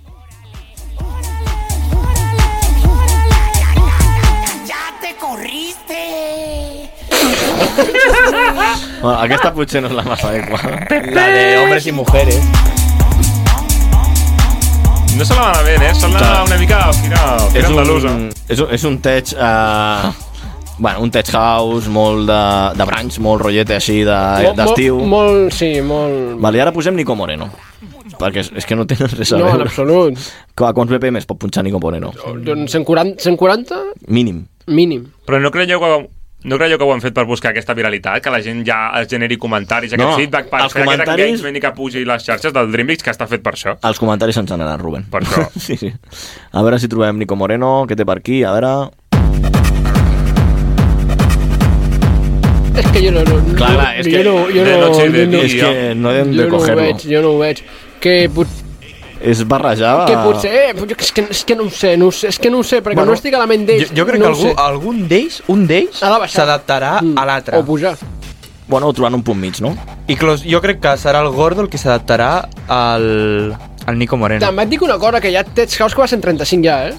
S3: Bueno, Ah, aquesta potser no és la massa adequada.
S9: La de hombres y mujeres.
S7: No se la van bé, eh? Sona
S3: Clar.
S7: una mica a fira, fira andalusa.
S3: és, un, és un tech... Uh, bueno, un tech house molt de, de branch, molt rollete així de-
S6: Mo-
S3: Ah, d'estiu.
S6: mo- Molt, sí, molt...
S3: Vale, i ara posem Nico Moreno. Perquè és, és que no tenen res a
S6: No, en
S3: veure.
S6: absolut.
S3: Clar, quants BPM es pot punxar Nico Moreno?
S6: Doncs 140, 140
S3: Mínim.
S6: mínim.
S7: Però no creieu que no creieu que ho han fet per buscar aquesta viralitat? Que la gent ja es generi comentaris, aquest
S3: No,
S7: feedback, per
S3: els
S7: fer
S3: comentaris- Ah.
S7: aquest engagement i que pugi les xarxes del Dreamix, que està fet per això.
S3: Els comentaris se'ns han anat, Ruben.
S7: Per això.
S3: Sí, sí. A veure si trobem Nico Moreno, què té per aquí, a veure...
S6: És que jo no... no
S3: Clar,
S6: jo,
S3: clar, és
S6: jo
S3: que
S6: no, jo
S7: de
S6: no,
S7: noche i de
S6: jo no,
S3: és que no hem
S6: jo
S3: de
S6: no ho
S3: coger-lo.
S6: veig, jo no ho veig. Que, pot,
S3: És barrejar...
S6: que potser... Eh, però jo- és, que, és que no ho sé, no ho sé, és que no ho sé, perquè
S3: Ah. Bueno,
S6: no estic a la ment
S9: Jo,
S6: d'ells.
S9: jo crec
S6: no
S9: que
S6: ho
S9: algú,
S6: sé.
S9: algun d'ells, un d'ells,
S6: Ha de baixar.
S9: s'adaptarà a l'altre.
S6: Mm. O pujar.
S3: Bueno, o trobant un punt mig, no?
S9: I clos, jo crec que serà el Gordo el que s'adaptarà al, al Nico Moreno.
S6: També et dic una cosa, que ja tens caos que va 135 ja, eh?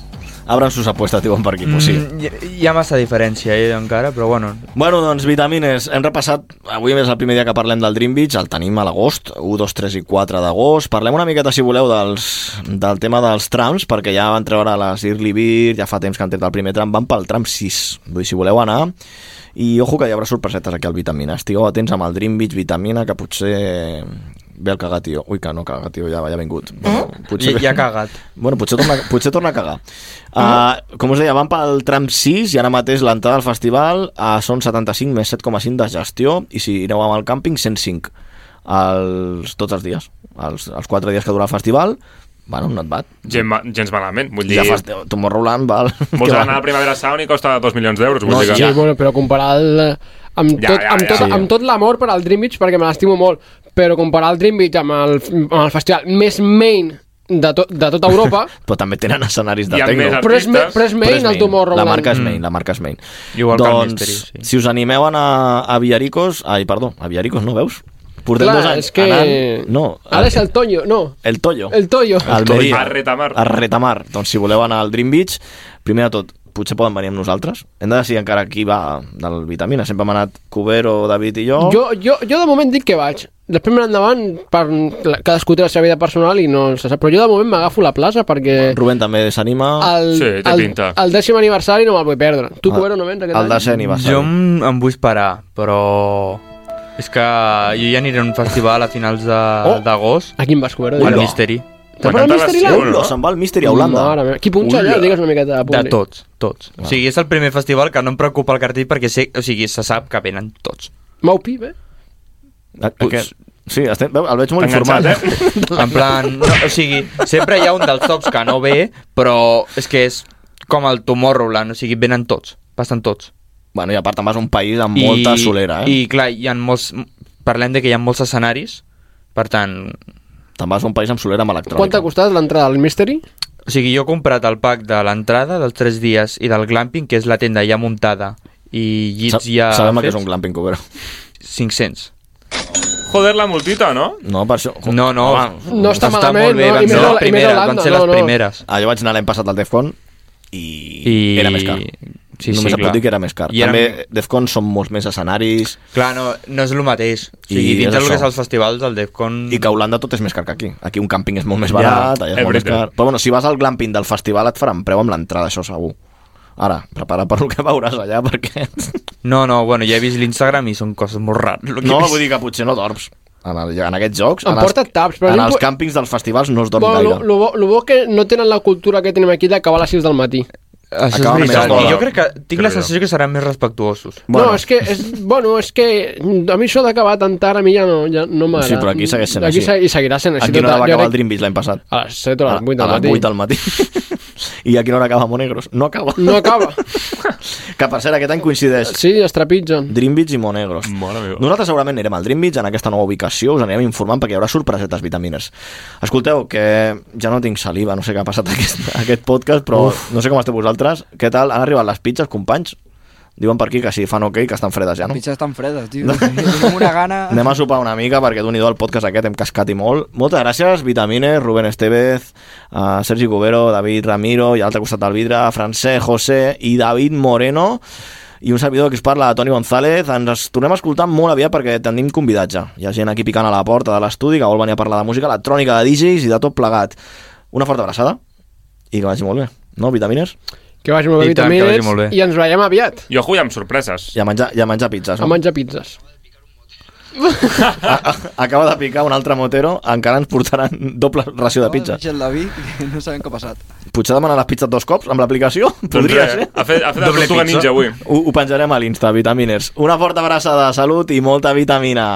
S3: Abran sus apuestas, diuen per aquí, pues sí.
S9: Mm, hi, hi ha massa diferència eh, encara, però bueno.
S3: Bueno, doncs, vitamines, hem repassat, avui és el primer dia que parlem del Dream Beach, el tenim a l'agost, 1, 2, 3 i 4 d'agost. Parlem una miqueta, si voleu, dels, del tema dels trams, perquè ja van treure les Early Beer, ja fa temps que han tret el primer tram, van pel tram 6. Vull dir, si voleu anar I ojo que hi haurà sorpresetes aquí al Vitamina. Estigueu atents amb el Dream Beach Vitamina, que potser ve el cagat, tio. Ui, que no caga, tio, ja, ja ha vingut. Bueno,
S9: Ja- ja Eh? ha cagat.
S3: Bueno, potser torna, potser torna a cagar. Uh, com us deia, van pel tram 6 i ara mateix l'entrada al festival uh, són 75 més 7,5 de gestió i si aneu amb el càmping, 105 els, tots els dies. Els, els 4 dies que dura el festival, bueno, no et bat.
S7: Gent, ma- gens malament, vull dir...
S3: Ja fas, Tomorrowland val.
S7: Vols
S3: que
S7: anar a
S3: val.
S7: la Primavera Sound i costa 2 milions d'euros, vull
S3: No,
S7: dir que...
S6: Sí, bueno, però comparar el, amb,
S7: Ja,
S6: tot,
S7: ja,
S6: amb,
S7: ja.
S6: tot,
S7: Sí.
S6: amb tot l'amor per al Dream Beach, perquè me l'estimo molt, però comparar el Dream Beach amb el, amb el festival més main de, to, de tota Europa,
S3: Però també tenen escenaris de
S6: Hi ha
S3: tecno.
S6: més Però és artistes. ma- però és main el Tomorrowland.
S3: La marca és
S6: Mm.
S3: main, la marca és main.
S9: Igual que el
S3: doncs,
S9: Mystery,
S3: sí. si us animeu a anar a Villaricos... Ai, perdó, a Villaricos, no veus? Portem
S6: clar,
S3: dos anys
S6: és que...
S3: anant... No, eh,
S6: Ara és el Toño, no.
S3: El Toyo.
S6: El Toyo.
S3: Al Media.
S7: A Retamar.
S3: A Retamar. Doncs si voleu anar al Dream Beach, primer de tot, potser poden venir amb nosaltres. Hem de decidir encara qui va del Vitamina. Sempre hem anat Cubero, David i jo.
S6: Jo, jo, jo de moment dic que vaig. Després me endavant, per, la- cadascú té la seva vida personal i no se sap. Però jo de moment m'agafo la plaça perquè...
S3: Rubén també s'anima. Ah,
S6: El, el, el dècim aniversari no me'l vull perdre. Tu, Cubero, no vens aquest any?
S9: Jo em, em vull esperar, però... És que jo ja aniré a un festival a finals de- d'agost.
S6: Oh. A quin vas, Cubero?
S9: Al
S6: Ula.
S9: Mystery.
S6: Te'n vas al Mystery Land?
S3: Ula, se'n va al Mystery a Holanda.
S6: Mare meva. Qui punxa allà?
S9: Ula.
S6: Digues una miqueta de
S9: De
S6: públic.
S9: tots, tots. O sigui, és el primer festival que no em preocupa el cartell perquè sé, o sigui, se sap que venen tots.
S6: Maupi, bé?
S3: Ah, Aquest... Sí, estem, veu, el veig molt informat.
S9: Pues
S3: eh?
S9: Enganxat, eh? En plan, no, o sigui, sempre hi ha un dels tops que no ve, però és que és com el Tomorrowland, o sigui, venen tots, passen tots.
S3: Bueno, i a part te'n vas a un país amb molta solera, eh?
S9: I clar, hi ha molts... Parlem de que hi ha molts escenaris, per tant...
S3: Te'n vas a un país amb solera amb
S6: Quant t'ha costat l'entrada al Mystery?
S9: O sigui, jo he comprat el pack de l'entrada, dels 3 dies, i del glamping, que és la tenda ja muntada, i
S3: Sa-
S9: llits ja...
S3: Sabem el que és
S9: fets.
S3: un glamping cobero.
S9: 500.
S7: Joder, la multita, no?
S3: No, per això...
S9: No, no.
S6: No està malament,
S9: molt bé,
S6: no? I
S9: van
S6: més a- i més
S9: ser les
S6: a
S9: primeres, van
S6: Holanda,
S9: ser
S6: no,
S9: les
S6: no.
S9: primeres.
S3: Ah, jo vaig anar l'any passat al Defcon i...
S9: I...
S3: Era més car.
S9: Sí,
S3: Només
S9: sí,
S3: et puc
S9: clar.
S3: dir que era més car.
S9: I era-
S3: També Defcon són molts més escenaris...
S9: Clar, no, no és el mateix. O sigui,
S3: I
S9: dins
S3: és
S9: del que
S3: això.
S9: és els festivals, el Defcon...
S3: I que a Holanda tot és més car que aquí. Aquí un càmping és molt més
S9: Ja,
S3: barat, allà és molt més
S9: everything.
S3: car. Però bueno, si vas al glamping del festival et faran preu amb l'entrada, això segur. Ara, prepara per el que veuràs allà, perquè...
S9: No, no, bueno, ja he vist l'Instagram i són coses molt rares. el que
S3: No,
S9: he vist.
S3: vull dir que potser no dorms. En, el, en aquests jocs,
S6: Em
S3: en,
S6: porta taps, però
S3: en
S6: jo em
S3: els
S6: po-
S3: càmpings dels festivals no es dorm
S6: Bueno,
S3: gaire.
S6: lo, lo, bo, lo bo que no tenen la cultura que tenim aquí d'acabar a les 6 del matí.
S9: Això
S3: Acaba
S9: és veritat.
S3: més
S9: I
S3: d'hora.
S9: jo crec que tinc la
S3: Crec jo.
S9: sensació que seran més respectuosos.
S6: Bueno. No, és que, és, bueno, és que a mi això d'acabar tan tard a mi ja no, ja no m'agrada.
S3: Sí, però aquí segueix sent
S6: aquí
S3: així.
S6: se- I seguirà sent
S3: A
S6: així.
S3: quina hora
S6: tota-
S3: va
S6: jo
S3: acabar el
S6: crec-
S3: Dream Beach l'any passat?
S6: A les 7 o a les 8 del
S3: a
S6: matí.
S3: les 8 del matí. I a quina hora acaba Monegros? No acaba.
S6: No acaba.
S3: que per cert, aquest any coincideix.
S6: Sí, es trepitgen.
S3: Dream Beach i Monegros. Nosaltres segurament anirem al Dream Beach en aquesta nova ubicació, us anirem informant perquè hi haurà sorpresetes vitamines. Escolteu, que ja no tinc saliva, no sé què ha passat aquest, aquest podcast, però Uf. no sé com esteu vosaltres. Què tal? Han arribat les pizzas, companys? Diuen per aquí que si fan ok, que estan fredes ja, no?
S4: Pizzas tan fredes, tio. Tenim una gana...
S3: Anem a sopar una mica perquè d'un i do el podcast aquest hem cascat i molt. Moltes gràcies, Vitamines, Rubén Estevez, uh, Sergi Cubero, David Ramiro i a l'altre costat del vidre, Francesc, José i David Moreno i un servidor que us parla, Toni González. Ens tornem a escoltar molt aviat perquè tenim convidats ja. Hi ha gent aquí picant a la porta de l'estudi que vol venir a parlar de música electrònica, de DJs i de tot plegat. Una forta abraçada i que vagi molt bé. No, Vitamines?
S6: Que vagi molt bé,
S3: I tant, que
S6: vitamines.
S3: vagi molt bé.
S6: I ens veiem aviat
S7: Jo jugué amb sorpreses.
S3: I a menjar, i a menjar pizzas.
S6: a menjar pizzas.
S3: Acaba de picar un altre motero, encara ens portaran doble ració de pizzas.
S4: El David, que no sabem què ha passat.
S3: Potser demanar les pizzas dos cops amb l'aplicació? Podria
S7: Doncs res,
S3: ser.
S7: ha fet- ha fet la Doble tortuga pizza. ninja avui.
S3: Ho, ho penjarem a l'Insta, vitamines. Una forta abraçada, salut i molta vitamina.